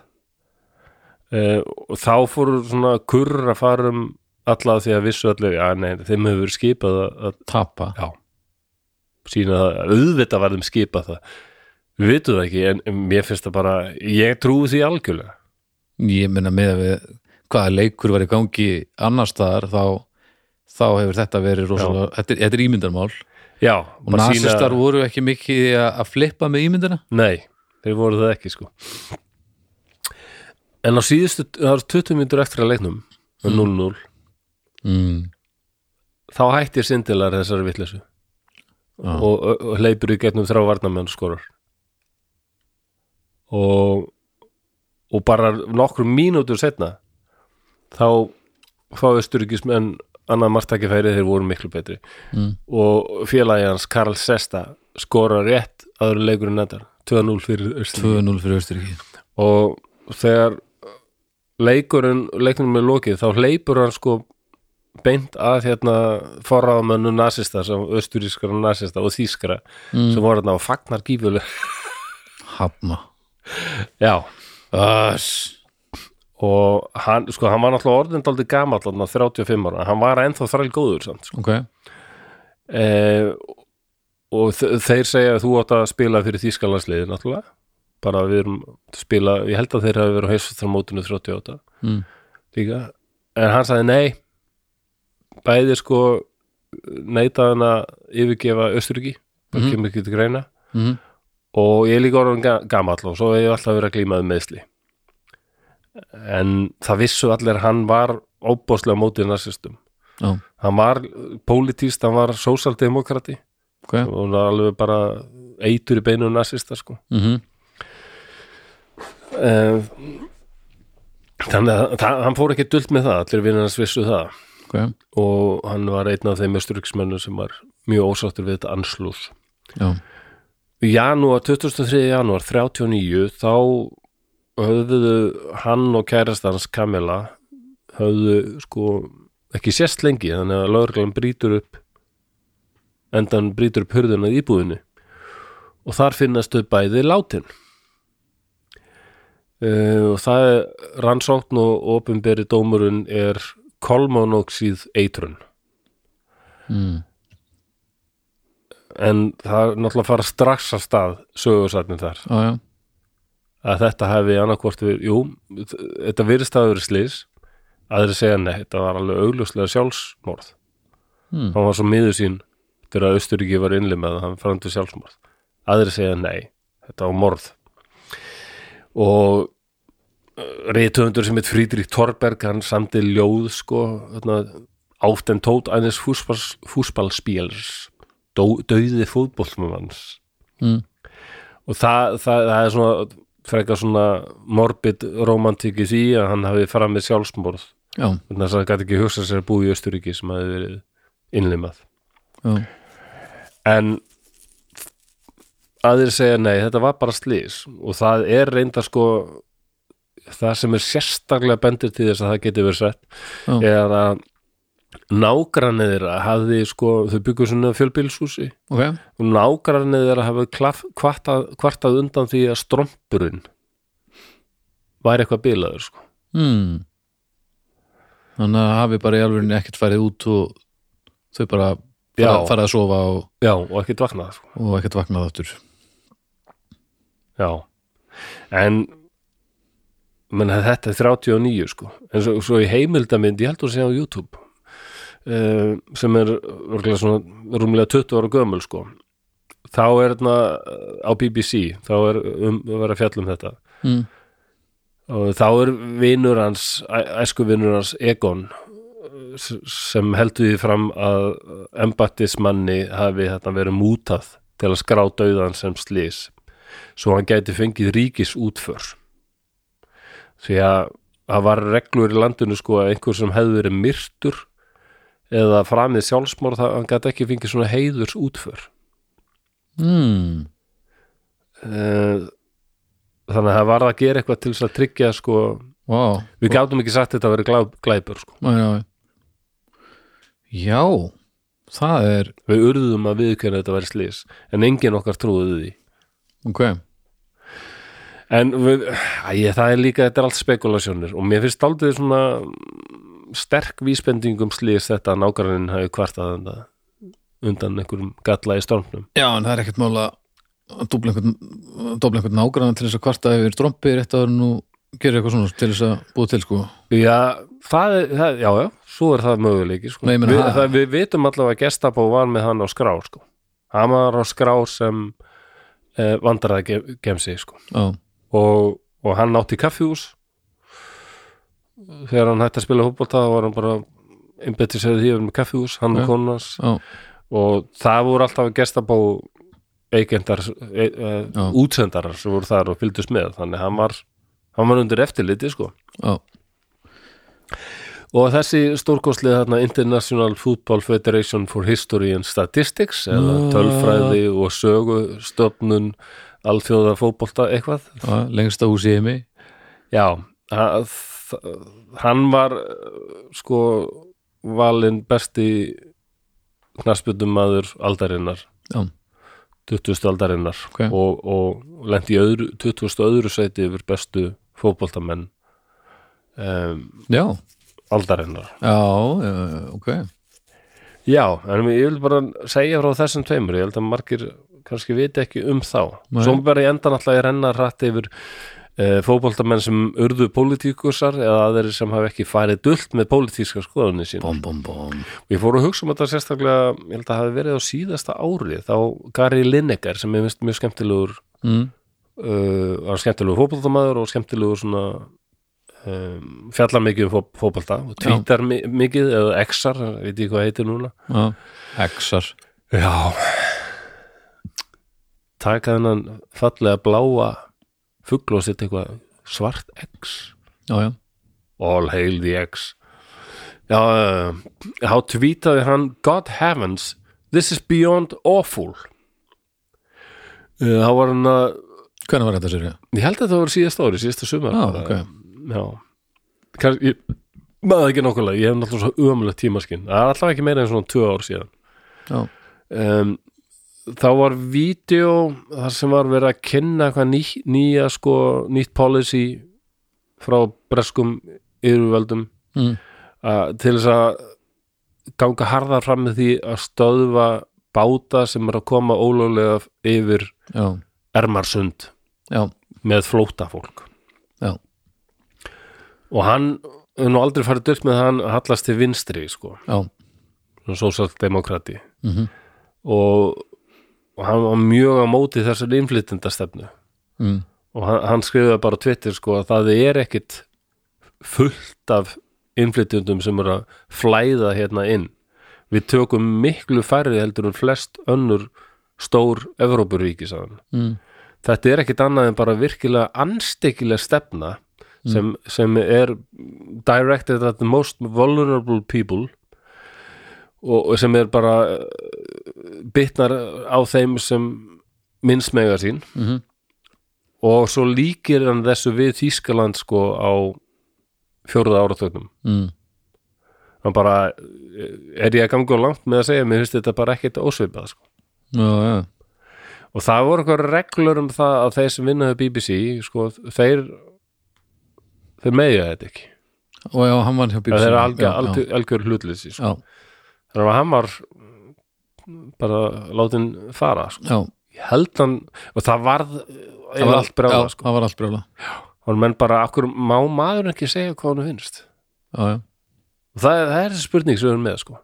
Speaker 1: uh, og þá fóru svona kurr að fara um alla því að vissu allir, já nei, þeim hefur verið skipað að, að
Speaker 2: tapa
Speaker 1: já sína það, auðvitað var þeim skipað það við vitum það ekki, en- en mér finnst það bara ég trúi því algjörlega
Speaker 2: ég meina með að við hvaða leikur var í gangi annars staðar þá, þá hefur þetta verið rosalega, þetta, er- þetta er ímyndarmál
Speaker 1: já,
Speaker 2: og nasistar voru ekki mikið í að, að flippa með ímyndina
Speaker 1: Nei, þeir voru það ekki sko En á síðustu, það var 20 mínútur eftir að leiknum um 0-0,
Speaker 2: mm.
Speaker 1: þá hættir sindilar þessari vitleysu
Speaker 2: Já.
Speaker 1: og, og, og hleypur í getnum þrá varnamenn og skorar og og bara nokkrum mínútur setna þá fá Östuríkismenn annað margtækifæri þeir voru miklu betri
Speaker 2: Mm.
Speaker 1: og félagi hans Karl Sesta skorar rétt aður leikurinn þetta 2-0 fyrir Östuríki
Speaker 2: 2-0 fyrir Östuríki
Speaker 1: og þegar leikurinn, leiknum er lokið þá hleypur hann sko beint að hérna forraðamönnu nasista, sem östurískara nasista og þýskara sem voru þarna og fagnar gífuleg
Speaker 2: hafna
Speaker 1: já,
Speaker 2: Öss.
Speaker 1: og hann, sko, hann var náttúrulega orðin daldið gamall þarna 35 ára, hann var ennþá þræl góður samt, sko.
Speaker 2: ok,
Speaker 1: e, og þe- þeir segja að þú átt að spila fyrir þýskalansliði náttúrulega, bara við erum að spila, ég held að þeir hafi verið á heisastramótinu 38
Speaker 2: mm.
Speaker 1: líka en hann sagði nei bæði sko neitaði hann að yfirgefa Östuríki það
Speaker 2: Mhm.
Speaker 1: kemur ekki til greina
Speaker 2: Mm.
Speaker 1: og ég er líka orðan ga- gamall og svo hef ég alltaf verið að glímaði meðsli en það vissu allir að hann var óbóðslega mótið narsistum
Speaker 2: Já,
Speaker 1: hann var pólitíst, hann var sósaldemokrati
Speaker 2: ok
Speaker 1: og hann var alveg bara eitur í beinu narsista sko
Speaker 2: mm
Speaker 1: Eh, þannig að það- hann fór ekki dult með það allir vinnar hans vissu það
Speaker 2: ok,
Speaker 1: og hann var einn af þeim östuríksmönnum sem var mjög ósáttur við þetta anslús.
Speaker 2: já,
Speaker 1: Í janúar, 23. janúar 39 þá höfðu hann og kærastans Kamila höfðu sko ekki sérst lengi þannig að lögreglan brýtur upp endan brýtur upp hurðuna í íbúðinu og þar finnast þau bæði látin uh, og það er rannsókn og opinberi dómurinn er kolmonóksíð eitrun
Speaker 2: mm.
Speaker 1: en það er náttúrulega að fara strax af stað sögursatni þar
Speaker 2: já, já
Speaker 1: að þetta hefði annarkvort við, jú, þetta virðist að verið slís aðri segja nei, þetta var alveg augljóslega sjálfsmorð
Speaker 2: Mm.
Speaker 1: hann var svo miður sín þegar að Östuríki var innlimað að hann framdi sjálfsmorð aðri segja nei, þetta var morð og eh, reyðtöfundur sem heit Frídrik Torberg hann samdi ljóð sko þarna, auf den Tod eines Fußballs, Fußballspiels Dó, döði fótbollmanns
Speaker 2: Mm.
Speaker 1: og það, það, það er svona frekar svona morbid romantik í því að hann hafi framið sjálfsmorð
Speaker 2: já,
Speaker 1: þannig að það gæti ekki hugsað sér að búa í Östuríki sem hafi verið innlimað
Speaker 2: já,
Speaker 1: en aðrir segja nei, þetta var bara slís og það er reynda sko það sem er sérstaklega bendir til þess að það geti verið sett
Speaker 2: Já.
Speaker 1: er að nágrannir þeirra hafði sko, þau byggu svona fjölbílshúsi
Speaker 2: ok
Speaker 1: og nágrannir þeirra hafi klaf, kvartað, kvartað undan því að strompurinn væri eitthvað bilaður sko.
Speaker 2: hmm. þannig að hafi bara í alvörinni ekkert farið út og þau bara fara,
Speaker 1: Já.
Speaker 2: fara að sofa og,
Speaker 1: já, og ekkert vaknað sko.
Speaker 2: og ekkert vaknað áttur
Speaker 1: Já, en menn að þetta er 39 sko, en svo, svo í heimildamind ég held að sé á YouTube uh, sem er örgulega svona rúmlega 20 ára gömul sko þá er þarna eh, á BBC þá er um að vera að fjalla um þetta
Speaker 2: mm.
Speaker 1: og þá er vinur hans æ- æskuvinur hans Egon eh, s- sem heldur því fram að embattismanni hafi þetta verið mútað til að skrá dauðan sem slís svo hann gæti fengið ríkis útför því að það var reglur í landinu sko að einhver sem hefði verið myrtur eða framið sjálfsmorð það hann gæti ekki fengið svona heiðurs útför
Speaker 2: Mm.
Speaker 1: Eh, þannig að það var að gera eitthvað til þess að tryggja sko
Speaker 2: wow
Speaker 1: Við gátum ekki sagt þetta að vera glæp, glæpur sko.
Speaker 2: já, já. já það er
Speaker 1: Við urðum að viðkjörna þetta að vera slís en engin okkar trúði því
Speaker 2: ok,
Speaker 1: en við, æ, það er líka, þetta er allt spekulasjónir og mér finnst aldrei svona mm, sterk vísbending um slís þetta að nágrannin hafi kvartað undan, undan einhverjum galla í stormnum
Speaker 2: já en það er ekkert mála að dobla einhvern, dobla einhvern nágrann til þess að kvarta yfir drombi rétt að nú gerir eitthvað svona til þess að búa til sko
Speaker 1: Já, það, er- það, já, já, svo er það möguleiki sko.
Speaker 2: Nei, ég meina,
Speaker 1: við,
Speaker 2: það-
Speaker 1: það, við vitum allavega að gestabó var með hann á skrá sko. hann var á skrá sem eh, vandræða gemsi sko.
Speaker 2: já,
Speaker 1: og, og hann nátti kaffihús þegar hann hætti að spila fótbolta þá var hann bara einbettið sér að því að vera með kaffihús, hann og
Speaker 2: Já.
Speaker 1: konans
Speaker 2: já, og
Speaker 1: og það voru alltaf að gestabó eigendar e, e,
Speaker 2: Já.
Speaker 1: útsendarar sem voru þar og fylgdust með þannig hann var, hann var undir eftirliti sko.
Speaker 2: já,
Speaker 1: og þessi stórkoslið þarna International Football Federation for History and Statistics eða
Speaker 2: Ah.
Speaker 1: tölfræði og sögu stofnun alþjóða fótbolta eitthvað
Speaker 2: já lengsta hús í heimi
Speaker 1: Já, að, hann var uh, sko valinn besti knarsbjöndumæður aldarinnar
Speaker 2: já,
Speaker 1: 20. aldarinnar
Speaker 2: Ok.
Speaker 1: og, og lendi í öðru, 20. öðru sæti yfir bestu fótboltamenn um,
Speaker 2: já,
Speaker 1: aldarinnar
Speaker 2: já, já ok,
Speaker 1: Já, en ég vil bara segja frá þessum tveimur, ég held að margir kannski viti ekki um þá
Speaker 2: Nei.
Speaker 1: Svo bara í endan alltaf ég renna rætt yfir e, fótboltamenn sem urðu pólitíkusar eða aðeir sem hafa ekki farið dult með pólitíska skoðunni sín
Speaker 2: bom, bom, bom
Speaker 1: Ég fór að hugsa um þetta sérstaklega, ég held að hafi verið á síðasta ári þá Gary Lineker sem er mist mjög skemmtilegur
Speaker 2: mm.
Speaker 1: uh, var skemmtilegur fótboltamaður og skemmtilegur svona um, fjallar mikið um fó- fótbolta og
Speaker 2: Já.
Speaker 1: tvítar mi mikið eða exar, veit ég hvað heitir núna
Speaker 2: já, hexar
Speaker 1: Já Taka þennan fallega bláa fugl og setja eitthvað svart X
Speaker 2: já, já,
Speaker 1: All hail the X Já, eh, þá tvítaði hann God heavens, this is beyond awful Eh, Þá var hann að
Speaker 2: hvernig var þetta sér
Speaker 1: Ég held að það var síðasta ári, síðasta sumar
Speaker 2: já,
Speaker 1: bara.
Speaker 2: Ah, ok,
Speaker 1: Já Kansk, ég, maður ekki nokkulega, ég hef náttúrulega svo ömulegt tímaskinn Það er alltaf ekki meira en svona tvö ár síðan
Speaker 2: já,
Speaker 1: um, þá var vídeo þar sem var verið að kynna eitthvað ný, nýja sko, nýtt policy frá breskum yfirvöldum
Speaker 2: mm.
Speaker 1: að, til þess að ganga harðar fram með því að stöðva báta sem er að koma ólöglega yfir
Speaker 2: já,
Speaker 1: Ermarsund
Speaker 2: já,
Speaker 1: með flótafólk
Speaker 2: já
Speaker 1: og hann er nú aldrei farið dyrkt með að hann hallast til vinstri sko,
Speaker 2: já,
Speaker 1: sósaldemokrati
Speaker 2: mm
Speaker 1: og, og hann var mjög á móti þessari innflytendastefnu
Speaker 2: mm.
Speaker 1: og hann, hann skrifaði bara á Twitter sko að það er ekkit fullt af innflytjundum sem eru að flæða hérna inn við tökum miklu færri heldur en flest önnur stór Evrópuríki sagðan
Speaker 2: mm.
Speaker 1: þetta er ekkit annað en bara virkilega anstekkilega stefna sem, sem er directed at the most vulnerable people og, og sem er bara eh, bitnar á þeim sem minnst mega sín
Speaker 2: Mhm.
Speaker 1: og svo líkir hann þessu við Þýskaland sko á fjórða áratögnum
Speaker 2: Mm.
Speaker 1: hann bara, eh, er ég að ganga of langt með að segja, mér finnst þetta bara ekkit ósvipað sko
Speaker 2: Já, já,
Speaker 1: og það voru eitthvað reglur um það að þeir sem vinnaði BBC sko, þeir þeir meðja þetta ekki
Speaker 2: og já, hann var hjá
Speaker 1: það
Speaker 2: BBC.
Speaker 1: er algjör,
Speaker 2: Já, já.
Speaker 1: algjör, algjör hlutleysi sko.
Speaker 2: Já,
Speaker 1: þannig að hann var bara látin fara sko.
Speaker 2: já,
Speaker 1: ég held hann, og það varð það var allt bráða,
Speaker 2: já,
Speaker 1: sko.
Speaker 2: það var allt brjála
Speaker 1: og menn bara, akkur má maður ekki segja hvað hann finnst
Speaker 2: Já, já,
Speaker 1: og það, það er þessi spurning sem við erum með sko.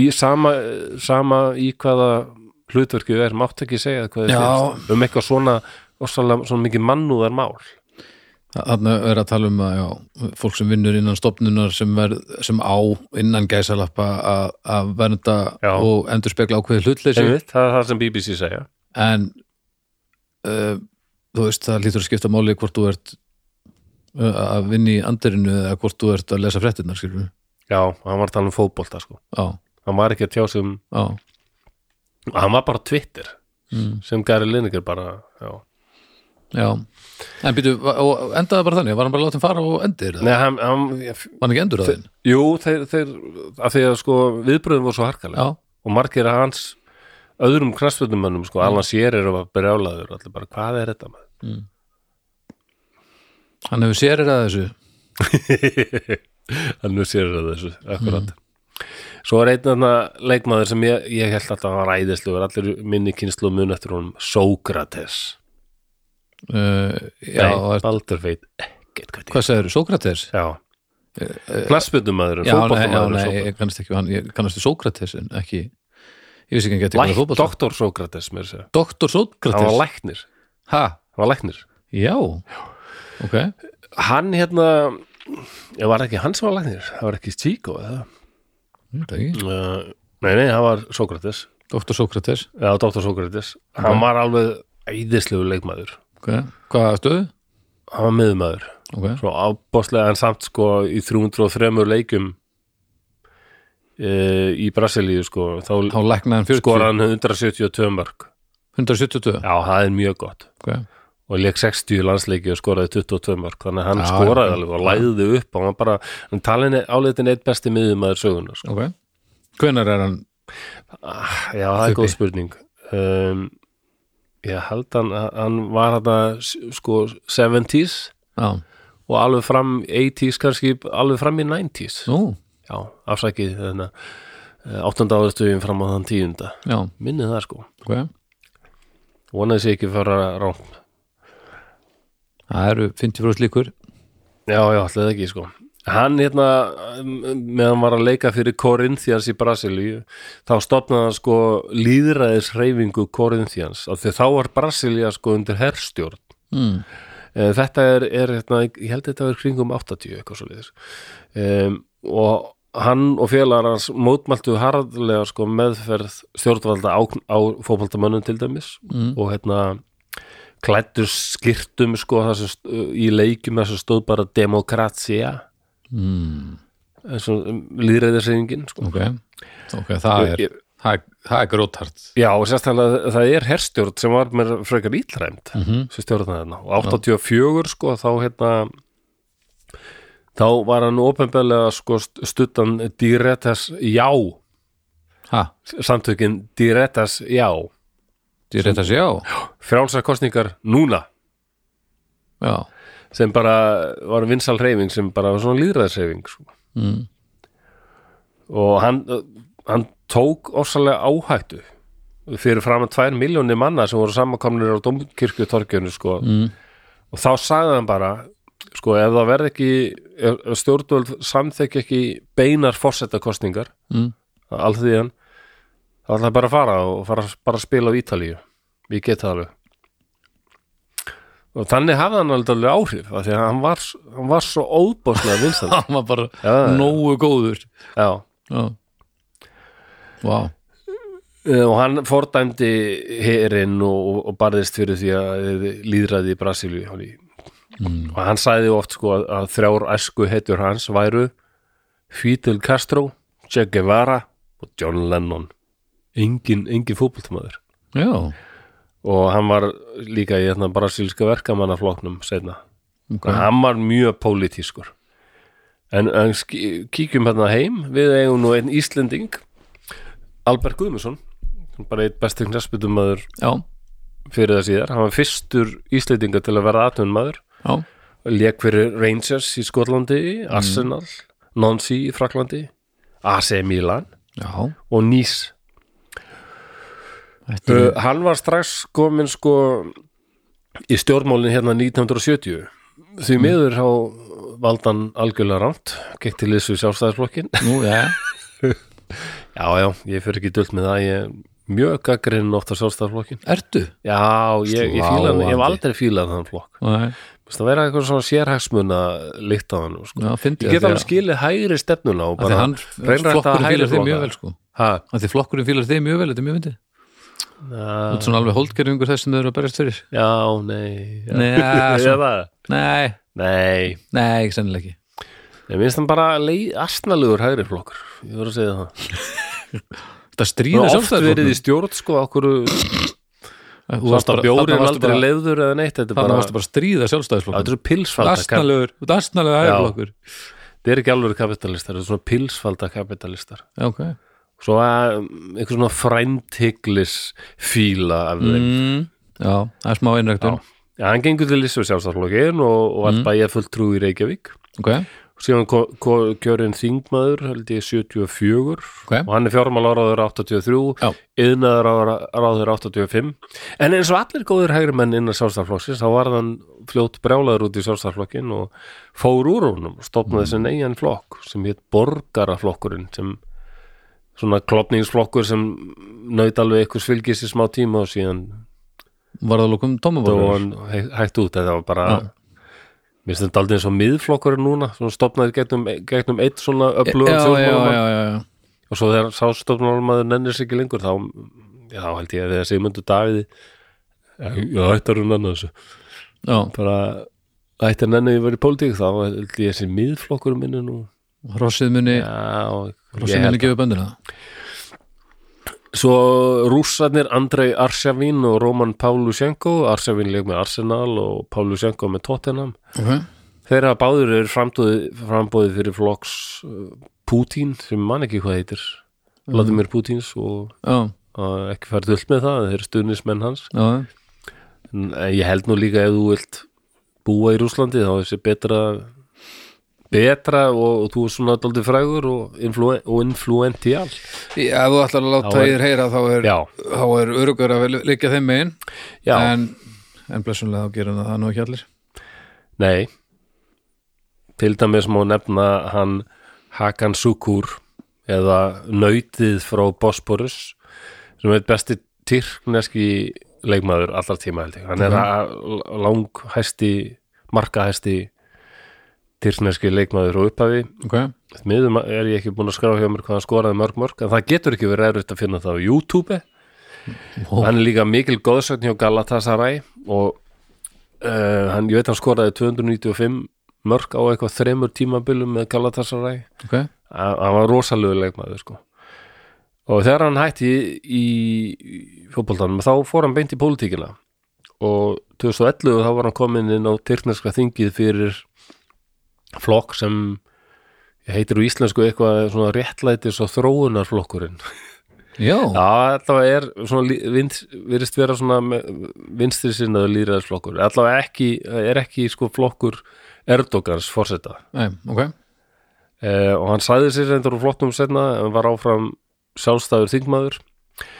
Speaker 1: í sama, sama í hvaða hlutverki við erum átt ekki segja hvað þér
Speaker 2: Já.
Speaker 1: finnst. um eitthvað svona, svona, svona mikið mannúðar mál
Speaker 2: Þarna er að tala um að já, fólk sem vinnur innan stopnunar sem, verð, sem á innan gæsalappa að- að vernda
Speaker 1: Já.
Speaker 2: og endur spekla ákveði hlutleysi
Speaker 1: Einmitt, það er það sem BBC segja
Speaker 2: en uh, þú veist, það lítur að skipta máli hvort þú ert uh, að vinna í andirinu eða hvort þú ert að lesa fréttinnar skilur
Speaker 1: já, hann var að tala um fótbolta sko.
Speaker 2: já,
Speaker 1: hann var ekki að tjá sem,
Speaker 2: já,
Speaker 1: hann var bara Twitter
Speaker 2: Mm.
Speaker 1: sem Gary Lineker bara já.
Speaker 2: já en býtu, va- og endaði bara þannig, var hann bara látið fara og endir,
Speaker 1: Nei, hann, hann, ég,
Speaker 2: var hann ekki endur að þinn
Speaker 1: jú, þeir, þeir að því að sko, viðbröðum voru svo harkalega
Speaker 2: já,
Speaker 1: og margir að hans öðrum knastfjöldumönnum sko, allan sér eru að brjálaður og allir bara, hvað er þetta maður?
Speaker 2: hann hefur sérir að þessu
Speaker 1: Þannig sér eru þessu, akkurat Svo er einn þarna leikmaður sem ég, ég held alltaf að hann ræðislegur allir minni kynslu og mun eftir honum Sókrates
Speaker 2: uh, já,
Speaker 1: Nei,
Speaker 2: og er,
Speaker 1: Baldur veit ekkert hvað
Speaker 2: hvað segir, Sókrates?
Speaker 1: þetta er Já, knastfjöldumöður
Speaker 2: já, nei, já,
Speaker 1: fótboltamaður
Speaker 2: nei, ég kannast ekki við hann, ég kannast við Sókrates en ekki, ég vissi ekki hann geti
Speaker 1: Læk, doktor Sókrates, mér að segja
Speaker 2: Doktor
Speaker 1: Hann var
Speaker 2: Sókrates,
Speaker 1: læknir,
Speaker 2: ha,
Speaker 1: hann var læknir
Speaker 2: já ok,
Speaker 1: Hann hérna ég var ekki hann sem var læknir, það var ekki Stíko eða
Speaker 2: Ég veit það ekki.
Speaker 1: Uh, nei, nei, það var Sókrates
Speaker 2: Doktor Sókrates
Speaker 1: eða Dr. Sókrates hann
Speaker 2: Ok.
Speaker 1: var alveg æðislegu leikmaður
Speaker 2: okay. hvað stöðu?
Speaker 1: hann var miðmaður
Speaker 2: Okay.
Speaker 1: svo ábáslega en samt sko í 303 leikum e, í Brasilíu sko þá
Speaker 2: Þá læknaði hann 40
Speaker 1: skor hann 172 mörg
Speaker 2: 172
Speaker 1: já, það er mjög gott
Speaker 2: okay.
Speaker 1: og leik 60 í landsleiki og skoraði 22 mörg þannig að hann
Speaker 2: Já,
Speaker 1: skoraði
Speaker 2: já.
Speaker 1: alveg og læði upp og hann bara, hann talinni áleitin eitt besti miðmaður sögunar sko.
Speaker 2: ok Hvenær er hann?
Speaker 1: Ah, Já, það er
Speaker 2: Þubbi.
Speaker 1: góð spurning um, Ég held hann hann var þetta sko 70s
Speaker 2: Já,
Speaker 1: og alveg fram 80s kannski alveg fram í 90s
Speaker 2: nú,
Speaker 1: Já, hérna, afsækið þarna 8. áðurstöfin fram á þann 10.
Speaker 2: já,
Speaker 1: Minnið það sko
Speaker 2: ok
Speaker 1: Vonaði sér ekki að fara rámt
Speaker 2: Það eru 50 frúst líkur
Speaker 1: Já, já, allir það ekki sko Hann hérna, um, meðan var að leika fyrir Corinthians í Brasilíu þá stopnaði hann sko líðræðis reyfingu Corinthians af því þá var Brasilía sko undir herrstjórn
Speaker 2: mm.
Speaker 1: Eh, þetta er, er hérna, ég held þetta er kringum 80 eitthvað svo liðis og hann og félagar hans mótmæltu harðlega sko meðferð stjórnvalda á, á fótboltamönnum til dæmis
Speaker 2: Mm.
Speaker 1: og hérna klættu skýrtum sko það sem, st- í leikjum þess að stóð bara demokratsía
Speaker 2: Mm.
Speaker 1: eins og líðræðisreifingin um, sko.
Speaker 2: Ok, ok, það er
Speaker 1: Ég-
Speaker 2: það er- það er grótart
Speaker 1: Já, og sérstaklega það er herstjórn sem var mér frekar ítlæmt
Speaker 2: Mhm.
Speaker 1: sem stjórnaði hérna og 84 sko þá hérna þá var hann ópenbælega sko st- stuttan Diretas Já
Speaker 2: Ha,
Speaker 1: samtökin Diretas Já
Speaker 2: ég reyta sér já
Speaker 1: frjálsar kostningar núna
Speaker 2: Já,
Speaker 1: sem bara var vinsal hreyfing sem bara var svona líðræðshreyfing sko.
Speaker 2: mm.
Speaker 1: og hann, hann tók orsalega áhættu fyrir fram að tvær miljónir manna sem voru samankomnir á Dómkirkju torkjunni sko.
Speaker 2: Mm.
Speaker 1: og þá sagði hann bara sko ef það verð ekki ef ef stjórnvöld samþekki ekki beinar fórsetakostningar
Speaker 2: Mm.
Speaker 1: alþýðan þá ætla ég bara að fara og fara bara að spila á Ítalíu ég get það alveg og þannig hafði hann alveg alveg áhrif af því að hann var, s- hann var svo óbáslega vinsæll
Speaker 2: hann var bara
Speaker 1: Já, já.
Speaker 2: nógu góður
Speaker 1: já
Speaker 2: já. Vá,
Speaker 1: Eh, og hann fordæmdi herinn og, og- og barðist fyrir því að yrði lýðræði í Brasilíu hann í- og hann sagði oft sko að, að þrjár æsku heitur hans væru Fidel Castro, Che Guevara og John Lennon engin, engin fótboltamaður
Speaker 2: já
Speaker 1: og hann var líka í hérna, brasilíska verkamannafloknum setna okay. hann var mjög pólitískur en, en sk- kíkjum hérna heim við eigum nú einn Íslending Albert Guðmusson bara eitt besti knæsputumæður
Speaker 2: já,
Speaker 1: fyrir það síðar hann var fyrstur Íslendinga til að vera atvinnmaður
Speaker 2: já,
Speaker 1: lék fyrir Rangers í Skotlandi Arsenal, Nancy í Fraklandi AC Milan
Speaker 2: já
Speaker 1: og Nice
Speaker 2: Þetta er-
Speaker 1: Uh, hann var strax komin sko í stjórnmálinn hérna 1970 því miður á valdan algjörlega rámt gekk til þessu sjálfstæðisflokkin
Speaker 2: nú, já,
Speaker 1: já, já, ég fyrir ekki dult með það ég er mjög gaggrinn oft á sjálfstæðisflokkin
Speaker 2: ertu?
Speaker 1: já, ég, ég fíla hann, ég hef
Speaker 2: Sláandi.
Speaker 1: aldrei fílað þann flokk
Speaker 2: Nei,
Speaker 1: Þú veist, það vera eitthvað svona sérhagsmuna líkt á hann sko.
Speaker 2: já, fyndi
Speaker 1: ég get alveg skilið hægri stefnuna og
Speaker 2: að því
Speaker 1: bara
Speaker 2: hann, flokkurinn fílar þig mjög vel sko
Speaker 1: ha,
Speaker 2: að því flokkurinn fílar þig mjög vel, þetta er mjög myndi þú
Speaker 1: na,
Speaker 2: ert svona alveg holdgerfingur þess sem þau eru að berjast fyrir
Speaker 1: já, nei já.
Speaker 2: Nei, ja,
Speaker 1: Ég
Speaker 2: svo-
Speaker 1: það?
Speaker 2: nei,
Speaker 1: nei
Speaker 2: nei, ekki sennilega ekki
Speaker 1: Ég minnst hann bara leið, astnalugur hægri flokkur, ég voru að segja það.
Speaker 2: þetta
Speaker 1: Ég
Speaker 2: stríða
Speaker 1: hef oft verið í
Speaker 2: sjálfstæðisflokknum
Speaker 1: stjórn, sko, okkur,
Speaker 2: þú
Speaker 1: þú
Speaker 2: varst
Speaker 1: veist að
Speaker 2: bara,
Speaker 1: bjóri
Speaker 2: þarna
Speaker 1: er
Speaker 2: varstu
Speaker 1: aldrei
Speaker 2: bara,
Speaker 1: leiður eða neitt, þetta er
Speaker 2: þarna
Speaker 1: bara,
Speaker 2: varstu bara að stríða
Speaker 1: þetta
Speaker 2: sjálfstæðisflokknum
Speaker 1: eru pilsfalda, kap-
Speaker 2: astnalegur, þú ert astnalegur
Speaker 1: Já.
Speaker 2: hægurflokkur
Speaker 1: þetta er ekki alveg kapitalistar, þetta er svona pilsfalda kapitalistar.
Speaker 2: já, ok
Speaker 1: Svo að um, einhver svona frændhygglis fíla af þeim.
Speaker 2: mm, já, það er smá einræktun
Speaker 1: Já, hann gengur til Lissu sjálfstæðarflokkin og, og
Speaker 2: Mm.
Speaker 1: allt bæja fulltrú í Reykjavík.
Speaker 2: ok,
Speaker 1: Síðan ko- ko- kjörinn þingmaður, held ég 74
Speaker 2: Ok.
Speaker 1: og hann er fjármálaráður 83
Speaker 2: já,
Speaker 1: yðnaðaráður 85 en eins og allir góður hægri menn innan sjálfstæðarflokksins þá var hann fljótt brjálaður út í sjálfstæðarflokkin og fór úr honum og stopnaði mm. sinni eigin flokk sem hétt borgaraflokkurinn sem svona klopningsflokkur sem naut alveg eitthvað svilgis í smá tíma og síðan
Speaker 2: var það lókum
Speaker 1: dó
Speaker 2: tómabóður
Speaker 1: hann hæ- hægt út eða var bara Mér finnst þetta aldrei eins og miðflokkurinn núna svona stopnaði gegnum, gegnum eitt svona
Speaker 2: já,
Speaker 1: öflugum
Speaker 2: já, já,
Speaker 1: stjórnmálamann
Speaker 2: já, já
Speaker 1: og svo þegar sástofnálmaður nennir sig ekki lengur þá, já, þá held ég að þegar Sigmundur Davíði já, ættar hún annað þessu
Speaker 2: já,
Speaker 1: bara ættar nenni ég verið í pólitík þá held ég þessi miðflokkur minni nú
Speaker 2: rossið muni
Speaker 1: já, og ég
Speaker 2: rossið muni
Speaker 1: held
Speaker 2: gefið böndina
Speaker 1: svo rússarnir Andrei Arshavin og Roman Pavlushenko Arshavin leik með Arsenal og Pavlushenko með Tottenham
Speaker 2: ok,
Speaker 1: þeirra báður er frambóðið fyrir flokks uh, Putin sem man ekki hvað heitir Vladimir Putins og
Speaker 2: já,
Speaker 1: að ekki fara dult með það, þeir eru stuðnismenn hans
Speaker 2: já
Speaker 1: en eh, ég held nú líka ef þú vilt búa í Rúslandi þá er þessi betra betra og, og þú er svona daldið frægur og, influ, og influential
Speaker 2: Já, ef þú ætlar að láta
Speaker 1: Þá er-
Speaker 2: þér heyra þá er,
Speaker 1: Já.
Speaker 2: þá er örugur að leikja þeim megin
Speaker 1: já,
Speaker 2: en, en blessunlega þá gerum það nú ekki allir
Speaker 1: nei til dæmis má nefna hann Hakan Sukur eða Nautið frá Bosporus sem er besti tyrkneski leikmaður allar tíma held ég, hann er að langhæsti markahæsti tyrkneski leikmaður og upphafi
Speaker 2: ok,
Speaker 1: miðum er ég ekki búin að skrá hjá mér hvað hann skoraði mörg mörg en það getur ekki verið erfitt að finna það á YouTube
Speaker 2: Ó.
Speaker 1: hann er líka mikil góðsögn hjá Galatasaray og uh, hann, ég veit hann skoraði 295 mörg á eitthvað þremur tímabilum með Galatasaray
Speaker 2: ok
Speaker 1: hann hann var rosalegu leikmaður sko. og þegar hann hætti í, í fótboltanum þá fór hann beint í pólitíkina og 2011 þá var hann komin inn á tyrkneska þingið fyrir flokk sem heitir á íslensku eitthvað svona réttlætis og þróunarflokkurinn
Speaker 2: já,
Speaker 1: Já, allavega er svona lí- vinst- virðist vera svona me- vinstri sinnaður lýræðisflokkur allavega ekki, er ekki sko flokkur Erdogans forseta
Speaker 2: Nei, ok
Speaker 1: eh, og hann sæði sér endur úr flottum setna en var áfram sjálfstæður þingmaður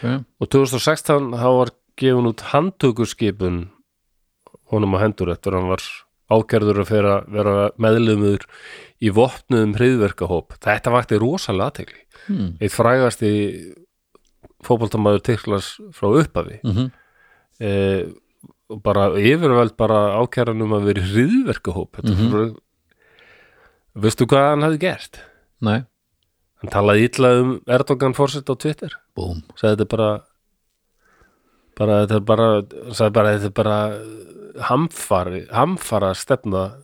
Speaker 2: ok,
Speaker 1: og 2016 þá var gefin út handtökuskipun honum á hendur eftir hann var ákjörður að fyrra, vera meðlumur í vopnuðum hriðverkahóp þetta vakti rosalega aðtegli
Speaker 2: Hmm.
Speaker 1: eitt frægasti fótboltamaður Tyrklas frá uppafi
Speaker 2: Mhm.
Speaker 1: eh, og bara yfirvöld bara ákæran um að vera hriðverkahóp mm -hmm. veistu hvað hann hafði gert
Speaker 2: Nei,
Speaker 1: hann talaði illa um Erdogan fórsett á Twitter
Speaker 2: búm
Speaker 1: sagði þetta er bara bara þetta er bara sagði bara þetta er bara hamfari, hamfara stefna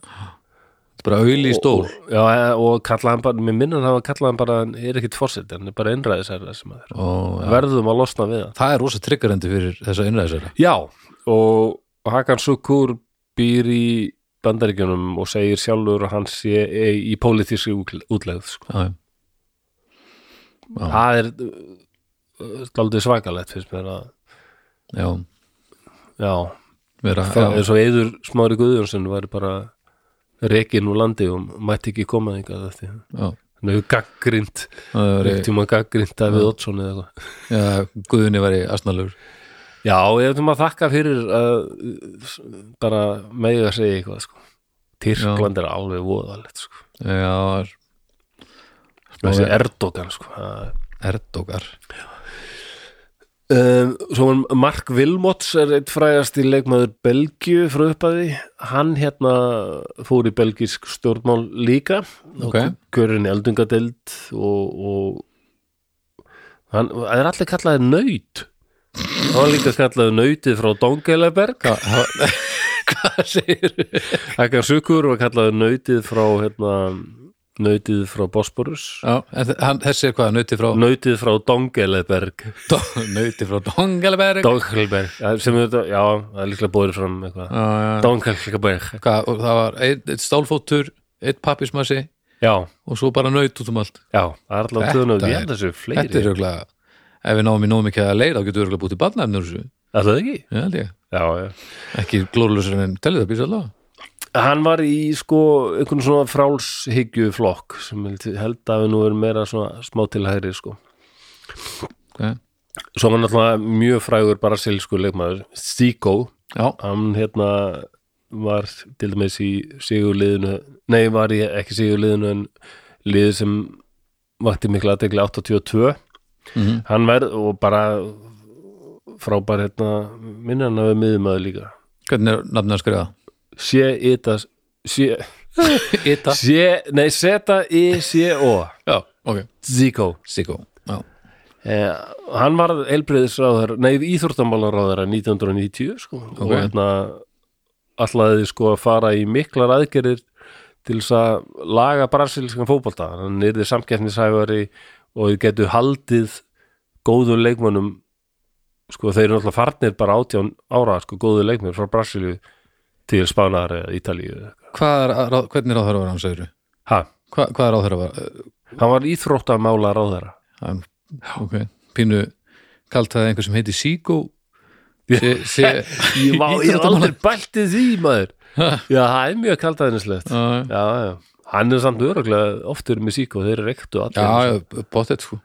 Speaker 2: Þetta er bara auðli í stól
Speaker 1: og, já, eh, og kallaði hann bara, mér minnum það að kallaði hann bara hann er ekkit fórsett, hann er bara einræðisæra sem maður,
Speaker 2: og, ja.
Speaker 1: verðum að losna við hann
Speaker 2: Það er rosa triggerendi fyrir þessa innræðisera
Speaker 1: Já, og Hakan Sukur býr í bandaríkjunum og segir sjálfur að hann sé e, í pólitíski útlegð sko.
Speaker 2: Já, já. Já.
Speaker 1: það er aldrei svakalegt fyrst mér að
Speaker 2: já,
Speaker 1: já,
Speaker 2: vera,
Speaker 1: það
Speaker 2: já,
Speaker 1: er svo eður smári Guðjónsson væri bara rekin úr landi og mætti ekki koma þingað eftir
Speaker 2: já,
Speaker 1: hann hefur gaggrind,
Speaker 2: það veri,
Speaker 1: ekkert tíma gaggrind Davíð Oddsson eða eitthvað
Speaker 2: já, guðinni væri asnalur
Speaker 1: Já, ég ætlum að þakka fyrir að s- bara mega segja eitthvað sko. Tyrkland er alveg voðalegt sko.
Speaker 2: já, er-
Speaker 1: þessi
Speaker 2: smá
Speaker 1: Erdogan sko. það-
Speaker 2: erdogar
Speaker 1: um, Svo var Mark Wilmots er eitt frægasti leikmaður Belgíu frá uppaði hann hérna fór í belgísk stjórnmál líka
Speaker 2: Ok.
Speaker 1: og görin í eldungadeld og, og hann það er allir kallaði nöyt hann var líka kallaði nöytið frá Dongeleberg
Speaker 2: hvað segir
Speaker 1: Akkar Sukur var kallaði nautið frá hérna, nautið frá Bosporus
Speaker 2: já, en þe- hann, þessi er hvað, nauti frá
Speaker 1: nautið frá Dongeleberg
Speaker 2: Dó- nauti frá Dongelberg
Speaker 1: Dongeleberg, ja, sem þetta, já, það er líklega bóður fram eitthvað,
Speaker 2: hvað,
Speaker 1: Dongeleberg
Speaker 2: og það var eitt, eitt stálfóttur eitt pappismassi
Speaker 1: Já,
Speaker 2: og svo bara naut út um allt
Speaker 1: já, það er allavega töðun og
Speaker 2: Þetta
Speaker 1: ég
Speaker 2: er-
Speaker 1: held þessu fleiri,
Speaker 2: þetta er örugglega, ef við náum í nóg mikið að leira þá getur við örugglega bútið barnaefnir úr þessu
Speaker 1: er það ekki?
Speaker 2: Já, held ég.
Speaker 1: Já, já
Speaker 2: ekki glóðlösur en teljutabís allavega
Speaker 1: Hann var í sko einhvern svona frálshyggju flokk sem held held að við nú erum meira svona smá til hægri sko
Speaker 2: Ok.
Speaker 1: Svo var náttúrulega mjög frægur brasilsku leikmaður, Stíkó
Speaker 2: já,
Speaker 1: hann hérna var til dæmis í sigurliðinu nei, var í ekki sigurliðinu en liði sem vakti mikla aðtegli 82
Speaker 2: Mhm.
Speaker 1: hann verð og bara frábær hérna minna hann að við miðumöðu líka E
Speaker 2: hvernig er nafnið að skrifa?
Speaker 1: sé ita sé,
Speaker 2: Ita
Speaker 1: sé, nei, seta i sé o
Speaker 2: Já, ok,
Speaker 1: Zico
Speaker 2: Siggo Já,
Speaker 1: eh, hann var elbriðisráður nei, íþórtamálaráður 1990 sko, og
Speaker 2: Ok.
Speaker 1: hérna allaði sko að fara í miklar aðgerðir til þess að laga brasilskan fótbolta hann er þið samkeppnishæfari og þið getur haldið góðu leikmönnum sko þeir eru náttúrulega farnir bara átján ára sko góðu leikmönn frá Brasilíu til Spánar eða Ítalíu
Speaker 2: hvað er, að ráð- hvernig ráðherra var hann, segir við?
Speaker 1: ha,
Speaker 2: Hvað, hvað er ráðherra var?
Speaker 1: hann var íþróttamála ráðara
Speaker 2: Hann, ok, pínu kalt það einhver sem heiti Siggo sé, sé
Speaker 1: Ég má, ég hef
Speaker 2: íþróttamála-
Speaker 1: aldrei bæltið því maður Já, það er mjög kaldæðnislegt Já,
Speaker 2: Já,
Speaker 1: já, hann er samt öruglega oftur með sík og þeir eru reyktu allir
Speaker 2: já, bóttið sko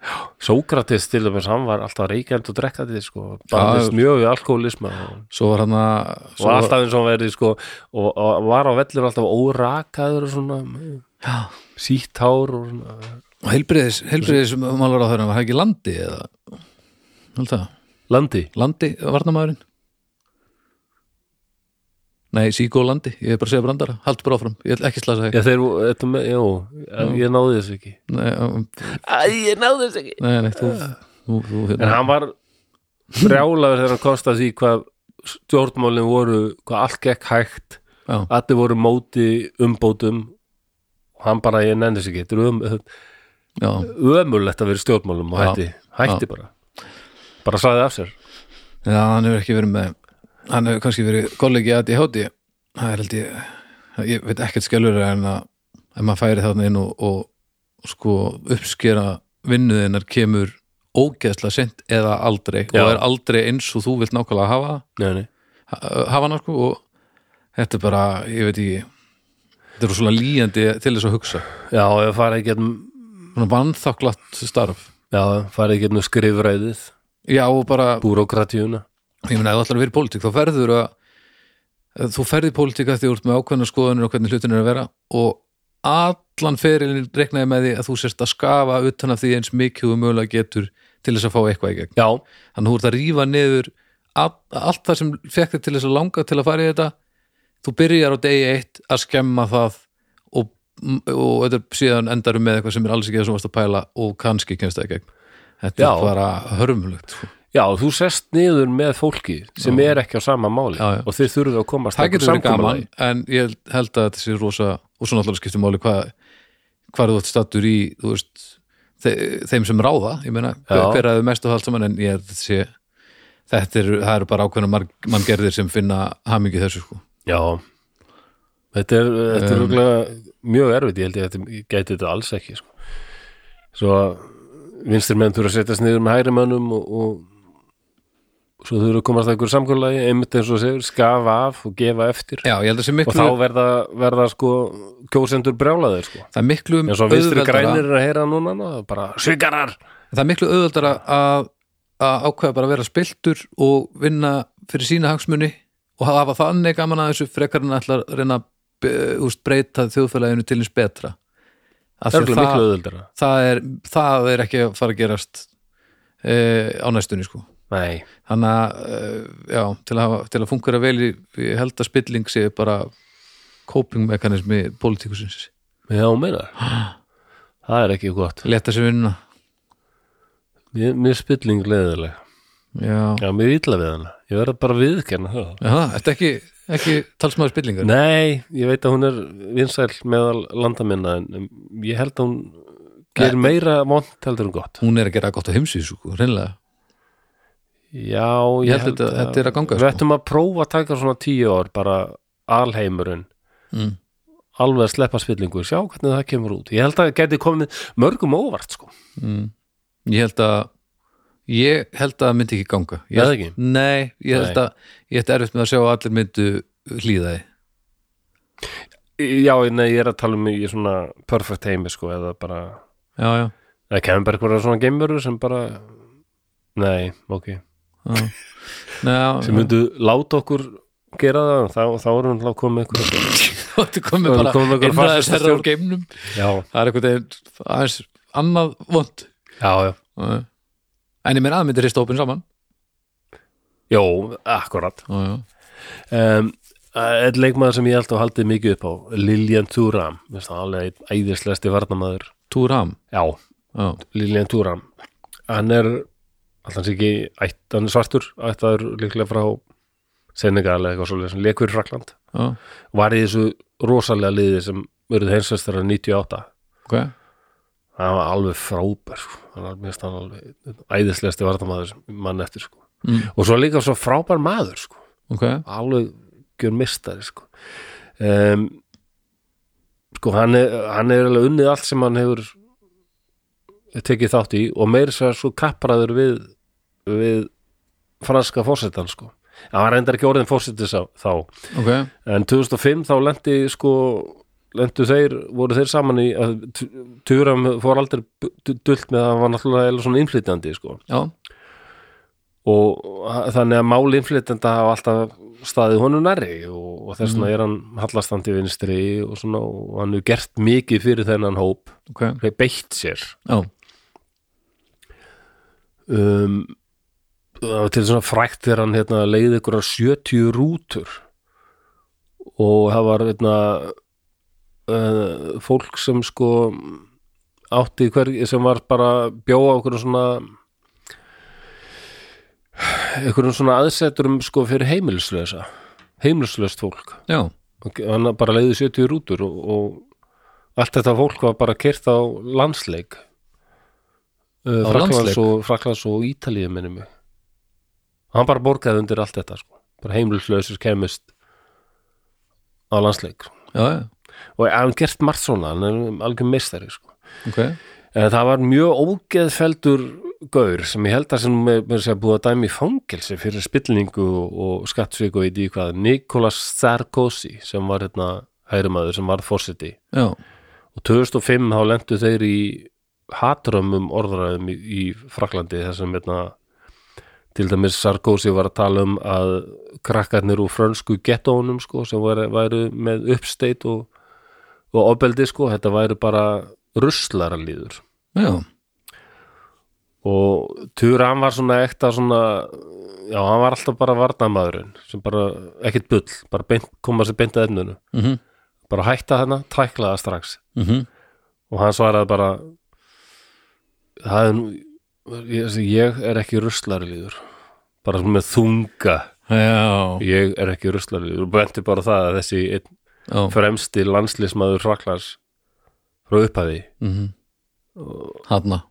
Speaker 1: Sókrates til dæmis, hann var alltaf reykjand og drekkandi sko, barðist mjög við alkoholisma og,
Speaker 2: Svo var hann að
Speaker 1: og
Speaker 2: svo-
Speaker 1: alltaf eins og hann verið sko og, og var á vellur alltaf órakaður og svona
Speaker 2: Já.
Speaker 1: sítt hár og svona
Speaker 2: og Heilbriðis, heilbriðis málar á þeirra var það ekki landi eða Held það,
Speaker 1: Landi,
Speaker 2: landi, varnamæðurinn Nei, Siggo landi, ég er bara að segja brandara Haldur bara áfram, ég ætla ekki að slasa þig
Speaker 1: já þeir voru- þetta með, jú, ég náði þessu ekki
Speaker 2: Nei, um,
Speaker 1: Æ, ég náði þessu ekki
Speaker 2: nei, nei, þú, þú, þú
Speaker 1: En
Speaker 2: hérna,
Speaker 1: hann var brjálaður þegar hann komst að því hvað stjórnmálin voru, hvað allt gekk hægt
Speaker 2: já,
Speaker 1: allir voru móti umbótum og hann bara, ég nenni sér ekki þetta er um,
Speaker 2: já,
Speaker 1: ömulegt að vera í stjórnmálum og
Speaker 2: Já,
Speaker 1: hætti, hætti bara bara sagði af sér
Speaker 2: já, hann hefur ekki verið með hann hefur kannski verið kollegi að ég hátti það er held ég, ég veit ekkert skjálfur en að ef maður færi þarna inn og, og, sko uppskera vinnuðinnar kemur ógeðslega sent eða aldrei
Speaker 1: Já.
Speaker 2: og er aldrei eins og þú vilt nákvæmlega hafa
Speaker 1: nei, nei.
Speaker 2: ha- hafa hann sko og þetta er bara, ég veit ekki þetta er svona líjandi til þess að hugsa
Speaker 1: já, ég farið ekki
Speaker 2: svona vannþakklátt starf
Speaker 1: já, farið ekki hérna skrifræðið
Speaker 2: já og bara
Speaker 1: búrókratíuna
Speaker 2: ég meina, ef þú ætlar að vera í pólitík, þá verður að þú ferði í pólitík að því þú ert með ákveðna skoðanir og hvernig hlutin er að vera og allan ferilin reiknaði með því að þú sérst að skafa utan af því eins mikið og mögulega getur til þess að fá eitthvað í gegn
Speaker 1: já,
Speaker 2: þannig að þú ert að rífa niður all, allt það sem fekk þig til þess að langa til að fara í þetta þú byrjar á degi eitt að skemma það og, og þetta er síðan endarum með eitthvað sem er alls ekki það sem varst að pæla og kannski kemst það í gegn þetta
Speaker 1: Já.
Speaker 2: er bara hörmulegt sko.
Speaker 1: Já, þú sest niður með fólki sem
Speaker 2: Já.
Speaker 1: er ekki á sama máli
Speaker 2: Já, já.
Speaker 1: og þeir þurfum að komast
Speaker 2: það
Speaker 1: að
Speaker 2: getur verið gaman
Speaker 1: samkomulagi.
Speaker 2: en ég held- held að þetta sé rosa og svo náttúrulega skiptir máli hvað hvað þú ert stattur í þú veist, þe þeim sem ráða ég meina, hver,
Speaker 1: Já.
Speaker 2: hver að þau mest og allt saman en ég held að þetta sé þetta eru, það eru bara ákveðna marg, manngerðir sem finna hamingi þessu sko
Speaker 1: Já, þetta er, þetta er örugglega mjög erfitt, ég held ég að þetta- ég gæti þetta alls ekki sko. Svo að vinstir menn þurfa að setjast niður með hægri mönnum og, og svo þurfa að komast að einhverju samkomulagi, einmitt eins og þú segir, skafa af og gefa eftir
Speaker 2: já, ég held að sé
Speaker 1: og
Speaker 2: miklu,
Speaker 1: þá verða, verða sko kjósendur brjálaðir sko.
Speaker 2: það er miklu
Speaker 1: En svo vinstri
Speaker 2: auðveldara-
Speaker 1: grænir er að heyra núna, ná, bara svigarar
Speaker 2: það er miklu auðvöldar að, að ákveða bara að vera spiltur og vinna fyrir sína hagsmuni og hafa þannig gaman að þessu frekar en ætla að reyna að eh, úst, breyta þjóðfélaginu til eins betra Af
Speaker 1: Það er
Speaker 2: því að
Speaker 1: miklu
Speaker 2: það,
Speaker 1: auðvildara
Speaker 2: það, er, það er ekki að fara að gerast e, á næstunni sko
Speaker 1: Nei,
Speaker 2: þannig að e, já, til að, hafa- til að fungera vel í, ég held að spilling sé bara copingmekanismi pólitíkusins
Speaker 1: já, meinar Það er ekki gott
Speaker 2: leta sér vinna
Speaker 1: Mér, mér er spilling leðileg
Speaker 2: já,
Speaker 1: Já,
Speaker 2: já.
Speaker 1: mér er illa við hana Ég verð bara að viðkenna það
Speaker 2: þetta ekki, ekki talsmaður spillingar
Speaker 1: Nei, ég veit að hún er vinsæl meðal landaminna en um, ég held að hún gerir meira vont heldur en gott
Speaker 2: hún er að gera gott á heimsvíð sko, reynlega
Speaker 1: Já, ég,
Speaker 2: Ég held þetta- þetta er að ganga,
Speaker 1: Við
Speaker 2: sko.
Speaker 1: ættum að prófa að taka svona tíu ár bara alheimurinn
Speaker 2: mm.
Speaker 1: alveg að sleppa spillingu, sjá hvernig það kemur út Ég held að það geti komið mörgum óvart sko.
Speaker 2: Mm. ég held að ég held að það myndi ekki ganga ég
Speaker 1: Nei,
Speaker 2: held,
Speaker 1: ekki.
Speaker 2: nei, ég
Speaker 1: Nei.
Speaker 2: held að ég held erfitt með að sjá að allir myndu hlýðaði
Speaker 1: Já, nei, ég er að tala um í svona perfect heimi sko, eða bara
Speaker 2: já, já,
Speaker 1: það kemur bara eitthvað svona geimveru sem bara nei, ok
Speaker 2: já. Nei, já
Speaker 1: sem myndu láta okkur gera það, þá, þá erum við komið eitthvað
Speaker 2: þetta komið
Speaker 1: Þú
Speaker 2: bara
Speaker 1: komið með einhverja
Speaker 2: innræðis
Speaker 1: fasista
Speaker 2: herra úr geimnum
Speaker 1: já,
Speaker 2: það er eitthvað ein, aðeins annað vond
Speaker 1: já, já
Speaker 2: en ég meina að það myndi rista hópin saman
Speaker 1: Jó, akkurat
Speaker 2: já, já.
Speaker 1: um, Einn leikmaður sem ég held að haldið mikið upp á Lilian Thuram Mér finnst það alveg einn æðislegasti varnamaður
Speaker 2: túram
Speaker 1: Já,
Speaker 2: já,
Speaker 1: Lilian Thuram Hann er, alltaf sé ekki ætt, hann er svartur, ættaður líklega frá Senegal eða eitthvað svolítið sem leikur í Frakland
Speaker 2: já,
Speaker 1: var í þessu rosalega liði sem verið heimsvestara 98
Speaker 2: ok
Speaker 1: hann var alveg frábær sko. hann var mest hann alveg æðislegasti vartamæður sem mann eftir sko.
Speaker 2: mm.
Speaker 1: og svo líka svo frábær maður sko.
Speaker 2: ok,
Speaker 1: alveg gjör mistari sko. Um, sko hann er, hann er alveg unnið allt sem hann hefur tekið þátt í og meir sér sko kappræður við við franska fórsetan sko hann var reyndar ekki orðin fórseti sá- þá
Speaker 2: ok
Speaker 1: En 2005 þá lendi sko lendu þeir, voru þeir saman í að Turam fór aldrei bu- du- dult með að hann var náttúrulega eiginlega svona innflytjandi sko
Speaker 2: já,
Speaker 1: og ha- þannig að mál innflytjanda hafa alltaf staðið honum nærri og, og þess vegna er hann hallastandi vinstri og svona og hann hefur gert mikið fyrir þennan hóp
Speaker 2: ok
Speaker 1: beitt sér
Speaker 2: já,
Speaker 1: um, það var til svona frækt þegar hann hérna, leiði ykkur 70 rútur og það var hérna, uh, fólk sem sko átti hver, sem var bara bjóða okkur svona einhverjum svona aðseturum sko fyrir heimilislösa heimilislöst fólk
Speaker 2: já,
Speaker 1: og hann bara leiði 70 rútur og, og allt þetta fólk var bara kert á landsleik
Speaker 2: Á
Speaker 1: Fraklands
Speaker 2: landsleik?
Speaker 1: og, Fraklands og Ítalíu minni mig og hann bara borgaði undir allt þetta sko. bara heimlislausir kemist á landsleik
Speaker 2: já, já,
Speaker 1: og hann gert margt svona, hann er algjör meistari sko.
Speaker 2: ok
Speaker 1: en Eh, það var mjög ógeðfeldur gaur sem ég held að sem er með sér búið að dæmi í fangelsi fyrir spillingu og skattsvík og veit í hvað Nikolas Sarkozy sem var hérna hægrumaður sem var fórseti
Speaker 2: já,
Speaker 1: og 2005 þá lendu þeir í hatrömmum orðræðum í, í Fraklandi þar sem hérna til dæmis Sarkozy var að tala um að krakkarnir úr frönsku gettónum sko sem væru, væru með uppsteit og, og ofbeldi sko þetta væru bara ruslaralíður
Speaker 2: já
Speaker 1: og Turan var svona ekta svona já, hann var alltaf bara varnamaðurinn sem bara, ekkert bull bara beint, koma sér beint að ennunu
Speaker 2: mm -hmm.
Speaker 1: bara hætta þarna, tækla það strax
Speaker 2: Mhm.
Speaker 1: og hann svaraði bara það er nú ég, ég er ekki ruslarliður bara svona með þunga
Speaker 2: Já,
Speaker 1: ég er ekki ruslarliður og benti bara á það að þessi einn
Speaker 2: já.
Speaker 1: fremsti landslismæður hraklars frá upphæði
Speaker 2: Mm Hanna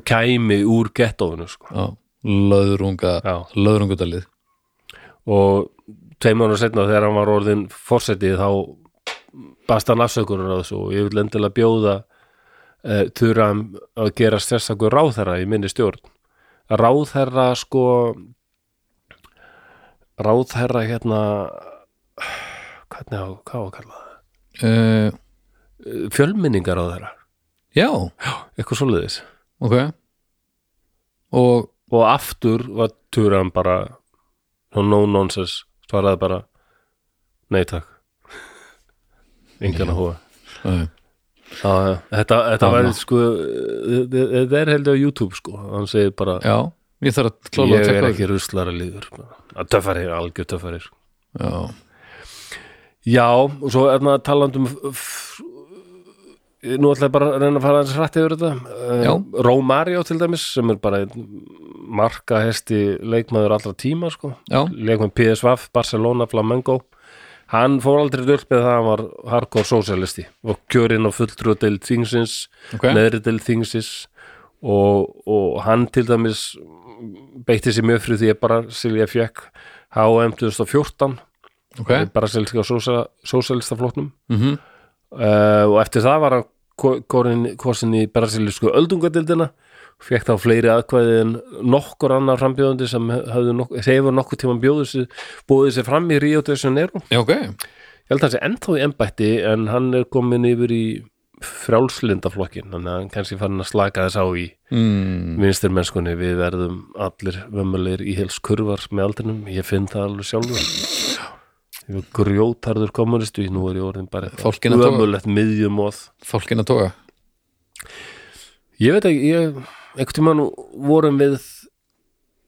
Speaker 1: kæmi úr gettóinu sko.
Speaker 2: já. Löðrunga
Speaker 1: Já.
Speaker 2: Löðrungadalið
Speaker 1: og tveimur og setna þegar hann var orðin fórsetið þá bast hann afsökunar á þessu og ég vil endilega bjóða uh, þurram að gera stressakur ráðherra í minni stjórn ráðherra sko ráðherra hérna hvernig á, hvað á að kalla það
Speaker 2: uh,
Speaker 1: Eh, fjölmenningaráðherra,
Speaker 2: Já,
Speaker 1: eitthvað svoleiðis
Speaker 2: ok Og
Speaker 1: og aftur var Turan bara no nonsense svaraði bara nei takk engan að hóa
Speaker 2: uh,
Speaker 1: Já, já. þetta, þetta
Speaker 2: Já,
Speaker 1: væri
Speaker 2: já.
Speaker 1: sko þe- þe- þetta er heldur á YouTube sko hann segir bara
Speaker 2: Já, ég þarf að klála að
Speaker 1: ég er
Speaker 2: tekka
Speaker 1: ekki ruslara líður að töffari, algjör töffari sko.
Speaker 2: Já,
Speaker 1: já, og svo er maður talandi um f- f- nú ætla ég bara að reyna að fara aðeins hrætti yfir þetta
Speaker 2: Já.
Speaker 1: Eh, Romario til dæmis sem er bara markahesti leikmaður allra tíma sko
Speaker 2: já,
Speaker 1: leik með PSV, Barcelona, Flamengo hann fór aldrei dörp með það að hann var hardcore socialisti og kjörinn á fulltrú til þingsins
Speaker 2: ok
Speaker 1: neðri til þingsins og, og hann til dæmis beitti sér mjög fyrir því að bara Silja fekk H&M 2014
Speaker 2: Ok,
Speaker 1: bara selska sósælistaflóknum
Speaker 2: mm -hmm.
Speaker 1: uh, og eftir það var hann ko- korinn- kosinn í brasilísku öldungadildina fekk þá fleiri aðkvæði en nokkur annar frambjóðandi sem hefur nokkur, hefur nokkur tíma bjóðið sér, búið sér fram í Rio de Janeiro
Speaker 2: já, ok
Speaker 1: ég held að hann sé ennþá í embætti en hann er komin yfir í frjálslindaflokkin þannig að hann kannski fann að slaka þess á í
Speaker 2: mm.
Speaker 1: vinstirmennskunni við verðum allir vömmulegir í hels kurvar með aldrinum, ég finn það alveg sjálfur ég var grjótarður kommunistu, nú er ég orðin bara
Speaker 2: Fálkinn að toga.
Speaker 1: vömmulegt miðjumóð
Speaker 2: Fólkin að toga
Speaker 1: Ég veit ekki, ég, einhvern tímann vorum við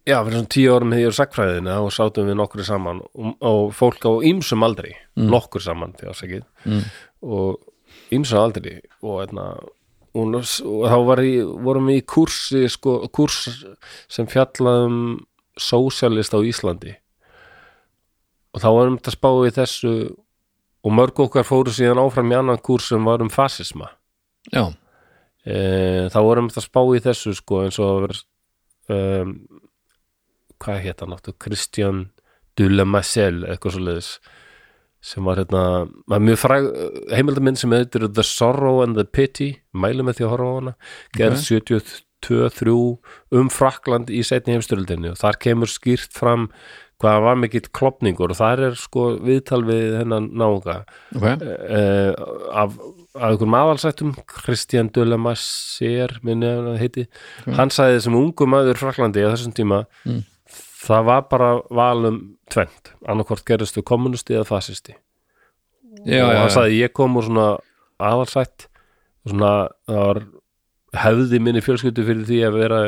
Speaker 1: já, fyrir svona tíu árum hefði ég sakfræðina og sátum við nokkur saman og, og fólk á ýmsum aldri nokkur saman, því ásækið
Speaker 2: Mm.
Speaker 1: og ýmsum aldri og, einna, og, og þá var í, vorum við í kursi sko, kurs sem fjallaðum sósjalist á Íslandi og þá varum þetta spáið í þessu og mörg okkar fóru síðan áfram í annan kurs sem var um fasisma
Speaker 2: Já,
Speaker 1: e, þá vorum við að spá í þessu sko eins og að vera um, hvað hétt hann áttu Christian Dulamassel eitthvað svo leiðis sem var hérna, var mjög fræg heimildaminn sem heitir The Sorrow and the Pity mælum með því að horfa á hana gerð 72-3 um Frakland í setni heimstyrldinni og þar kemur skýrt fram hvað hann var mikill klopningur og þar er sko viðtal við hennan náunga
Speaker 2: ok
Speaker 1: uh, af, af einhverjum aðalsættum Christian Dulemassier minni að hann heiti hann sagði sem ungu maður fraklandi á þessum tíma
Speaker 2: Mm.
Speaker 1: það var bara valum tvend annarkvort gerist þú kommunisti eða fasisti
Speaker 2: Já,
Speaker 1: og
Speaker 2: já,
Speaker 1: hann
Speaker 2: já,
Speaker 1: sagði ég kom úr svona aðalsætt svona það var hefði minni fjölskyldu fyrir því að vera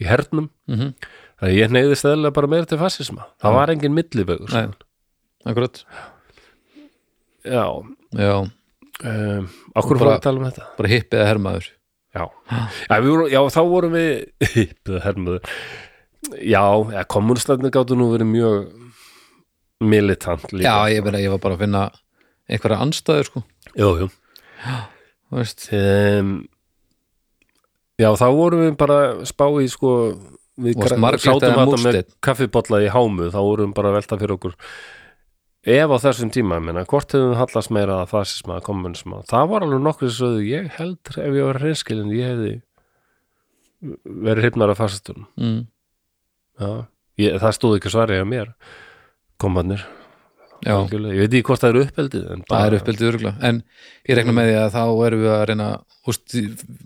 Speaker 1: í hernum
Speaker 2: Mhm.
Speaker 1: þannig að ég neyðist eðlilega bara meira til fasisma það
Speaker 2: Já.
Speaker 1: var engin millibegur
Speaker 2: Nei. akkurat
Speaker 1: já,
Speaker 2: Já,
Speaker 1: um, okkur fór
Speaker 2: Bara-
Speaker 1: að tala um þetta
Speaker 2: bara hippið að hermaður
Speaker 1: Já, já, við vorum, já þá vorum við hippið hermuðu Já, ja, kommunistarnir gáttu nú verið mjög militant líka
Speaker 2: Já, ég, meina, ég var bara að finna einhverja anstæður sko
Speaker 1: Jú, jú
Speaker 2: Þú veist,
Speaker 1: um, Já, þá vorum við bara að spá í sko við
Speaker 2: Varst
Speaker 1: gra-
Speaker 2: Margrét
Speaker 1: sátum
Speaker 2: eða
Speaker 1: þetta með
Speaker 2: Múrsteinn?
Speaker 1: kaffibolla í hámu þá vorum við bara að velta fyrir okkur ef á þessum tíma, ég meina, hvort hefum við hallast meira að fasisma, kommunisma það var alveg nokkuð sem sögðu, ég heldur ef ég var reynskilin, ég hefði verið hrypnar af fasistunum
Speaker 2: mm.
Speaker 1: Já, ég, það stóð ekki svarið á mér komandir
Speaker 2: já,
Speaker 1: ég veit ekki hvort það eru uppeldið en
Speaker 2: það
Speaker 1: bara,
Speaker 2: er uppeldið örgulega En ég rekna með því að þá erum við að reyna úst,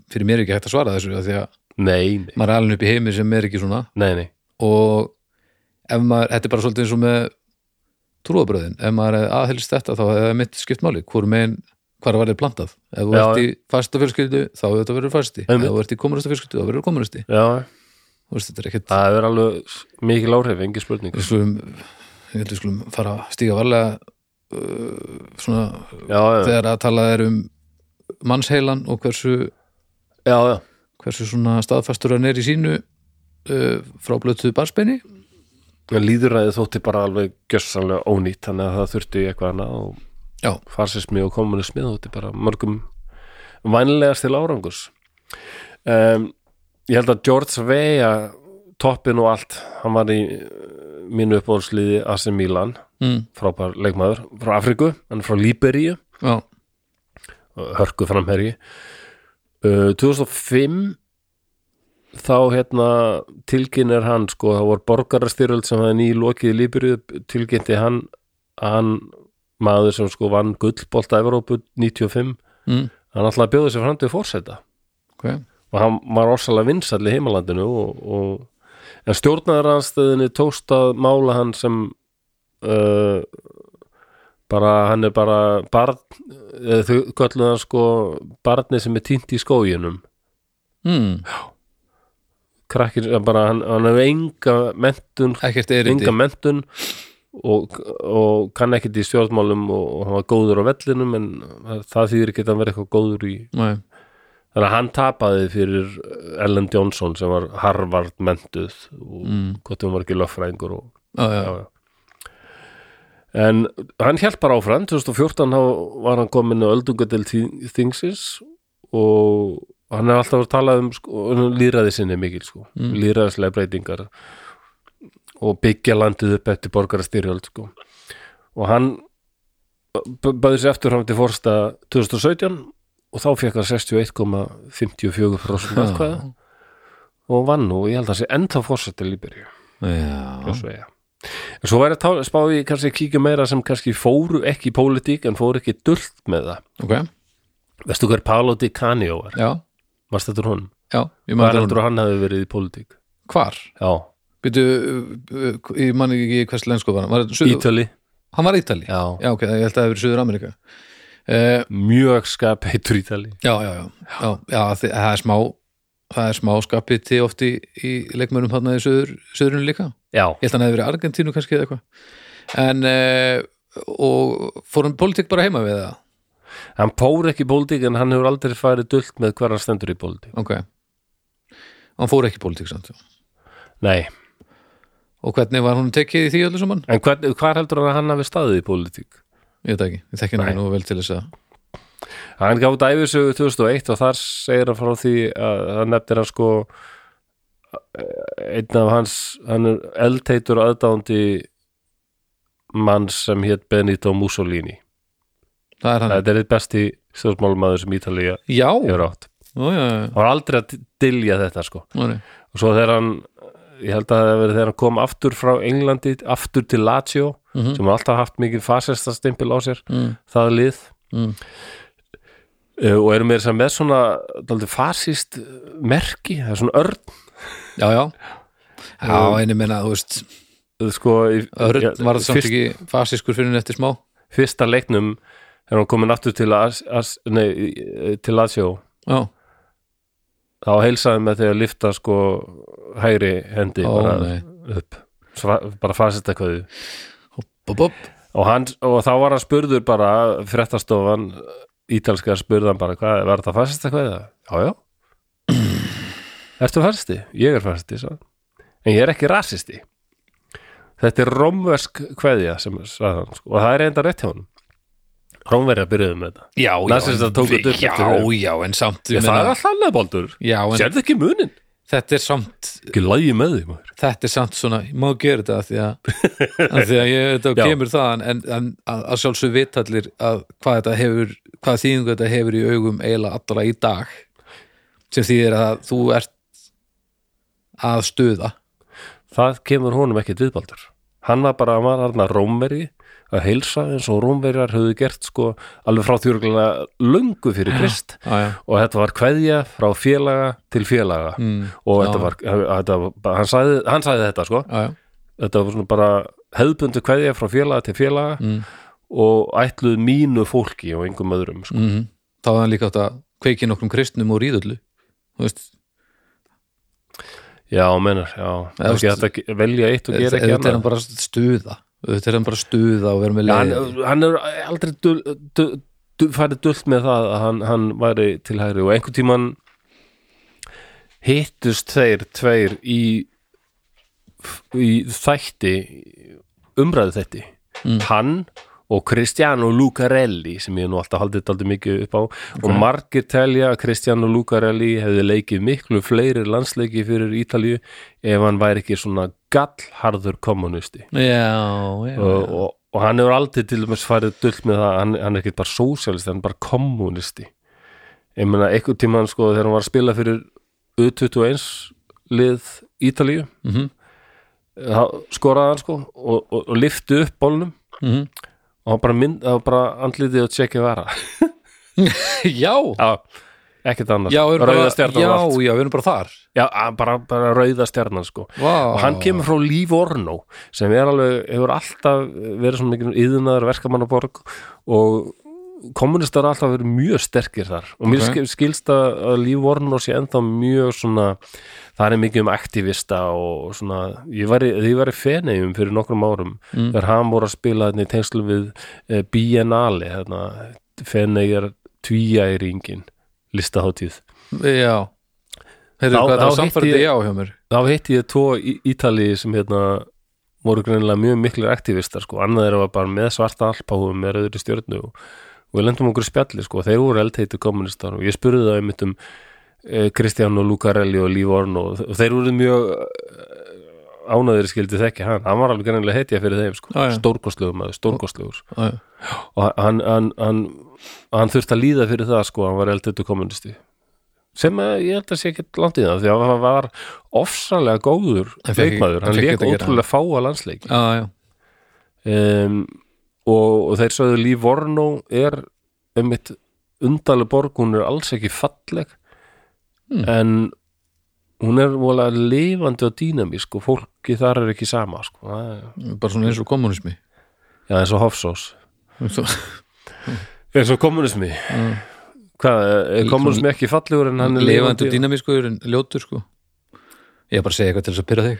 Speaker 2: Fyrir mér er ekki hægt að svara þessu af Því að
Speaker 1: nei, nei,
Speaker 2: maður er alveg upp í heimi sem er ekki svona
Speaker 1: nei, nei
Speaker 2: Og ef maður, þetta er bara svolítið eins og með trúabröðin Ef maður aðhelst þetta þá hefði það mitt skipt máli Hvor megin hvar var þið plantað ef þú
Speaker 1: Já,
Speaker 2: ert í fasta fjölskyldu þá er þetta verið fasti ef
Speaker 1: Einmitt.
Speaker 2: þú ert í komunasta fjölskyldu þá verður komunisti
Speaker 1: já,
Speaker 2: þú veist þetta er ekkert
Speaker 1: það er alveg s- mikil áhrif, engin spurning
Speaker 2: við skulum, ég held við skulum fara að stíga varlega uh, svona
Speaker 1: já, já,
Speaker 2: þegar að talað er um mannsheilan og hversu
Speaker 1: já, já.
Speaker 2: hversu svona staðfastur hann er í sínu uh, fráblötu barspenni
Speaker 1: líðuræði þótti bara alveg gjössanlega ónýtt þannig að það þurfti eitthvað annað og
Speaker 2: já,
Speaker 1: farsismi og kommunismi þótti bara mörgum vænlegast til árangurs um, ég held að George Veja toppin og allt hann var í eh, mínu uppáhaldsliði AC Milan,
Speaker 2: mm,
Speaker 1: frábær leikmaður frá Afriku, hann er frá Líberíu
Speaker 2: já,
Speaker 1: hörku framherji uh, 2005 þá hérna tilkynir hann sko, það voru borgarastyrjöld sem hann í lokið í Líbyrju tilkynnti hann hann maður sem sko vann gullbolt að Evrópu 95,
Speaker 2: mm,
Speaker 1: hann alltaf að bjóða sér fram til fórseta
Speaker 2: ok
Speaker 1: og hann var orsalega vinsall í heimalandinu og, og, en stjórnaðaranstöðinni tókst að mála hann sem uh, bara hann er bara barn, eh, þau kölluðu hann sko barni sem er týnt í skóginum
Speaker 2: mm,
Speaker 1: krakkir, eh, bara hann, hann hefur enga mentun,
Speaker 2: ekkert erindi
Speaker 1: enga mentun og, og kann ekkert í stjórnmálum og, og hann var góður á vellinum en það þýðir ekki að hann verið eitthvað góður í
Speaker 2: Nei,
Speaker 1: Þannig að hann tapaði fyrir eh, Ellen Johnson sem var Harvard mentuð og
Speaker 2: Mm.
Speaker 1: hvort hún var ekki löffræðingur og,
Speaker 2: já, já,
Speaker 1: já, já. En hann hjælt bara áfram 2014 þá var hann komin á öldungadel þingsins og hann er alltaf að tala um sko, um lýræði sinni mikil sko, lýræðislega breytingar og byggja landið upp eftir borgarastyrjöld sko. og hann bæði sér eftir hann til fórsta 2017 og þá fekk hann 61,54% atkvæða og vann nú, ég held að hann sé ennþá fórsetta Líberíu
Speaker 2: já,
Speaker 1: Krossvega En svo væri að tá- spá í kannski að kíkja meira sem kannski fóru ekki í pólitík en fóru ekki dult með það
Speaker 2: ok
Speaker 1: Veistu hver Paolo Di Canio var?
Speaker 2: já,
Speaker 1: Varst þetta hún?
Speaker 2: já, ég
Speaker 1: Hvað
Speaker 2: maður
Speaker 1: heldur að hann hafi verið í pólitík?
Speaker 2: hvar,
Speaker 1: Já,
Speaker 2: byrju uh, uh, ég man ekki hvers lensko var hann var, hann- suður,
Speaker 1: Ítali
Speaker 2: hann var Ítali
Speaker 1: Já.
Speaker 2: já, ok, ég held að það hefur verið Suður Amerika uh,
Speaker 1: Mjög skapeitur Ítali
Speaker 2: Já, já, já, já, já þi- það er smá það er smá skapiti oft í, í leikmönum hann í söður, söðurinu líka ég
Speaker 1: Já,
Speaker 2: held að hann hefði verið Argentínu kannski eða eitthvað en eh, og fór hann politík bara heima við það
Speaker 1: hann fóru ekki í pólitík en hann hefur aldrei farið dult með hver hann stendur í pólitík
Speaker 2: ok hann fór ekki í politík samt
Speaker 1: Nei,
Speaker 2: og hvernig var hún tekið í því öllu saman?
Speaker 1: en hvað, hvað heldur að hann hafi staðið í pólitík?
Speaker 2: ég veit það ekki, ég þekki hann ekki nú vel til þess að
Speaker 1: Hann gaf út æfisögu 2001 og þar segir hann frá því að hann nefnir hann sko einn af hans, hann er eldheitur aðdándi mann sem hétt Benito Mussolini
Speaker 2: Mm. það er hann,
Speaker 1: þetta er eitt besti stjórnmálmaður sem Ítalía
Speaker 2: já, já,
Speaker 1: hefur átt
Speaker 2: já, já,
Speaker 1: hann var aldrei að dilja þetta sko
Speaker 2: já, já.
Speaker 1: og svo þegar hann ég held að það hafi verið þegar hann kom aftur frá Englandi aftur til Lazio
Speaker 2: Mhm.
Speaker 1: sem hann alltaf haft mikið fasesta stimpil á sér
Speaker 2: Mm,
Speaker 1: það lið
Speaker 2: mm.
Speaker 1: Eh, og eru meira sem með svona daldið fasist merki, það er svona örn
Speaker 2: já, já já, en ég meina, þú veist
Speaker 1: eh, sko, í,
Speaker 2: Örn
Speaker 1: ja,
Speaker 2: var það samt
Speaker 1: fyrst,
Speaker 2: ekki fasískur fyrir en eftir smá
Speaker 1: fyrsta leiknum þegar hann komin aftur til as, as, nei, eh, til Lazio
Speaker 2: já,
Speaker 1: þá heilsaði með því að lifta sko hægri hendi
Speaker 2: Ó,
Speaker 1: bara
Speaker 2: nei.
Speaker 1: upp Sva, bara fasista kveðu
Speaker 2: bop, bop
Speaker 1: og, hann, og þá var hann spurður bara fréttastofan ítalska spurðan bara hvað, var þetta fasista kveða? Já, já Ertu fasisti? Ég er fasisti, sagði hann. en ég er ekki rasisti Þetta er rómversk kveðja sem sagði hann, sko. og það er enda rétt hjá honum Rómverja byrjuðu með þetta
Speaker 2: Já, já,
Speaker 1: Nasistar
Speaker 2: en-
Speaker 1: tóku þetta upp
Speaker 2: já,
Speaker 1: eftir þau.
Speaker 2: já, en samt ég
Speaker 1: Ég, Það er
Speaker 2: meina,
Speaker 1: alltaf annað baldur,
Speaker 2: já, en
Speaker 1: sérðu ekki munin
Speaker 2: þetta er samt
Speaker 1: Ekki lægi með því maður
Speaker 2: þetta er samt svona, ég má gera þetta af því að, af því að ég, þetta
Speaker 1: Já.
Speaker 2: kemur þaðan en, en að, að sjálfsög vitallir að hvað þetta hefur, hvað þýðingu þetta hefur í augum eiginlega allra í dag sem þýðir að þú ert að stuða
Speaker 1: Það kemur honum ekkit við baldur Hann var bara, hann var hann að rómverji að heilsa eins og rómverjar höfðu gert sko alveg frá þjörglega löngu fyrir krist
Speaker 2: já, já,
Speaker 1: og þetta var kveðja frá félaga til félaga
Speaker 2: Mm,
Speaker 1: og
Speaker 2: já.
Speaker 1: þetta var, þetta, var- hann, sagði, hann sagði þetta sko
Speaker 2: já, já.
Speaker 1: þetta var svona bara hefðbundu kveðja frá félaga til félaga
Speaker 2: Mm.
Speaker 1: og ætluð mínu fólki og engum öðrum sko.
Speaker 2: mm -hmm. þá er hann líka átt að kveiki nokkrum kristnum og ríðullu þú veist,
Speaker 1: já, menar, já,
Speaker 2: Eða,
Speaker 1: ekki
Speaker 2: veist-
Speaker 1: þetta ge- velja eitt og gera
Speaker 2: eða
Speaker 1: ekki
Speaker 2: þetta er
Speaker 1: annað
Speaker 2: hann bara stuða þetta er hann bara stuða og vera með
Speaker 1: Já,
Speaker 2: leið
Speaker 1: hann, hann er aldrei dul, dul, dul, farið dult með það að hann, hann væri til hægri og einhvern tímann hittust þeir tveir í, í þætti umræðu þætti hann og Cristiano Lucarelli sem ég hef nú alltaf haldið daldið mikið upp á og margir telja að Cristiano Lucarelli hefði leikið miklu fleiri landsleiki fyrir Ítalíu ef hann væri ekki svona gallharður kommunisti
Speaker 2: já, já,
Speaker 1: og, og, og hann hefur aldrei til dæmis farið dullt með það, hann, hann er ekki bara sósialisti, hann er bara kommunisti ég meina, einhvern tímann sko þegar hann var að spila fyrir U21 lið Ítalíu mm
Speaker 2: Mhm.
Speaker 1: skoraði hann sko og, og, og lifti upp bólnum
Speaker 2: Mhm.
Speaker 1: og hann bara, mynd, hann bara andlitið og tjekkið vera
Speaker 2: já,
Speaker 1: já, ekkert annars
Speaker 2: já, við erum bara,
Speaker 1: rauða stjarnan
Speaker 2: já,
Speaker 1: og allt.
Speaker 2: já, við erum bara þar
Speaker 1: já, að- bara, bara rauða stjarnan sko
Speaker 2: Vá.
Speaker 1: og hann kemur frá Líf Orno sem er alveg, hefur alltaf verið svona mikil yðunar verkamannaborg og kommunistar hafa alltaf verið mjög sterkir þar og mér
Speaker 2: Ok.
Speaker 1: okay. skilst að að Líf Orno sé ennþá mjög svona það er mikið um aktivista og svona, ég væri, ég væri fenegjum fyrir nokkrum árum þegar hann voru að spila þetta í tengslu við eh, Biennale, þarna fenegjar tvíæringin listaháttíð
Speaker 2: já, heyrðu
Speaker 1: Þá-
Speaker 2: hvað það
Speaker 1: þá
Speaker 2: var samfærdi
Speaker 1: hitti ég-
Speaker 2: já hjá mér
Speaker 1: þá hitti ég tvo í Ítalíi sem hérna voru greinilega mjög miklir aktivistar sko, annað þeirra var bara með svarta alpáum með rauðri stjörnu og, og við lendum okkur í spjalli sko, þeir voru eldheiti kommunistar og ég spurði það einmitt um eh, Kristján og Lucarelli og Líf Orn og, og þeir voru mjög eh, ánæðir skildi þekki hann, hann var alveg greinilega heitja fyrir þeim sko,
Speaker 2: Já, já.
Speaker 1: stórkostlegum aður, stórkostlegur
Speaker 2: Já, já.
Speaker 1: og hann, hann, hann, hann þurfti að líða fyrir það sko, hann var eldheitu kommunisti sem að ég held að sé ekki langt í það því að hann var ofsalega góður
Speaker 2: Hann fékk ekki-
Speaker 1: leikmaður,
Speaker 2: hann
Speaker 1: hann
Speaker 2: fékk
Speaker 1: leik
Speaker 2: ekki að gera
Speaker 1: ótrúlega fáa landsleik
Speaker 2: já, já,
Speaker 1: um, og, og þeir sögðu Líf Vornó er um mitt undarlega borg hún er alls ekki falleg
Speaker 2: Hmm.
Speaker 1: en hún er vola lifandi og dýnamísk og fólki þar er ekki sama sko. Það er-
Speaker 2: bara svona eins og kommunismi
Speaker 1: já, eins og Hofsós
Speaker 2: Svo-
Speaker 1: eins og kommunismi hvað, er kommunismi ekki fallegur en hann er
Speaker 2: lifandi
Speaker 1: lifandi
Speaker 2: og dýnamískur en ljótur sko ég er bara að segja eitthvað til þess að pyrra þig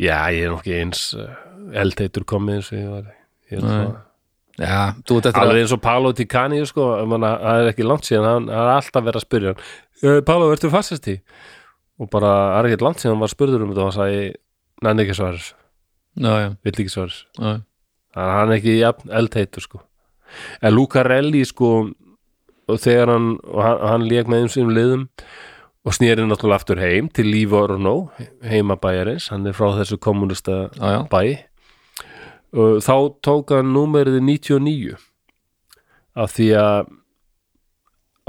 Speaker 1: já, ég er nokki eins eh, eldheitur komið eins og ég var ég er svona-
Speaker 2: já, þú ert eftir
Speaker 1: alveg eins og Paolo Ticani sko, manna, það er ekki langt síðan hann hann er alltaf verið að spyrja hann "Eh, Paolo, ertu fasisti? og bara, það er ekki langt síðan hann var spurður um þetta og hann sagði, nenni ekki svaris
Speaker 2: að já, já,
Speaker 1: vill ekki svaris
Speaker 2: já,
Speaker 1: þannig að hann er ekki jafn eldheitur sko en Lucarelli sko og þegar hann, og hann, hann lék með einsum liðum og snýri náttúrulega aftur heim til Líf Orno, heimabæjarins hann er frá þessu kommunista
Speaker 2: já, já.
Speaker 1: bæ og þá tók hann númerið 99 af því að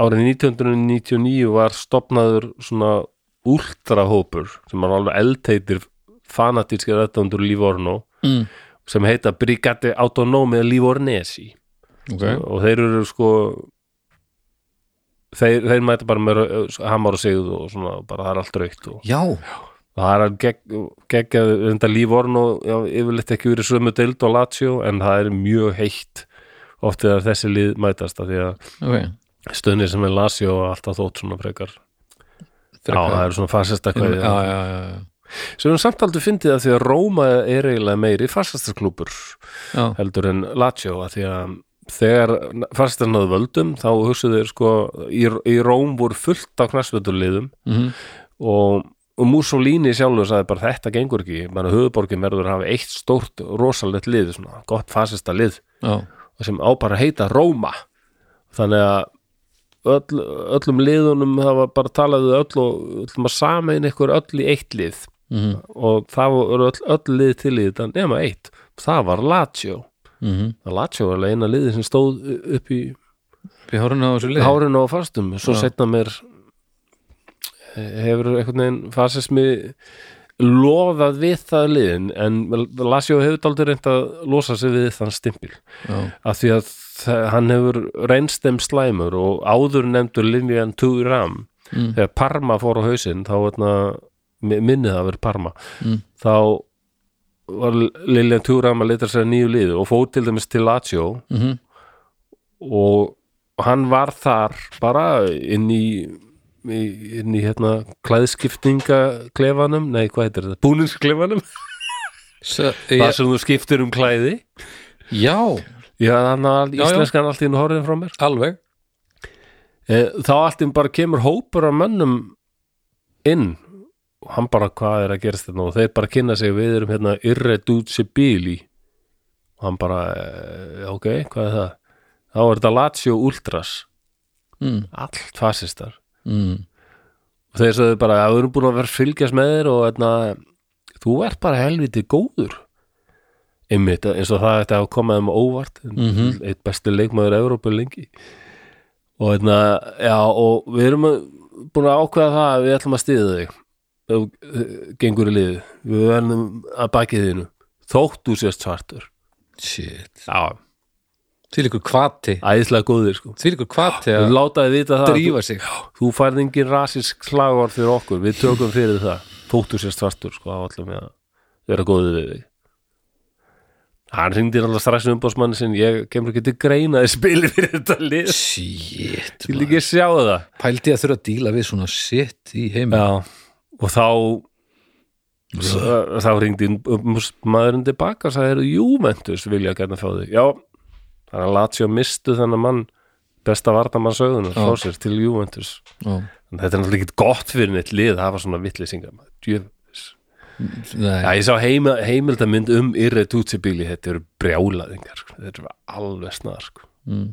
Speaker 1: árið 1999 var stopnaður svona últrahópur sem var alveg eldheitir fanatískir aðdöndur Lívorno
Speaker 2: Mm.
Speaker 1: sem heita Brigade Autonome Livornesi
Speaker 2: ok
Speaker 1: og þeir eru sko þeir, þeir mæta bara með rau- hamar og sigð og svona bara það er allt raukt og
Speaker 2: já,
Speaker 1: og það er að gegg, geggjað þetta líf orn og já, yfirleitt ekki verið sömu deild og Lazio en það er mjög heitt oft þegar þessi lið mætast af því að
Speaker 2: ok
Speaker 1: stöðnir sem er Lazio og alltaf þótt svona frekar Já,
Speaker 2: hvað?
Speaker 1: það eru svona fasista
Speaker 2: já,
Speaker 1: kvæði
Speaker 2: já, já, já,
Speaker 1: sem við samt aldrei fyndið að því að Róma er eiginlega meiri fasistasklúpur
Speaker 2: já.
Speaker 1: heldur en Lazio að því að þegar fasistarn hafði völdum þá hugsuðu þeir sko í, í Róm voru fullt á knastveituliðum
Speaker 2: Mhm.
Speaker 1: og, og Mussolini sjálfur sagði bara þetta gengur ekki, bara höfuborgin verður að hafa eitt stórt rosalegt lið svona gott fasista lið
Speaker 2: já,
Speaker 1: og sem á bara að heita Róma þannig að öll, öllum liðunum hafa bara talað við öll og öllum að samein ykkur öll í eitt lið
Speaker 2: Mhm.
Speaker 1: og það voru öll, öll lið til í þetta nema eitt, það var Lazio
Speaker 2: Mhm.
Speaker 1: að Lazio var alveg eina liði sem stóð upp í
Speaker 2: við hárun á þessu lið
Speaker 1: hárun og fastum svo setna mér eh, hefur einhvern veginn fasismi loðað við það liðin en Lasjó hefur aldrei reynd að losa sig við þann stimpil
Speaker 2: já,
Speaker 1: af því að þa- hann hefur reynst þeim slæmur og áður nefndur linjan Turam
Speaker 2: Mm.
Speaker 1: þegar hérna, Parma fór á hausinn þá veitna, minnið það að vera Parma
Speaker 2: Mm.
Speaker 1: þá var Lilian Thuram að leita sér að nýju liðu og fór til dæmis til Lazio
Speaker 2: Mhm.
Speaker 1: og hann var þar bara inn í í- inn í hérna klæðskiptingaklefanum, nei hvað heitir þetta búningsklefanum,
Speaker 2: Sa-
Speaker 1: það
Speaker 2: ég,
Speaker 1: sem þú skiptir um klæði
Speaker 2: Já,
Speaker 1: já, þannig að
Speaker 2: Já, já.
Speaker 1: íslenskan allt í hún horfðin frá mér
Speaker 2: alveg
Speaker 1: Eh, þá allt einn bara kemur hópur af mönnum inn og hann bara hvað er að gerast þetta og þeir bara kynna sig við erum hérna irreducibili og hann bara eh, ok, hvað er það þá er þetta Lazio Ultras
Speaker 2: mm.
Speaker 1: allt fasistar
Speaker 2: Mm.
Speaker 1: og þeir sagði bara að við erum búin að vera að fylgjast með þér og hérna, þú ert bara helviti góður einmitt, eins og það þetta hafa komað um óvart
Speaker 2: Mhm.
Speaker 1: eitt besti leikmaður Európu lengi og hérna, já og við erum að, búin að ákveða það að við ætlum að stiða þig ef þú, eh, gengur í liðið við verðum að bakið þínu þótt þú sést svartur
Speaker 2: Shit
Speaker 1: já.
Speaker 2: Því líkur kvati
Speaker 1: æðislega góðir sko
Speaker 2: Því líkur kvati
Speaker 1: við
Speaker 2: að
Speaker 1: látaði vita það að þú-
Speaker 2: drífa sig
Speaker 1: þú færð engin rasisk slagvart fyrir okkur við tökum fyrir það þóttu sér svartur sko þá ætlum við að vera góðið við þig hann hringdi náttúrulega stressum umbásmanni sinn ég kemur ekki til greina að spili fyrir þetta lið
Speaker 2: Shit
Speaker 1: til ekki sjá það
Speaker 2: Pældi að þurfa að díla við svona shit í heim
Speaker 1: já og þá þá hringdi umbásmaðurinn tilbaka og sagði eru júmentus vilja gæna fá þig já þannig að Lazio mistu þennan mann besta vartamann söguna frá sér til júmentus
Speaker 2: Já.
Speaker 1: En þetta er náttúrulega ekki gott fyrir neitt lið að hafa svona vittlýsingar Já,
Speaker 2: Nei,
Speaker 1: ég sá heima, heimildamynd um irretútsibíli, þetta eru brjálaðingar sko. þetta eru alveg snar sko.
Speaker 2: er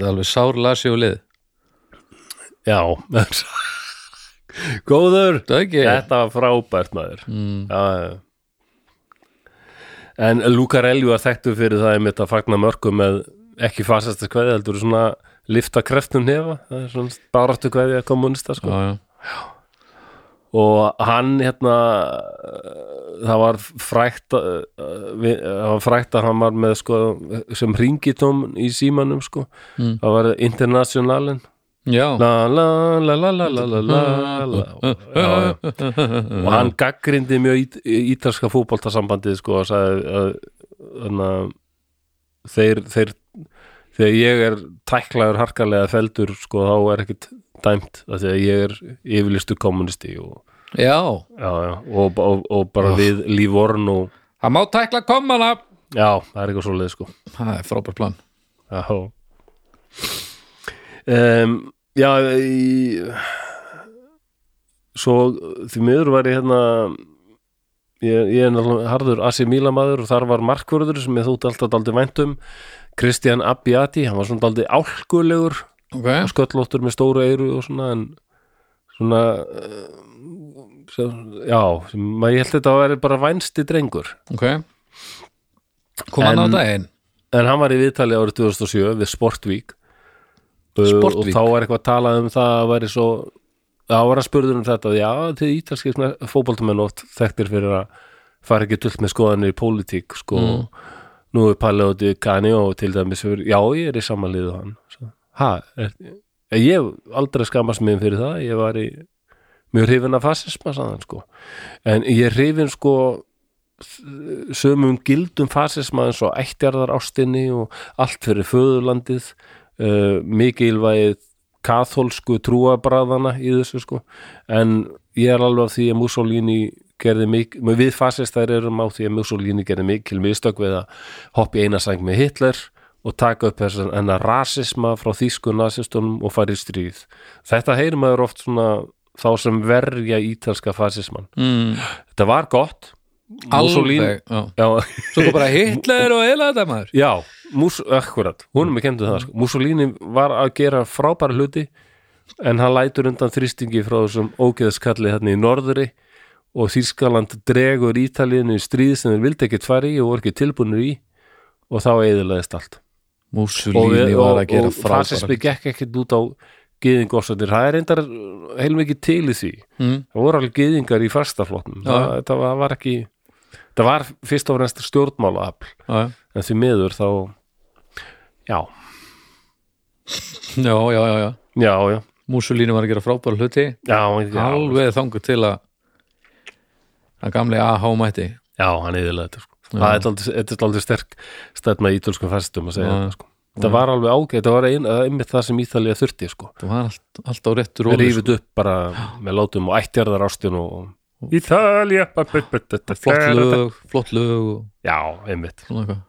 Speaker 2: þetta alveg sár lasi og lið
Speaker 1: Já Góður
Speaker 2: Það er ekki
Speaker 1: Þetta var frábært maður mm. já, já. En Lucarelli var þekktu fyrir það einmitt að fagna mörgum með ekki fasasta kveði, heldur svona lifta kreftun hefa, það er svona baráttu kveði að kommunista sko.
Speaker 2: Já, já.
Speaker 1: og hann hérna eh, það var frækt eh, við- það var frækt að hann var með sko, sem ringitóm í símanum sko.
Speaker 2: Mm.
Speaker 1: það var internationalin
Speaker 2: Já.
Speaker 1: la la la la la la la la la Já, já. og hann gaggrindi mjög ít, ítalska fótboltasambandið sko og sagði að, að þeir, þeir þegar ég er tæklaður harkalega feldur sko þá er ekkit dæmt af því að ég er yfirlistu kommunisti og
Speaker 2: Já,
Speaker 1: já, já, og, og, og bara við lífvorn og
Speaker 2: hann má tækla kommana
Speaker 1: já, það er eitthvað svo leið sko
Speaker 2: Það er frábær plan
Speaker 1: já um, já í, svo því miður var ég hérna ég, ég er náttúrulega harður Asi Mílamaður og þar var markvörður sem ég þótti alltaf daldi væntum Kristján Abbiati, hann var svona daldi álkulegur
Speaker 2: Ok,
Speaker 1: og sköllóttur með stóru eyru og svona en svona eh, sem, já, sem, maður ég held þetta að vera bara vænsti drengur
Speaker 2: ok Kom hann á
Speaker 1: En-
Speaker 2: daginn
Speaker 1: en hann var í viðtali árið 2007 við Sportvík Uh, og
Speaker 2: Sportvík?
Speaker 1: þá var eitthvað að tala um það að væri svo þá var hann spurður um þetta já, þið ítalskir fótboltamenn oft þekktir fyrir að fara ekki tullt með skoðanir í pólitík sko, nú er Palli og Kani og til dæmis fyrir, já, ég er í samanliðu hann Svo, ha, er, ég hef aldrei skammast mig fyrir það ég var í mjög hrifin af fasisma sagðan sko en ég er hrifin sko sömum gildum fasisma eins og ættjarðar ástinni og allt fyrir föðurlandið uh, mikilvægið katholsku trúabræðana í þessu sko en ég er alveg af því að Mussolini gerði mikil, við fasistar erum á því að Mussolini gerði mikil mistök við að hoppa í eina sang með Hitler og taka upp þessan enna rasisma frá þýsku nazistunum og fara í stríð þetta heyrir maður oft svona þá sem verja ítalska fasisman
Speaker 2: mm.
Speaker 1: þetta var gott Mussolini-
Speaker 2: Alveg já.
Speaker 1: Já,
Speaker 2: Svo kom bara Hitler og heila þetta maður
Speaker 1: já mús, akkurat, húnum er kemdu það sko. Mussolini var að gera frábæra hluti en hann lætur undan þrýstingi frá þessum ógeðaskalli hérna í norðri og Þýskaland dregur Ítalíinu í stríð sem þeir vildi ekkert fara í og voru ekki tilbúinur í og þá eðilegist allt og,
Speaker 2: Mussolini var að gera
Speaker 1: og fasismi
Speaker 2: frábæra
Speaker 1: gekk ekkert út á gyðingorsöndir, það er reyndar heilmikið til í því
Speaker 2: Mm.
Speaker 1: það voru alveg gyðingar í fastaflotnum það, það var- var ekki það var fyrst og fremst stjórnmálaafl
Speaker 2: Já, já.
Speaker 1: en því miður þá já,
Speaker 2: Já, já, já, já
Speaker 1: já, já,
Speaker 2: Mussolini var að gera frábæra hluti
Speaker 1: já, já.
Speaker 2: alveg þangu til að að gamli AH mætti
Speaker 1: Já, hann eðilega þetta sko. Það er dálítið- Þetta er aldrei sterk stefna í ítölskum fæstum að segja
Speaker 2: Já.
Speaker 1: þetta sko. Þetta var alveg ágætt, þetta var ein, einmitt það sem Ítalía þurfti sko.
Speaker 2: það var allt, allt á réttu sko.
Speaker 1: Róli,
Speaker 2: róli
Speaker 1: Rífið upp bara með látum og ættjarðar ástin og, og Ítalía ba- ba- ba- ba- ba-
Speaker 2: flott lög, flott lög og
Speaker 1: Já, einmitt
Speaker 2: svona eitthvað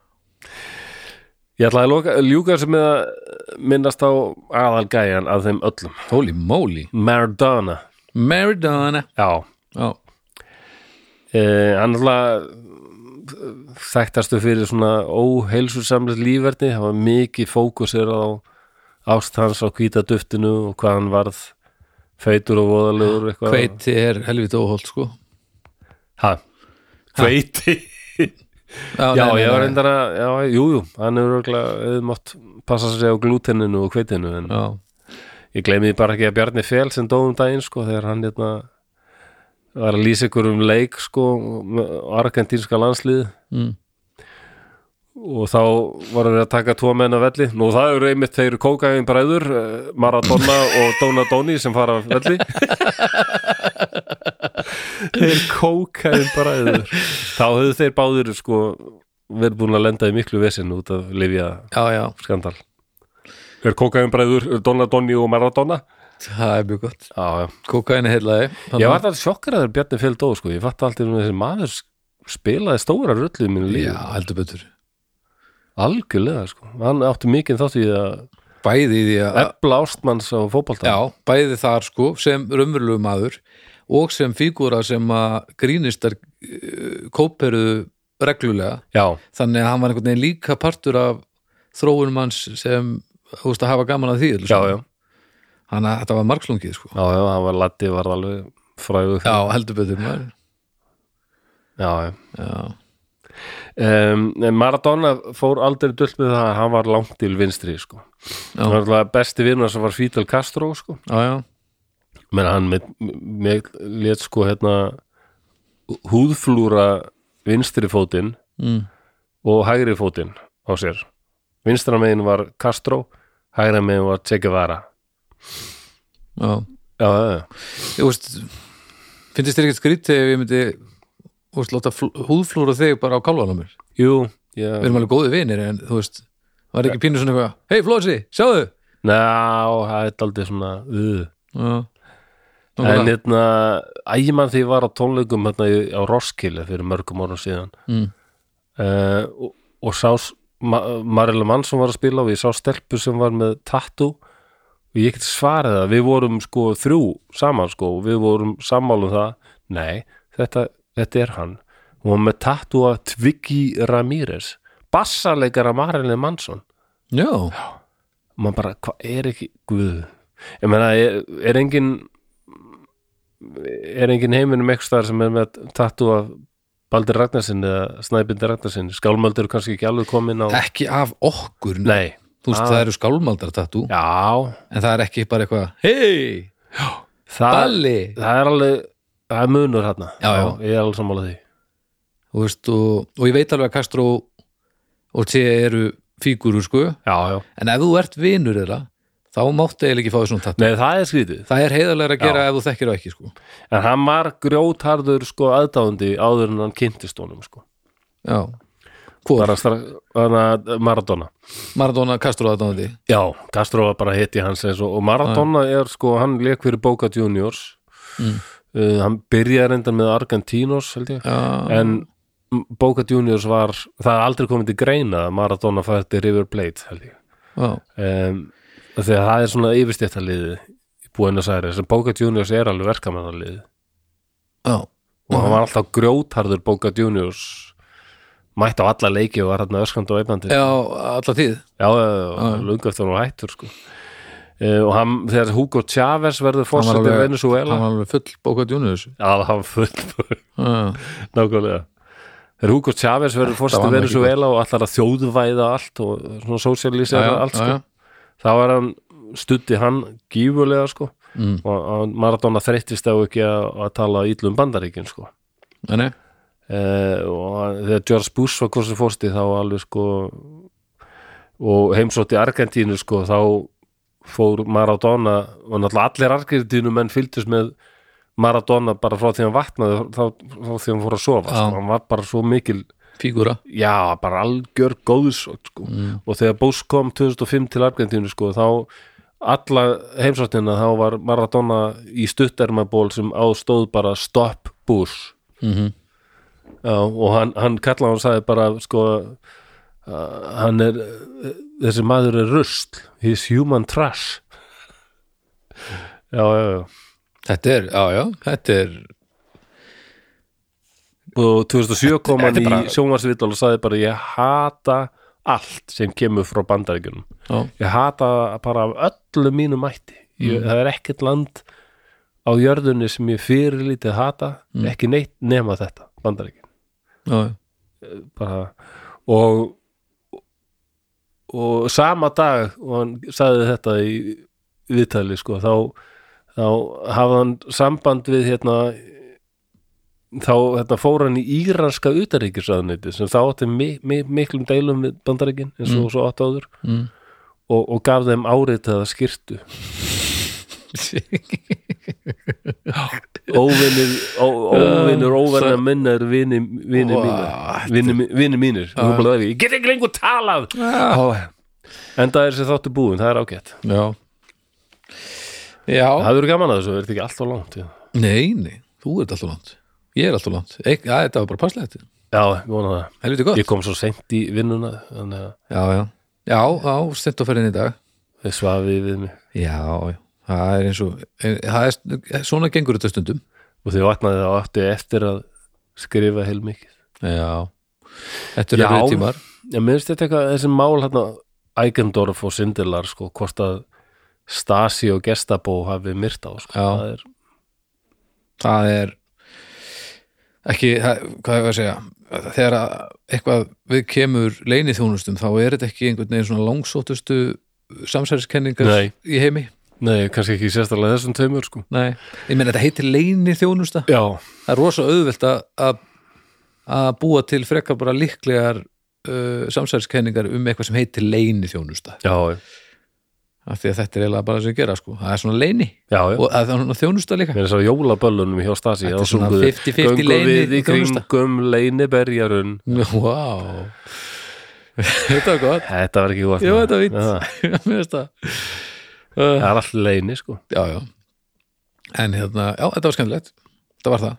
Speaker 1: Ég ætlaði að loka, ljúka þessu með að minnast á aðalgæjan af þeim öllum
Speaker 2: Holy moly,
Speaker 1: Maradona
Speaker 2: Maradona
Speaker 1: Já,
Speaker 2: Já,
Speaker 1: Eh, hann alltaf þekktastu fyrir svona óheilsusamlega lífverdi, það var mikið fókusir á ást hans á hvíta duftinu og hvað hann varð feitur og voðalegur eitthvað
Speaker 2: hveiti er helviti óholt sko
Speaker 1: ha, hveiti já,
Speaker 2: nei, nei,
Speaker 1: ég var
Speaker 2: nei.
Speaker 1: reyndar að, já, jú, jú hann hefur örgulega, eða mátt passa sig á glúteninu og hveitinu en
Speaker 2: Já,
Speaker 1: ég gleymi því bara ekki að Bjarni Fel sem dóðum daginn, sko, þegar hann hérna var að lýsa ykkur um leik sko, og argentínska landslið
Speaker 2: mm.
Speaker 1: og þá voru við að taka tvo menn af velli nú það eru einmitt þeir kókaðin bræður eh, Maradona og Donadoni sem fara af velli þeir kókaðin bræður þá höfðu þeir báðir sko verið búin að lenda í miklu vesinn út af Livia
Speaker 2: já, já,
Speaker 1: skandal þeir kókaðin bræður Donadoni og Maradona
Speaker 2: það er mjög gott
Speaker 1: já, já.
Speaker 2: Kokaini heilaði
Speaker 1: ég var alltaf sjokkar að þeir Bjarni Fjöld dó sko. ég fatt alltaf um þessi maður spilaði stóra rullu í mínu lífi
Speaker 2: Já, heldur betur
Speaker 1: algjörlega sko. hann átti mikið þátt í að
Speaker 2: Bæði í því að
Speaker 1: Ebla ástmanns á fótbolta
Speaker 2: Já, bæði þar sko sem raunverulegu maður og sem fígúra sem að grínistar eh, kóperuðu reglulega
Speaker 1: já,
Speaker 2: þannig að hann var einhvern veginn líka partur af þróunum hans sem þú veist að hafa gaman að því
Speaker 1: já, já,
Speaker 2: Þannig að þetta var margslungið sko
Speaker 1: já, já hann var Latti var alveg fræðu
Speaker 2: Já, heldur betur maður
Speaker 1: já, já.
Speaker 2: Já,
Speaker 1: Um, Maradona fór aldrei dult með það að hann var langt til vinstri sko.
Speaker 2: Já.
Speaker 1: hann var alltaf besti vinur sem var Fidel Castro sko.
Speaker 2: já, já,
Speaker 1: menn hann með, með lét sko hérna húðflúra vinstri fótinn
Speaker 2: mm.
Speaker 1: og hægri fótinn á sér vinstra megin var Castro hægra megin var Che Guevara
Speaker 2: já.
Speaker 1: já, já, já
Speaker 2: Ég veist finnst þér ekkert skrítið ef ég myndi þú veist, láta fl- húðflúra þig bara á kálfanum mér
Speaker 1: jú, já,
Speaker 2: Við erum alveg góði vinir en þú veist var ekki pínu svona eitthvað, hei Flósi, sjáðu
Speaker 1: ná, það er aldrei svona uh.
Speaker 2: Já,
Speaker 1: En
Speaker 2: Nákvæmlega.
Speaker 1: hérna, ægimann því ég var á tónleikum hérna, í- á Roskilde fyrir mörgum árum síðan
Speaker 2: Mm.
Speaker 1: uh, og, og sá s- ma Marilla Manson var að spila og ég sá stelpu sem var með tattoo og ég get svarið það, við vorum sko þrjú saman sko og við vorum sammálum það, nei, þetta, þetta er hann hún var með tattoo af Twiggy Ramírez bassarleikara Marilla Manson
Speaker 2: já,
Speaker 1: og maður bara, hvað er ekki Guð ég meina, er, er engin er engin heiminum eitthvað staðar sem er með tattu af Baldur Ragnarsin eða Snæbindur Ragnarsin skálmöldur eru kannski ekki alveg komin á
Speaker 2: ekki af okkur nei.
Speaker 1: nei,
Speaker 2: þú veist
Speaker 1: Ah.
Speaker 2: það eru skálmaldar tattú
Speaker 1: já
Speaker 2: en það er ekki bara eitthvað hei,
Speaker 1: það,
Speaker 2: balli
Speaker 1: það er alveg það er munur hérna
Speaker 2: Já, já.
Speaker 1: ég er alveg sammála því
Speaker 2: þú veist, og, og ég veit alveg að Castro og T eru fígurur sko
Speaker 1: já, já.
Speaker 2: en ef þú ert vinur þeirra þá máttu eiginlega ekki fá þér svona tattú
Speaker 1: nei, það er skrítið
Speaker 2: það er heiðarlega að
Speaker 1: Já.
Speaker 2: gera ef þú þekkir það ekki sko
Speaker 1: en hann var grjótharður sko aðdáðandi áður en hann kynntist honum sko
Speaker 2: já, hvor,
Speaker 1: bara strax, hana, Maradona
Speaker 2: Maradona Castro aðdáðandi
Speaker 1: Já, Castro var bara hitti hans eins og, og Maradona er sko, hann leik fyrir Boca Juniors
Speaker 2: Mm.
Speaker 1: uh, hann byrjaði reyndar með Argentinos held ég,
Speaker 2: já,
Speaker 1: en Boca Juniors var, það er aldrei komið til greina að Maradona fæði til River Plate held ég,
Speaker 2: já,
Speaker 1: um, þegar það er svona yfirstéttaliði í Buenos Aires, en Boca Juniors er alveg verkamannaliði
Speaker 2: já
Speaker 1: og hann var
Speaker 2: Mhm.
Speaker 1: alltaf grjótharður Boca Juniors mætt á alla leiki og var hérna öskandi og eifandi
Speaker 2: já, alla tíð
Speaker 1: Já, já, já, lungar þegar hún hættur sko. uh, og hann, þegar Hugo Chávez verður
Speaker 2: hann var
Speaker 1: fórsætti
Speaker 2: alveg,
Speaker 1: Venezuela
Speaker 2: hann var alveg full bókað júniðus
Speaker 1: Já, hann full
Speaker 2: já,
Speaker 1: nákvæmlega þegar Hugo Chávez verður fórsætti
Speaker 2: var nú ekki
Speaker 1: Venezuela og allar að þjóðvæða allt og svona
Speaker 2: já,
Speaker 1: sósialísera allt
Speaker 2: já,
Speaker 1: sko.
Speaker 2: já.
Speaker 1: þá er hann studdi hann gífulega sko
Speaker 2: Mm.
Speaker 1: og og Maradona þreyttist á ekki að, að tala ítlum bandaríkin sko
Speaker 2: Nei, nei.
Speaker 1: eh, og hann- þegar George Bush var hvort sem fórsti þá alveg sko og heimsótti Argentínu sko þá fór Maradona og náttúrulega allir Argentínu menn fylgdist með Maradona bara frá því hann vatnaði þá, þá því hann fór að sofa
Speaker 2: Já.
Speaker 1: sko. hann var bara svo mikil
Speaker 2: fígúra
Speaker 1: já, bara algjör góðs sko.
Speaker 2: Mm.
Speaker 1: og þegar Búss kom 2005 til Argentínu sko, þá alla heimsóttina þá var Maradona í stuttermaból sem ástóð bara stopp Búss
Speaker 2: Mhm.
Speaker 1: já, og hann, hann kallaði hann sagði bara sko uh, hann er, uh, þessi maður er rusl, he's human trash já, já, já
Speaker 2: Þetta er, já, já, þetta er
Speaker 1: og 2007 kom hann
Speaker 2: þetta er
Speaker 1: í bara...
Speaker 2: bara-
Speaker 1: sjónvarsvital og sagði bara ég hata allt sem kemur frá bandaríkjunum
Speaker 2: já,
Speaker 1: ég hata bara af öllu mínu mætti ég, það er ekkert land á jörðunni sem ég fyrirlítið hata ekki neitt nema þetta bandaríkjun
Speaker 2: já, já.
Speaker 1: bara, og og sama dag og hann sagði þetta í viðtali sko, þá, þá hafði hann samband við hérna þá hérna, fór hann í íranska utaríkisraðnæti sem þá átti mi mi miklum deilum við bandaríkin eins og svo átt áður
Speaker 2: Mm.
Speaker 1: og, og gaf þeim áritaða skirtu óvinnir óvinnir óverða minnar vini, vini
Speaker 2: Vá,
Speaker 1: mínir vini, mi- vini mínir Þú bara það ekki, ég get ekki lengur talað Ó, en það er sér þáttu búin, það er ágætt
Speaker 2: já Já,
Speaker 1: það verður gaman að þessu, verður þetta ekki alltaf langt já,
Speaker 2: nei, nei, þú ert alltaf langt Ég er alltaf langt, Eik, já, þetta var bara passlegt
Speaker 1: já, ég vona það
Speaker 2: Helviti gott
Speaker 1: ég kom svo seint í vinnuna þannig að
Speaker 2: Já, já, já, já, stend á ferðin í dag
Speaker 1: þið svafið við mig
Speaker 2: Já, já, það er eins og en, það er, eh, Svona gengur þetta stundum
Speaker 1: og þið vaknaði þá aftur eftir að skrifa heil mikið
Speaker 2: Já, þetta
Speaker 1: Já.
Speaker 2: eru erfið tímar
Speaker 1: Já, mér finnst þetta eitthvað þessi mál hérna Eigendorf og Sindelar sko, hvort að Stasi og Gestapo hafi myrt á sko.
Speaker 2: Já.
Speaker 1: það er
Speaker 2: það er ekki, það- hvað hefur að segja þegar að eitthvað við kemur leinið þjónustum þá er þetta ekki einhvern veginn svona langsóttustu samsæriskenningar
Speaker 1: Nei.
Speaker 2: í heimi
Speaker 1: Nei, kannski ekki sérstaklega þessum tveimur sko
Speaker 2: Nei. ég meina þetta heitir leinið þjónusta
Speaker 1: Já,
Speaker 2: það er rosa auðvelt að- að að búa til frekar bara líklegar uh, samsæriskenningar um eitthvað sem heitir leinið þjónusta
Speaker 1: já,
Speaker 2: af því að þetta er eiginlega bara sem gera sko það er svona leini
Speaker 1: já, já.
Speaker 2: og að það er svona þjónusta líka
Speaker 1: Mér er svo jólaböllunum hjá Stasi
Speaker 2: Þetta
Speaker 1: þá
Speaker 2: er svona
Speaker 1: sungu þau,
Speaker 2: 50-50
Speaker 1: "Göngum
Speaker 2: leyni-
Speaker 1: við í
Speaker 2: þjónusta."
Speaker 1: kringum leiniberjarun
Speaker 2: wow þetta var gott
Speaker 1: Þetta var ekki gott
Speaker 2: Já,
Speaker 1: maður.
Speaker 2: þetta veit
Speaker 1: Já,
Speaker 2: Mér finnst það uh,
Speaker 1: Það er allt leini sko
Speaker 2: Já, já En hérna, já, þetta var skemmtilegt Þetta var það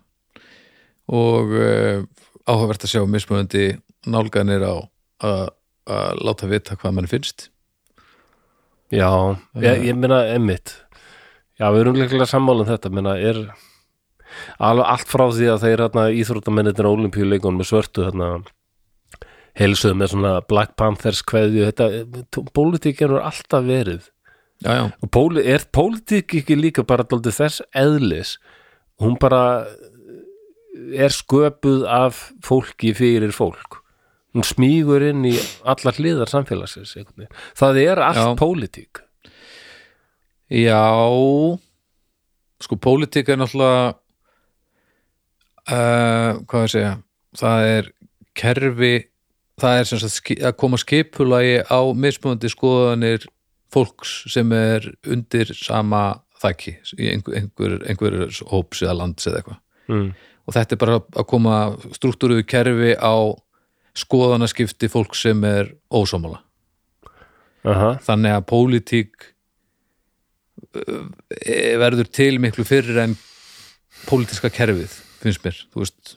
Speaker 2: Og uh, áhugavert að sjá mismunandi nálganir á að að láta vita hvað mann finnst
Speaker 1: Já, ég, ég meina emmitt Já, við erum líklega sammála um þetta meina, er alveg allt frá því að þeir hérna, íþróttamennir á olimpíuleikunum með svörtu hérna, heilsuð með svona Black Panthers kveðju þetta, eh, pólitík er alltaf verið
Speaker 2: Já, já,
Speaker 1: og póli, er pólitík ekki líka bara dálítið þess eðlis hún bara eh, er sköpuð af fólki fyrir fólk hún smýgur inn í allar hliðar samfélagsins einhvern veginn. það er allt
Speaker 2: Já.
Speaker 1: pólitík
Speaker 2: já Sko, pólitík er náttúrulega uh, Hvað að segja Það er kerfi Það er sem sagt ski- að koma skipulagi á mismunandi skoðanir fólks sem er undir sama þæki í einhver, einhver, einhver hóps eða lands eða eitthvað
Speaker 1: mm.
Speaker 2: og þetta er bara að koma struktúruðu kerfi á skoðanaskipti fólk sem er ósámála
Speaker 1: Aha,
Speaker 2: þannig að pólitík eh, verður til miklu fyrir en pólitíska kerfið finnst mér, þú veist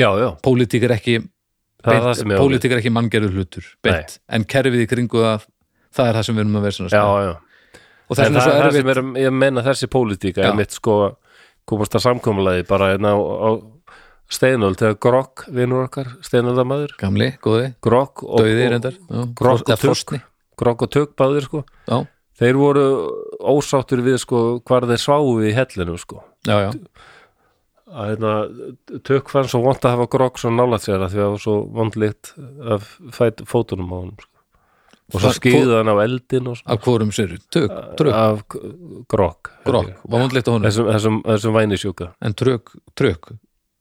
Speaker 1: já, já,
Speaker 2: pólitík er ekki,
Speaker 1: það er það sem ég á við.
Speaker 2: pólitík er ekki manngerður hlutur beint, en kerfið í kringu það það er það sem við erum að vera svona
Speaker 1: já, já.
Speaker 2: og það er
Speaker 1: En
Speaker 2: svona
Speaker 1: það,
Speaker 2: svo
Speaker 1: það
Speaker 2: erfitt
Speaker 1: sem er, ég menna þessi pólitík
Speaker 2: Já.
Speaker 1: er mitt sko komast að samkomulagi bara hérna á, á steinöld þegar Grokk vinur okkar, steinöldamaður
Speaker 2: gamli, góði,
Speaker 1: Grokk og,
Speaker 2: dauði
Speaker 1: og,
Speaker 2: reyndar já,
Speaker 1: Grokk
Speaker 2: eða
Speaker 1: og Tugg
Speaker 2: frosni,
Speaker 1: Grokk og Tugg báðir sko
Speaker 2: já,
Speaker 1: þeir voru ósáttur við sko hvar þeir sváu í hellinu sko
Speaker 2: já, já,
Speaker 1: að hérna, tök fann svo vont að hafa grogg svo nálægt sér að því að það var svo vondlíkt af fæt, fótunum á honum sko. og svo
Speaker 2: Það-
Speaker 1: skýðu hann á eldin og
Speaker 2: af hvorum sér tök,
Speaker 1: svo
Speaker 2: trök,
Speaker 1: af grogg
Speaker 2: grokk, var vondleitt á honum
Speaker 1: þessum, þessum, þessum vænisjúka
Speaker 2: en trök, trök,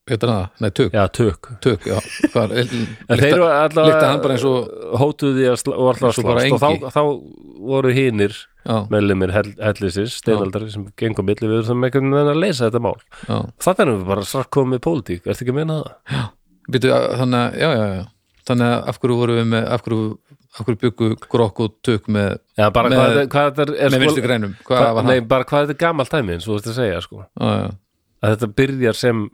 Speaker 2: heitir það nei, tök,
Speaker 1: já, tök
Speaker 2: tök, já hvað er,
Speaker 1: En þeir
Speaker 2: lykta-
Speaker 1: eru allavega
Speaker 2: lykta hann bara eins og-
Speaker 1: hótuðu því að sl og alltaf
Speaker 2: eins og bara
Speaker 1: slást og
Speaker 2: engi.
Speaker 1: þá, þá voru hinir
Speaker 2: já,
Speaker 1: meðlumir hellisins, steinaldari sem gengum milli við erum það með einhvern veginn að leysa þetta mál
Speaker 2: já.
Speaker 1: þannig erum við bara strax komið með pólitík ertu ekki að meina það?
Speaker 2: Býtu, að- þannig að, já, já, já þannig að af hverju voru við með, af hverju af hverju byggu grokk og tök með
Speaker 1: Já, bara
Speaker 2: Með-
Speaker 1: hvað, þetta- hvað þetta er, er
Speaker 2: með vinstu grænum, hvað
Speaker 1: hvað,
Speaker 2: var
Speaker 1: nei,
Speaker 2: það?
Speaker 1: bara hvað þetta er gamalt dæmi eins og þú veist að segja sko.
Speaker 2: Já, já.
Speaker 1: að þetta byrjar sem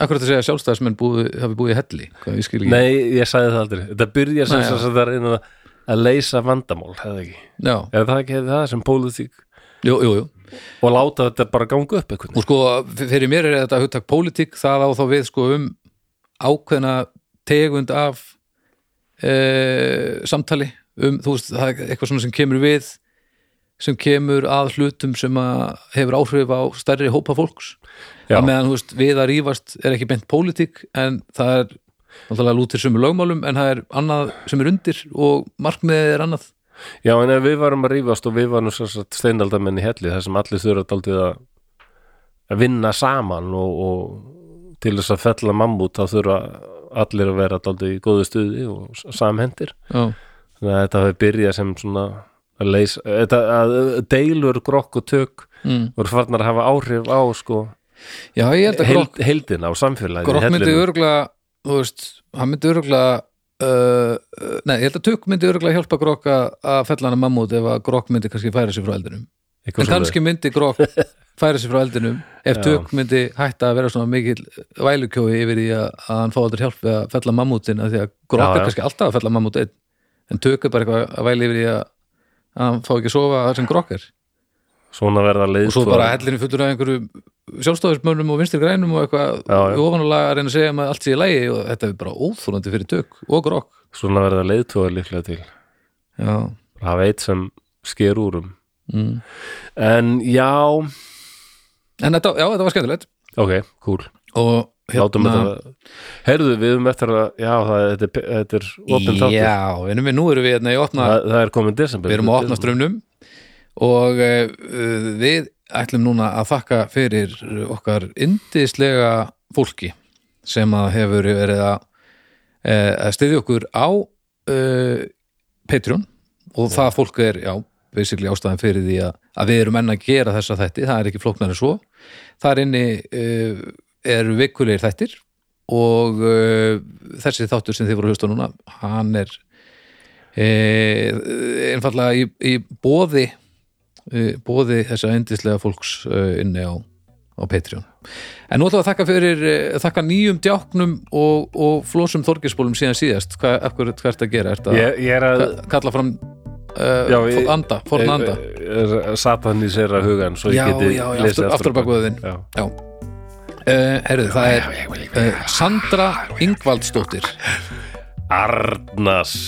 Speaker 2: Af hverju þetta segja að sjálfstæðismenn búi, hafi búið í helli hvað ég skil ekki
Speaker 1: nei, ég sagði það aldrei, þetta byrjar sem
Speaker 2: Nei, já.
Speaker 1: þess að það er innan að, að leysa vandamál hefði ekki,
Speaker 2: Já,
Speaker 1: er það ekki það sem pólitík
Speaker 2: jú, jú, jú
Speaker 1: og láta þetta bara ganga upp einhvern
Speaker 2: og sko fyrir mér er þetta hugtak pólitík það á þá við sko um ákveðna tegund af e, samtali um, þú veist, það er eitthvað svona sem kemur við sem kemur að hlutum sem að hefur áhrif á stærri hópa fólks
Speaker 1: Já.
Speaker 2: að meðan, þú veist, við að rífast er ekki beint pólitík en það er náttúrulega lútir sömu lögmálum en það er annað sem er undir og markmiðið er annað
Speaker 1: Já, en ef við varum að rífast og við varum svo satt steinaldamenn í helli þar sem allir þurfa daldið að að vinna saman og, og til þess að fella mammút þá þurfa allir að vera daldið í góðu stuði og s- samhendir
Speaker 2: Já,
Speaker 1: þannig að þetta hafi byrjað sem svona að leysa, þetta, að deilur grokk og tök
Speaker 2: mm.
Speaker 1: voru farnar að hafa áhrif á sko
Speaker 2: Já ég held að
Speaker 1: heil, heildina á samfélagi
Speaker 2: Grokk myndi örgulega þú veist, hann myndi örgulega uh, uh, nei, ég held að Tugg myndi örgulega hjálpa Grokk að að fella hana mammút ef að Grokk myndi kannski færa sig frá eldinum en kannski myndi Grokk færa sig frá eldinum ef
Speaker 1: Já.
Speaker 2: Tugg myndi hætta að vera svona mikil vælukjói yfir því að, að hann fá aldrei hjálp við að fella mammútin af því að Grokk
Speaker 1: Já,
Speaker 2: er
Speaker 1: já.
Speaker 2: kannski alltaf að fella mammút einn en Tugg er bara eitthvað að væli yfir því að að hann fá ekki að sofa þar sem Grokk er
Speaker 1: svona verða leið
Speaker 2: og svo bara hellinu fullur af einhverju sjálfstofismönnum og vinstri grænum
Speaker 1: Já,
Speaker 2: og
Speaker 1: já.
Speaker 2: eitthvað ofanulega að reyna að segja um að allt sé í lægi og þetta er bara óþólandi fyrir tök og grokk
Speaker 1: svona verða leiðtóa líklega til
Speaker 2: já,
Speaker 1: Bara hafa eitt sem sker úr um
Speaker 2: mm.
Speaker 1: En já,
Speaker 2: en þetta, já, þetta var skemmtilegt
Speaker 1: ok, cool
Speaker 2: og hérna-
Speaker 1: Látum þetta Heyrðu, við um eftir að Já, það, þetta, er- þetta er opin þáttur það,
Speaker 2: já, vinnum við nú erum við hérna í opna
Speaker 1: það er komin desember
Speaker 2: við erum að opna strömmnum og eh, uh, við ætlum núna að þakka fyrir okkar yndislega fólki sem að hefur verið að, eh, að styðja okkur á uh, Patreon og það fólk er, já, basically ástæðan fyrir því að, að við erum enn að gera þessa þætti það er ekki flóknari svo þar inni uh, eru vikulegir þættir og uh, þessi þáttur sem þið voru að hlusta á núna hann er eh, einfallega í, í bóði eh, bóði þessa endislega fólks eh, inni á, á Patreon en nú ætlum við að þakka fyrir eh, þakka nýjum djáknum og, og flósum þorgisbólum síðan síðast Hva, af hverju hvað ertu að gera, ertu að
Speaker 1: Ég, ég er að
Speaker 2: ka- kalla fram uh,
Speaker 1: Já,
Speaker 2: já,
Speaker 1: ég-
Speaker 2: anda, forn anda
Speaker 1: Eh, Satan í sér að hugan Svo
Speaker 2: Já,
Speaker 1: ég geti
Speaker 2: já, já,
Speaker 1: lesið
Speaker 2: aftur- aftur á bak við þinn.
Speaker 1: Já.
Speaker 2: já Uh, herðu, það er uh, Sandra Ingvaldsdóttir
Speaker 1: Arnas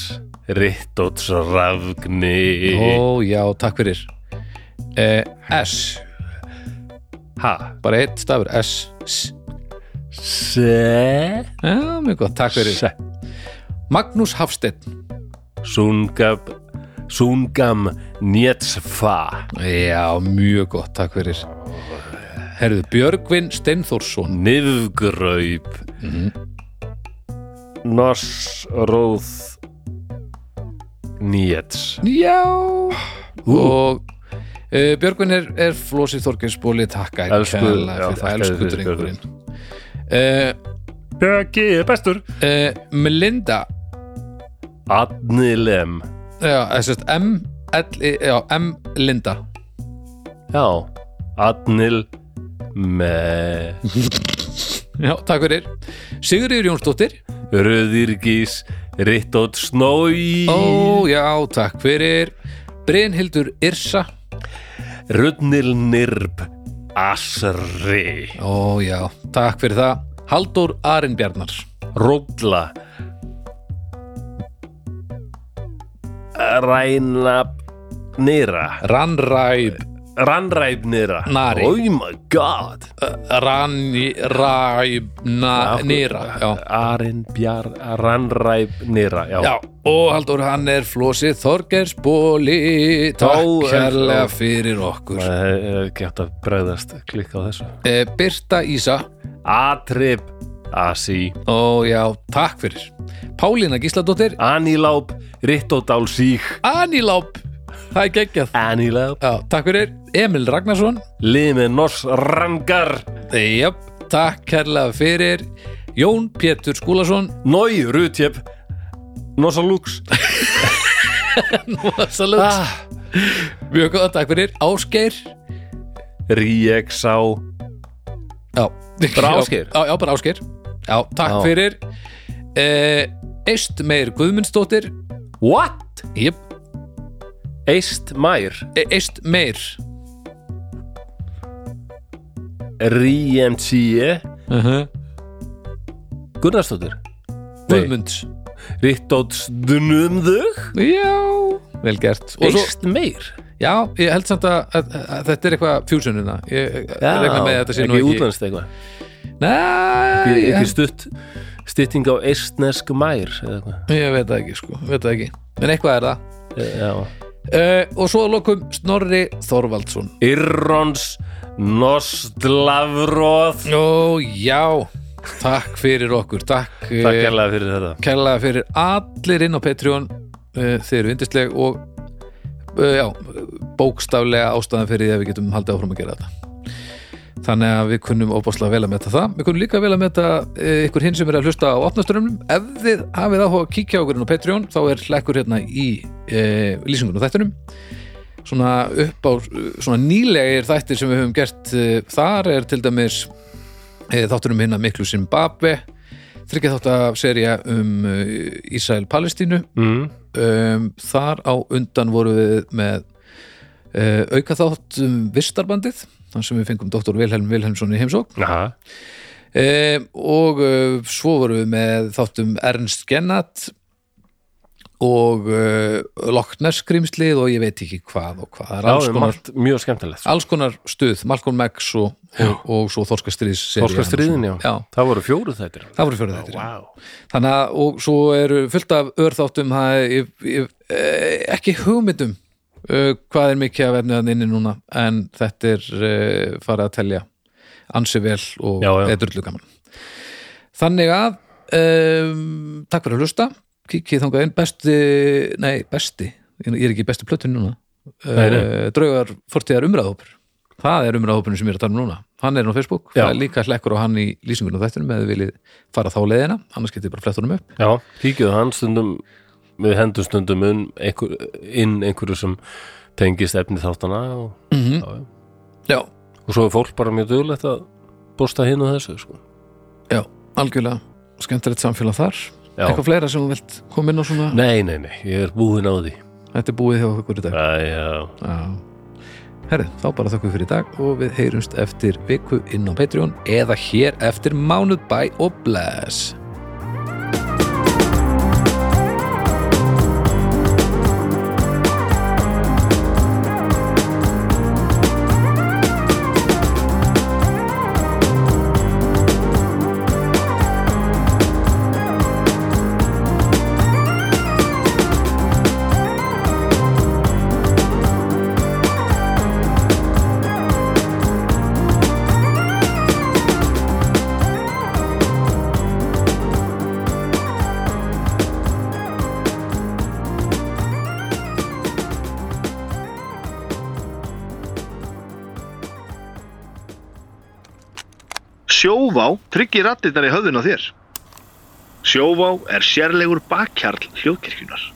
Speaker 1: Rittóts Rafgni
Speaker 2: Ó já, takk fyrir uh, S,
Speaker 1: Ha
Speaker 2: bara eitt stafur S, S
Speaker 1: Se
Speaker 2: Já, mjög gott, takk fyrir
Speaker 1: Se
Speaker 2: Magnús Hafsteinn
Speaker 1: Sungab Sungam Njetsfa
Speaker 2: Já, mjög gott, takk fyrir Herðu, Björgvin Steinþórsson
Speaker 1: Nifgraup
Speaker 2: Mhm.
Speaker 1: Norsróð Njets
Speaker 2: Já Og uh, Björgvin er, er Flósi Þorgeinsbóli takka
Speaker 1: Elsku- já,
Speaker 2: fyrir það,
Speaker 1: þakkaði
Speaker 2: elsku
Speaker 1: fyrir
Speaker 2: drengurinn uh,
Speaker 1: Bjöggi er bestur
Speaker 2: uh, Melinda
Speaker 1: Adnilem
Speaker 2: Já, þessast M L, E, já, M Linda
Speaker 1: Já Adnil Me
Speaker 2: Já, takk fyrir Sigriður Jónsdóttir
Speaker 1: Röðirgís Rittótt Snói
Speaker 2: Ó, já, takk fyrir Brynhildur Yrsa
Speaker 1: Röðnil Nirb Asri
Speaker 2: Ó já, takk fyrir það Haldur Arinbjarnar
Speaker 1: Rólla Rænab Nýra
Speaker 2: Ranræb
Speaker 1: Rannræb Nýra
Speaker 2: Nari.
Speaker 1: Oh my god
Speaker 2: Ranræbna Nýra já.
Speaker 1: Arin Bjar Rannræb Nýra Já,
Speaker 2: já, og Haldur hann er Flósið Þorgersbóli
Speaker 1: Ó,
Speaker 2: Takk
Speaker 1: en-
Speaker 2: hérlega fyrir okkur
Speaker 1: Það er ekki hægt að bregðast klikka á þessu
Speaker 2: e, Birta Ísa
Speaker 1: Atrib Asi
Speaker 2: Ó já, takk fyrir Pálína Gísladóttir
Speaker 1: Aníláp Rittódálsík
Speaker 2: Aníláp það er geggjað
Speaker 1: Anilab
Speaker 2: Já, takk fyrir Emil Ragnarsson
Speaker 1: Limenos Rangar
Speaker 2: Jáp, takk kærlega fyrir Jón Pétur Skúlason
Speaker 1: Nói Rutjep Nosa Lux
Speaker 2: Salut
Speaker 1: Ah.
Speaker 2: Mjög góða, takk fyrir Ásgeir
Speaker 1: Ríeksá
Speaker 2: Já,
Speaker 1: Bara Ásgeir?
Speaker 2: Já, já bara Ásgeir Já, takk
Speaker 1: Já.
Speaker 2: fyrir eh, Eistmeir Guðmundsdóttir
Speaker 1: What?
Speaker 2: Jáp,
Speaker 1: Eistmær
Speaker 2: e, Eistmeir
Speaker 1: Ríemtsie
Speaker 2: uh -huh.
Speaker 1: Gunnarsdóttir
Speaker 2: Guðmunds
Speaker 1: Rittótsdnumðug
Speaker 2: Já, vel gert Og svo,
Speaker 1: Eistmeir
Speaker 2: Já, ég held samt að, að, að þetta er eitthvað fusionina Ég
Speaker 1: Já,
Speaker 2: regna með að þetta sé nú
Speaker 1: ekki
Speaker 2: ekki Ah,
Speaker 1: útlandst eitthvað
Speaker 2: Nei,
Speaker 1: Ekki
Speaker 2: ég,
Speaker 1: stutt Stytting á eistnesk mær eða eitthvað
Speaker 2: ég veit það ekki sko, veit það ekki En eitthvað er það
Speaker 1: Eh, Já
Speaker 2: uh, Og svo að lokum Snorri Þorvaldsson
Speaker 1: Irrons Nostlavróð
Speaker 2: Ó, já, takk fyrir okkur Takk, eh,
Speaker 1: Takk hérlega fyrir þetta
Speaker 2: kærlega fyrir allir inn á Patreon uh, Þeir eru yndisleg og uh, já, bókstaflega ástæðan fyrir því að við getum haldið áfram að gera þetta Þannig að við kunnum óbáslega vel að metta það. Við kunnum líka vel að metta uh, ykkur hinn sem er að hlusta á opnaströmmum. Ef þið hafið áhuga að kíkja á okkur inn á Patreon, þá er hlekkur hérna í uh, lýsingunum og þættunum. Svona upp á, svona nýlegir þættir sem við höfum gert uh, þar er til dæmis uh, þáttunum hérna Miklu Zimbabwe, þryggja þáttaserja um uh, Ísrael-Palestínu
Speaker 1: mm.
Speaker 2: um, þar á undan voru við með uh, auka þátt um Vistarbandið þannig sem við fengum doktor Vilhelm Vilhelmsson í heimsókn
Speaker 1: Aha.
Speaker 2: um, og uh, svo voru við með þáttum Ernst Gennat og uh, Loch Ness skrýmslið og ég veit ekki hvað og hvað, það er
Speaker 1: Já,
Speaker 2: alls konar,
Speaker 1: margt mjög skemmtilegt sko.
Speaker 2: alls konar stuð Malcolm X og, og, og svo Þorskastriðs
Speaker 1: Þorskastriðin, já.
Speaker 2: já,
Speaker 1: Það voru fjóru þættir
Speaker 2: það voru fyrir þetta
Speaker 1: wow.
Speaker 2: þannig að, og svo eru fullt af örþáttum það er ég, ég, eh, ekki hugmyndum uh, hvað er mikið af efniðan inni núna en þetta er uh, farið að telja ansi vel og
Speaker 1: Já, já.
Speaker 2: er drullu gaman þannig að um, takk fyrir að hlusta kikið þangað inn besti, nei besti ég er ekki í bestu plötun núna
Speaker 1: Nei, nei.
Speaker 2: uh, draugar fortíðar umræðhópur það er umræðhópurinn sem ég er að tala um núna hann er á Facebook,
Speaker 1: Já.
Speaker 2: það er líka hlekkur á hann í lýsingunum þættunum eða þið viljið fara þá leiðina annars getið bara flett honum upp
Speaker 1: Já, kíkjuðu hann stundum Við hendum stundum inn, einhver, inn einhverju sem tengist efni þáttana og,
Speaker 2: Mm. já,
Speaker 1: og svo er fólk bara mjög duglegt að bústa hinn og þessu sko.
Speaker 2: já, algjörlega skemmtilegt samfélag þar
Speaker 1: Já.
Speaker 2: eitthvað fleira sem þú vilt koma inn á svona
Speaker 1: Nei, nei, nei, ég er búinn á því
Speaker 2: þetta er búið hjá okkur í dag
Speaker 1: Æ, já,
Speaker 2: já. herri, þá bara þökkum við fyrir í dag og við heyrumst eftir viku inn á Patreon eða hér eftir mánuð bæ og bless
Speaker 3: Sjóvá tryggir rattirnar í höfðun á þér. Sjóvá er sérlegur bakkjarl hljóðkirkjunar.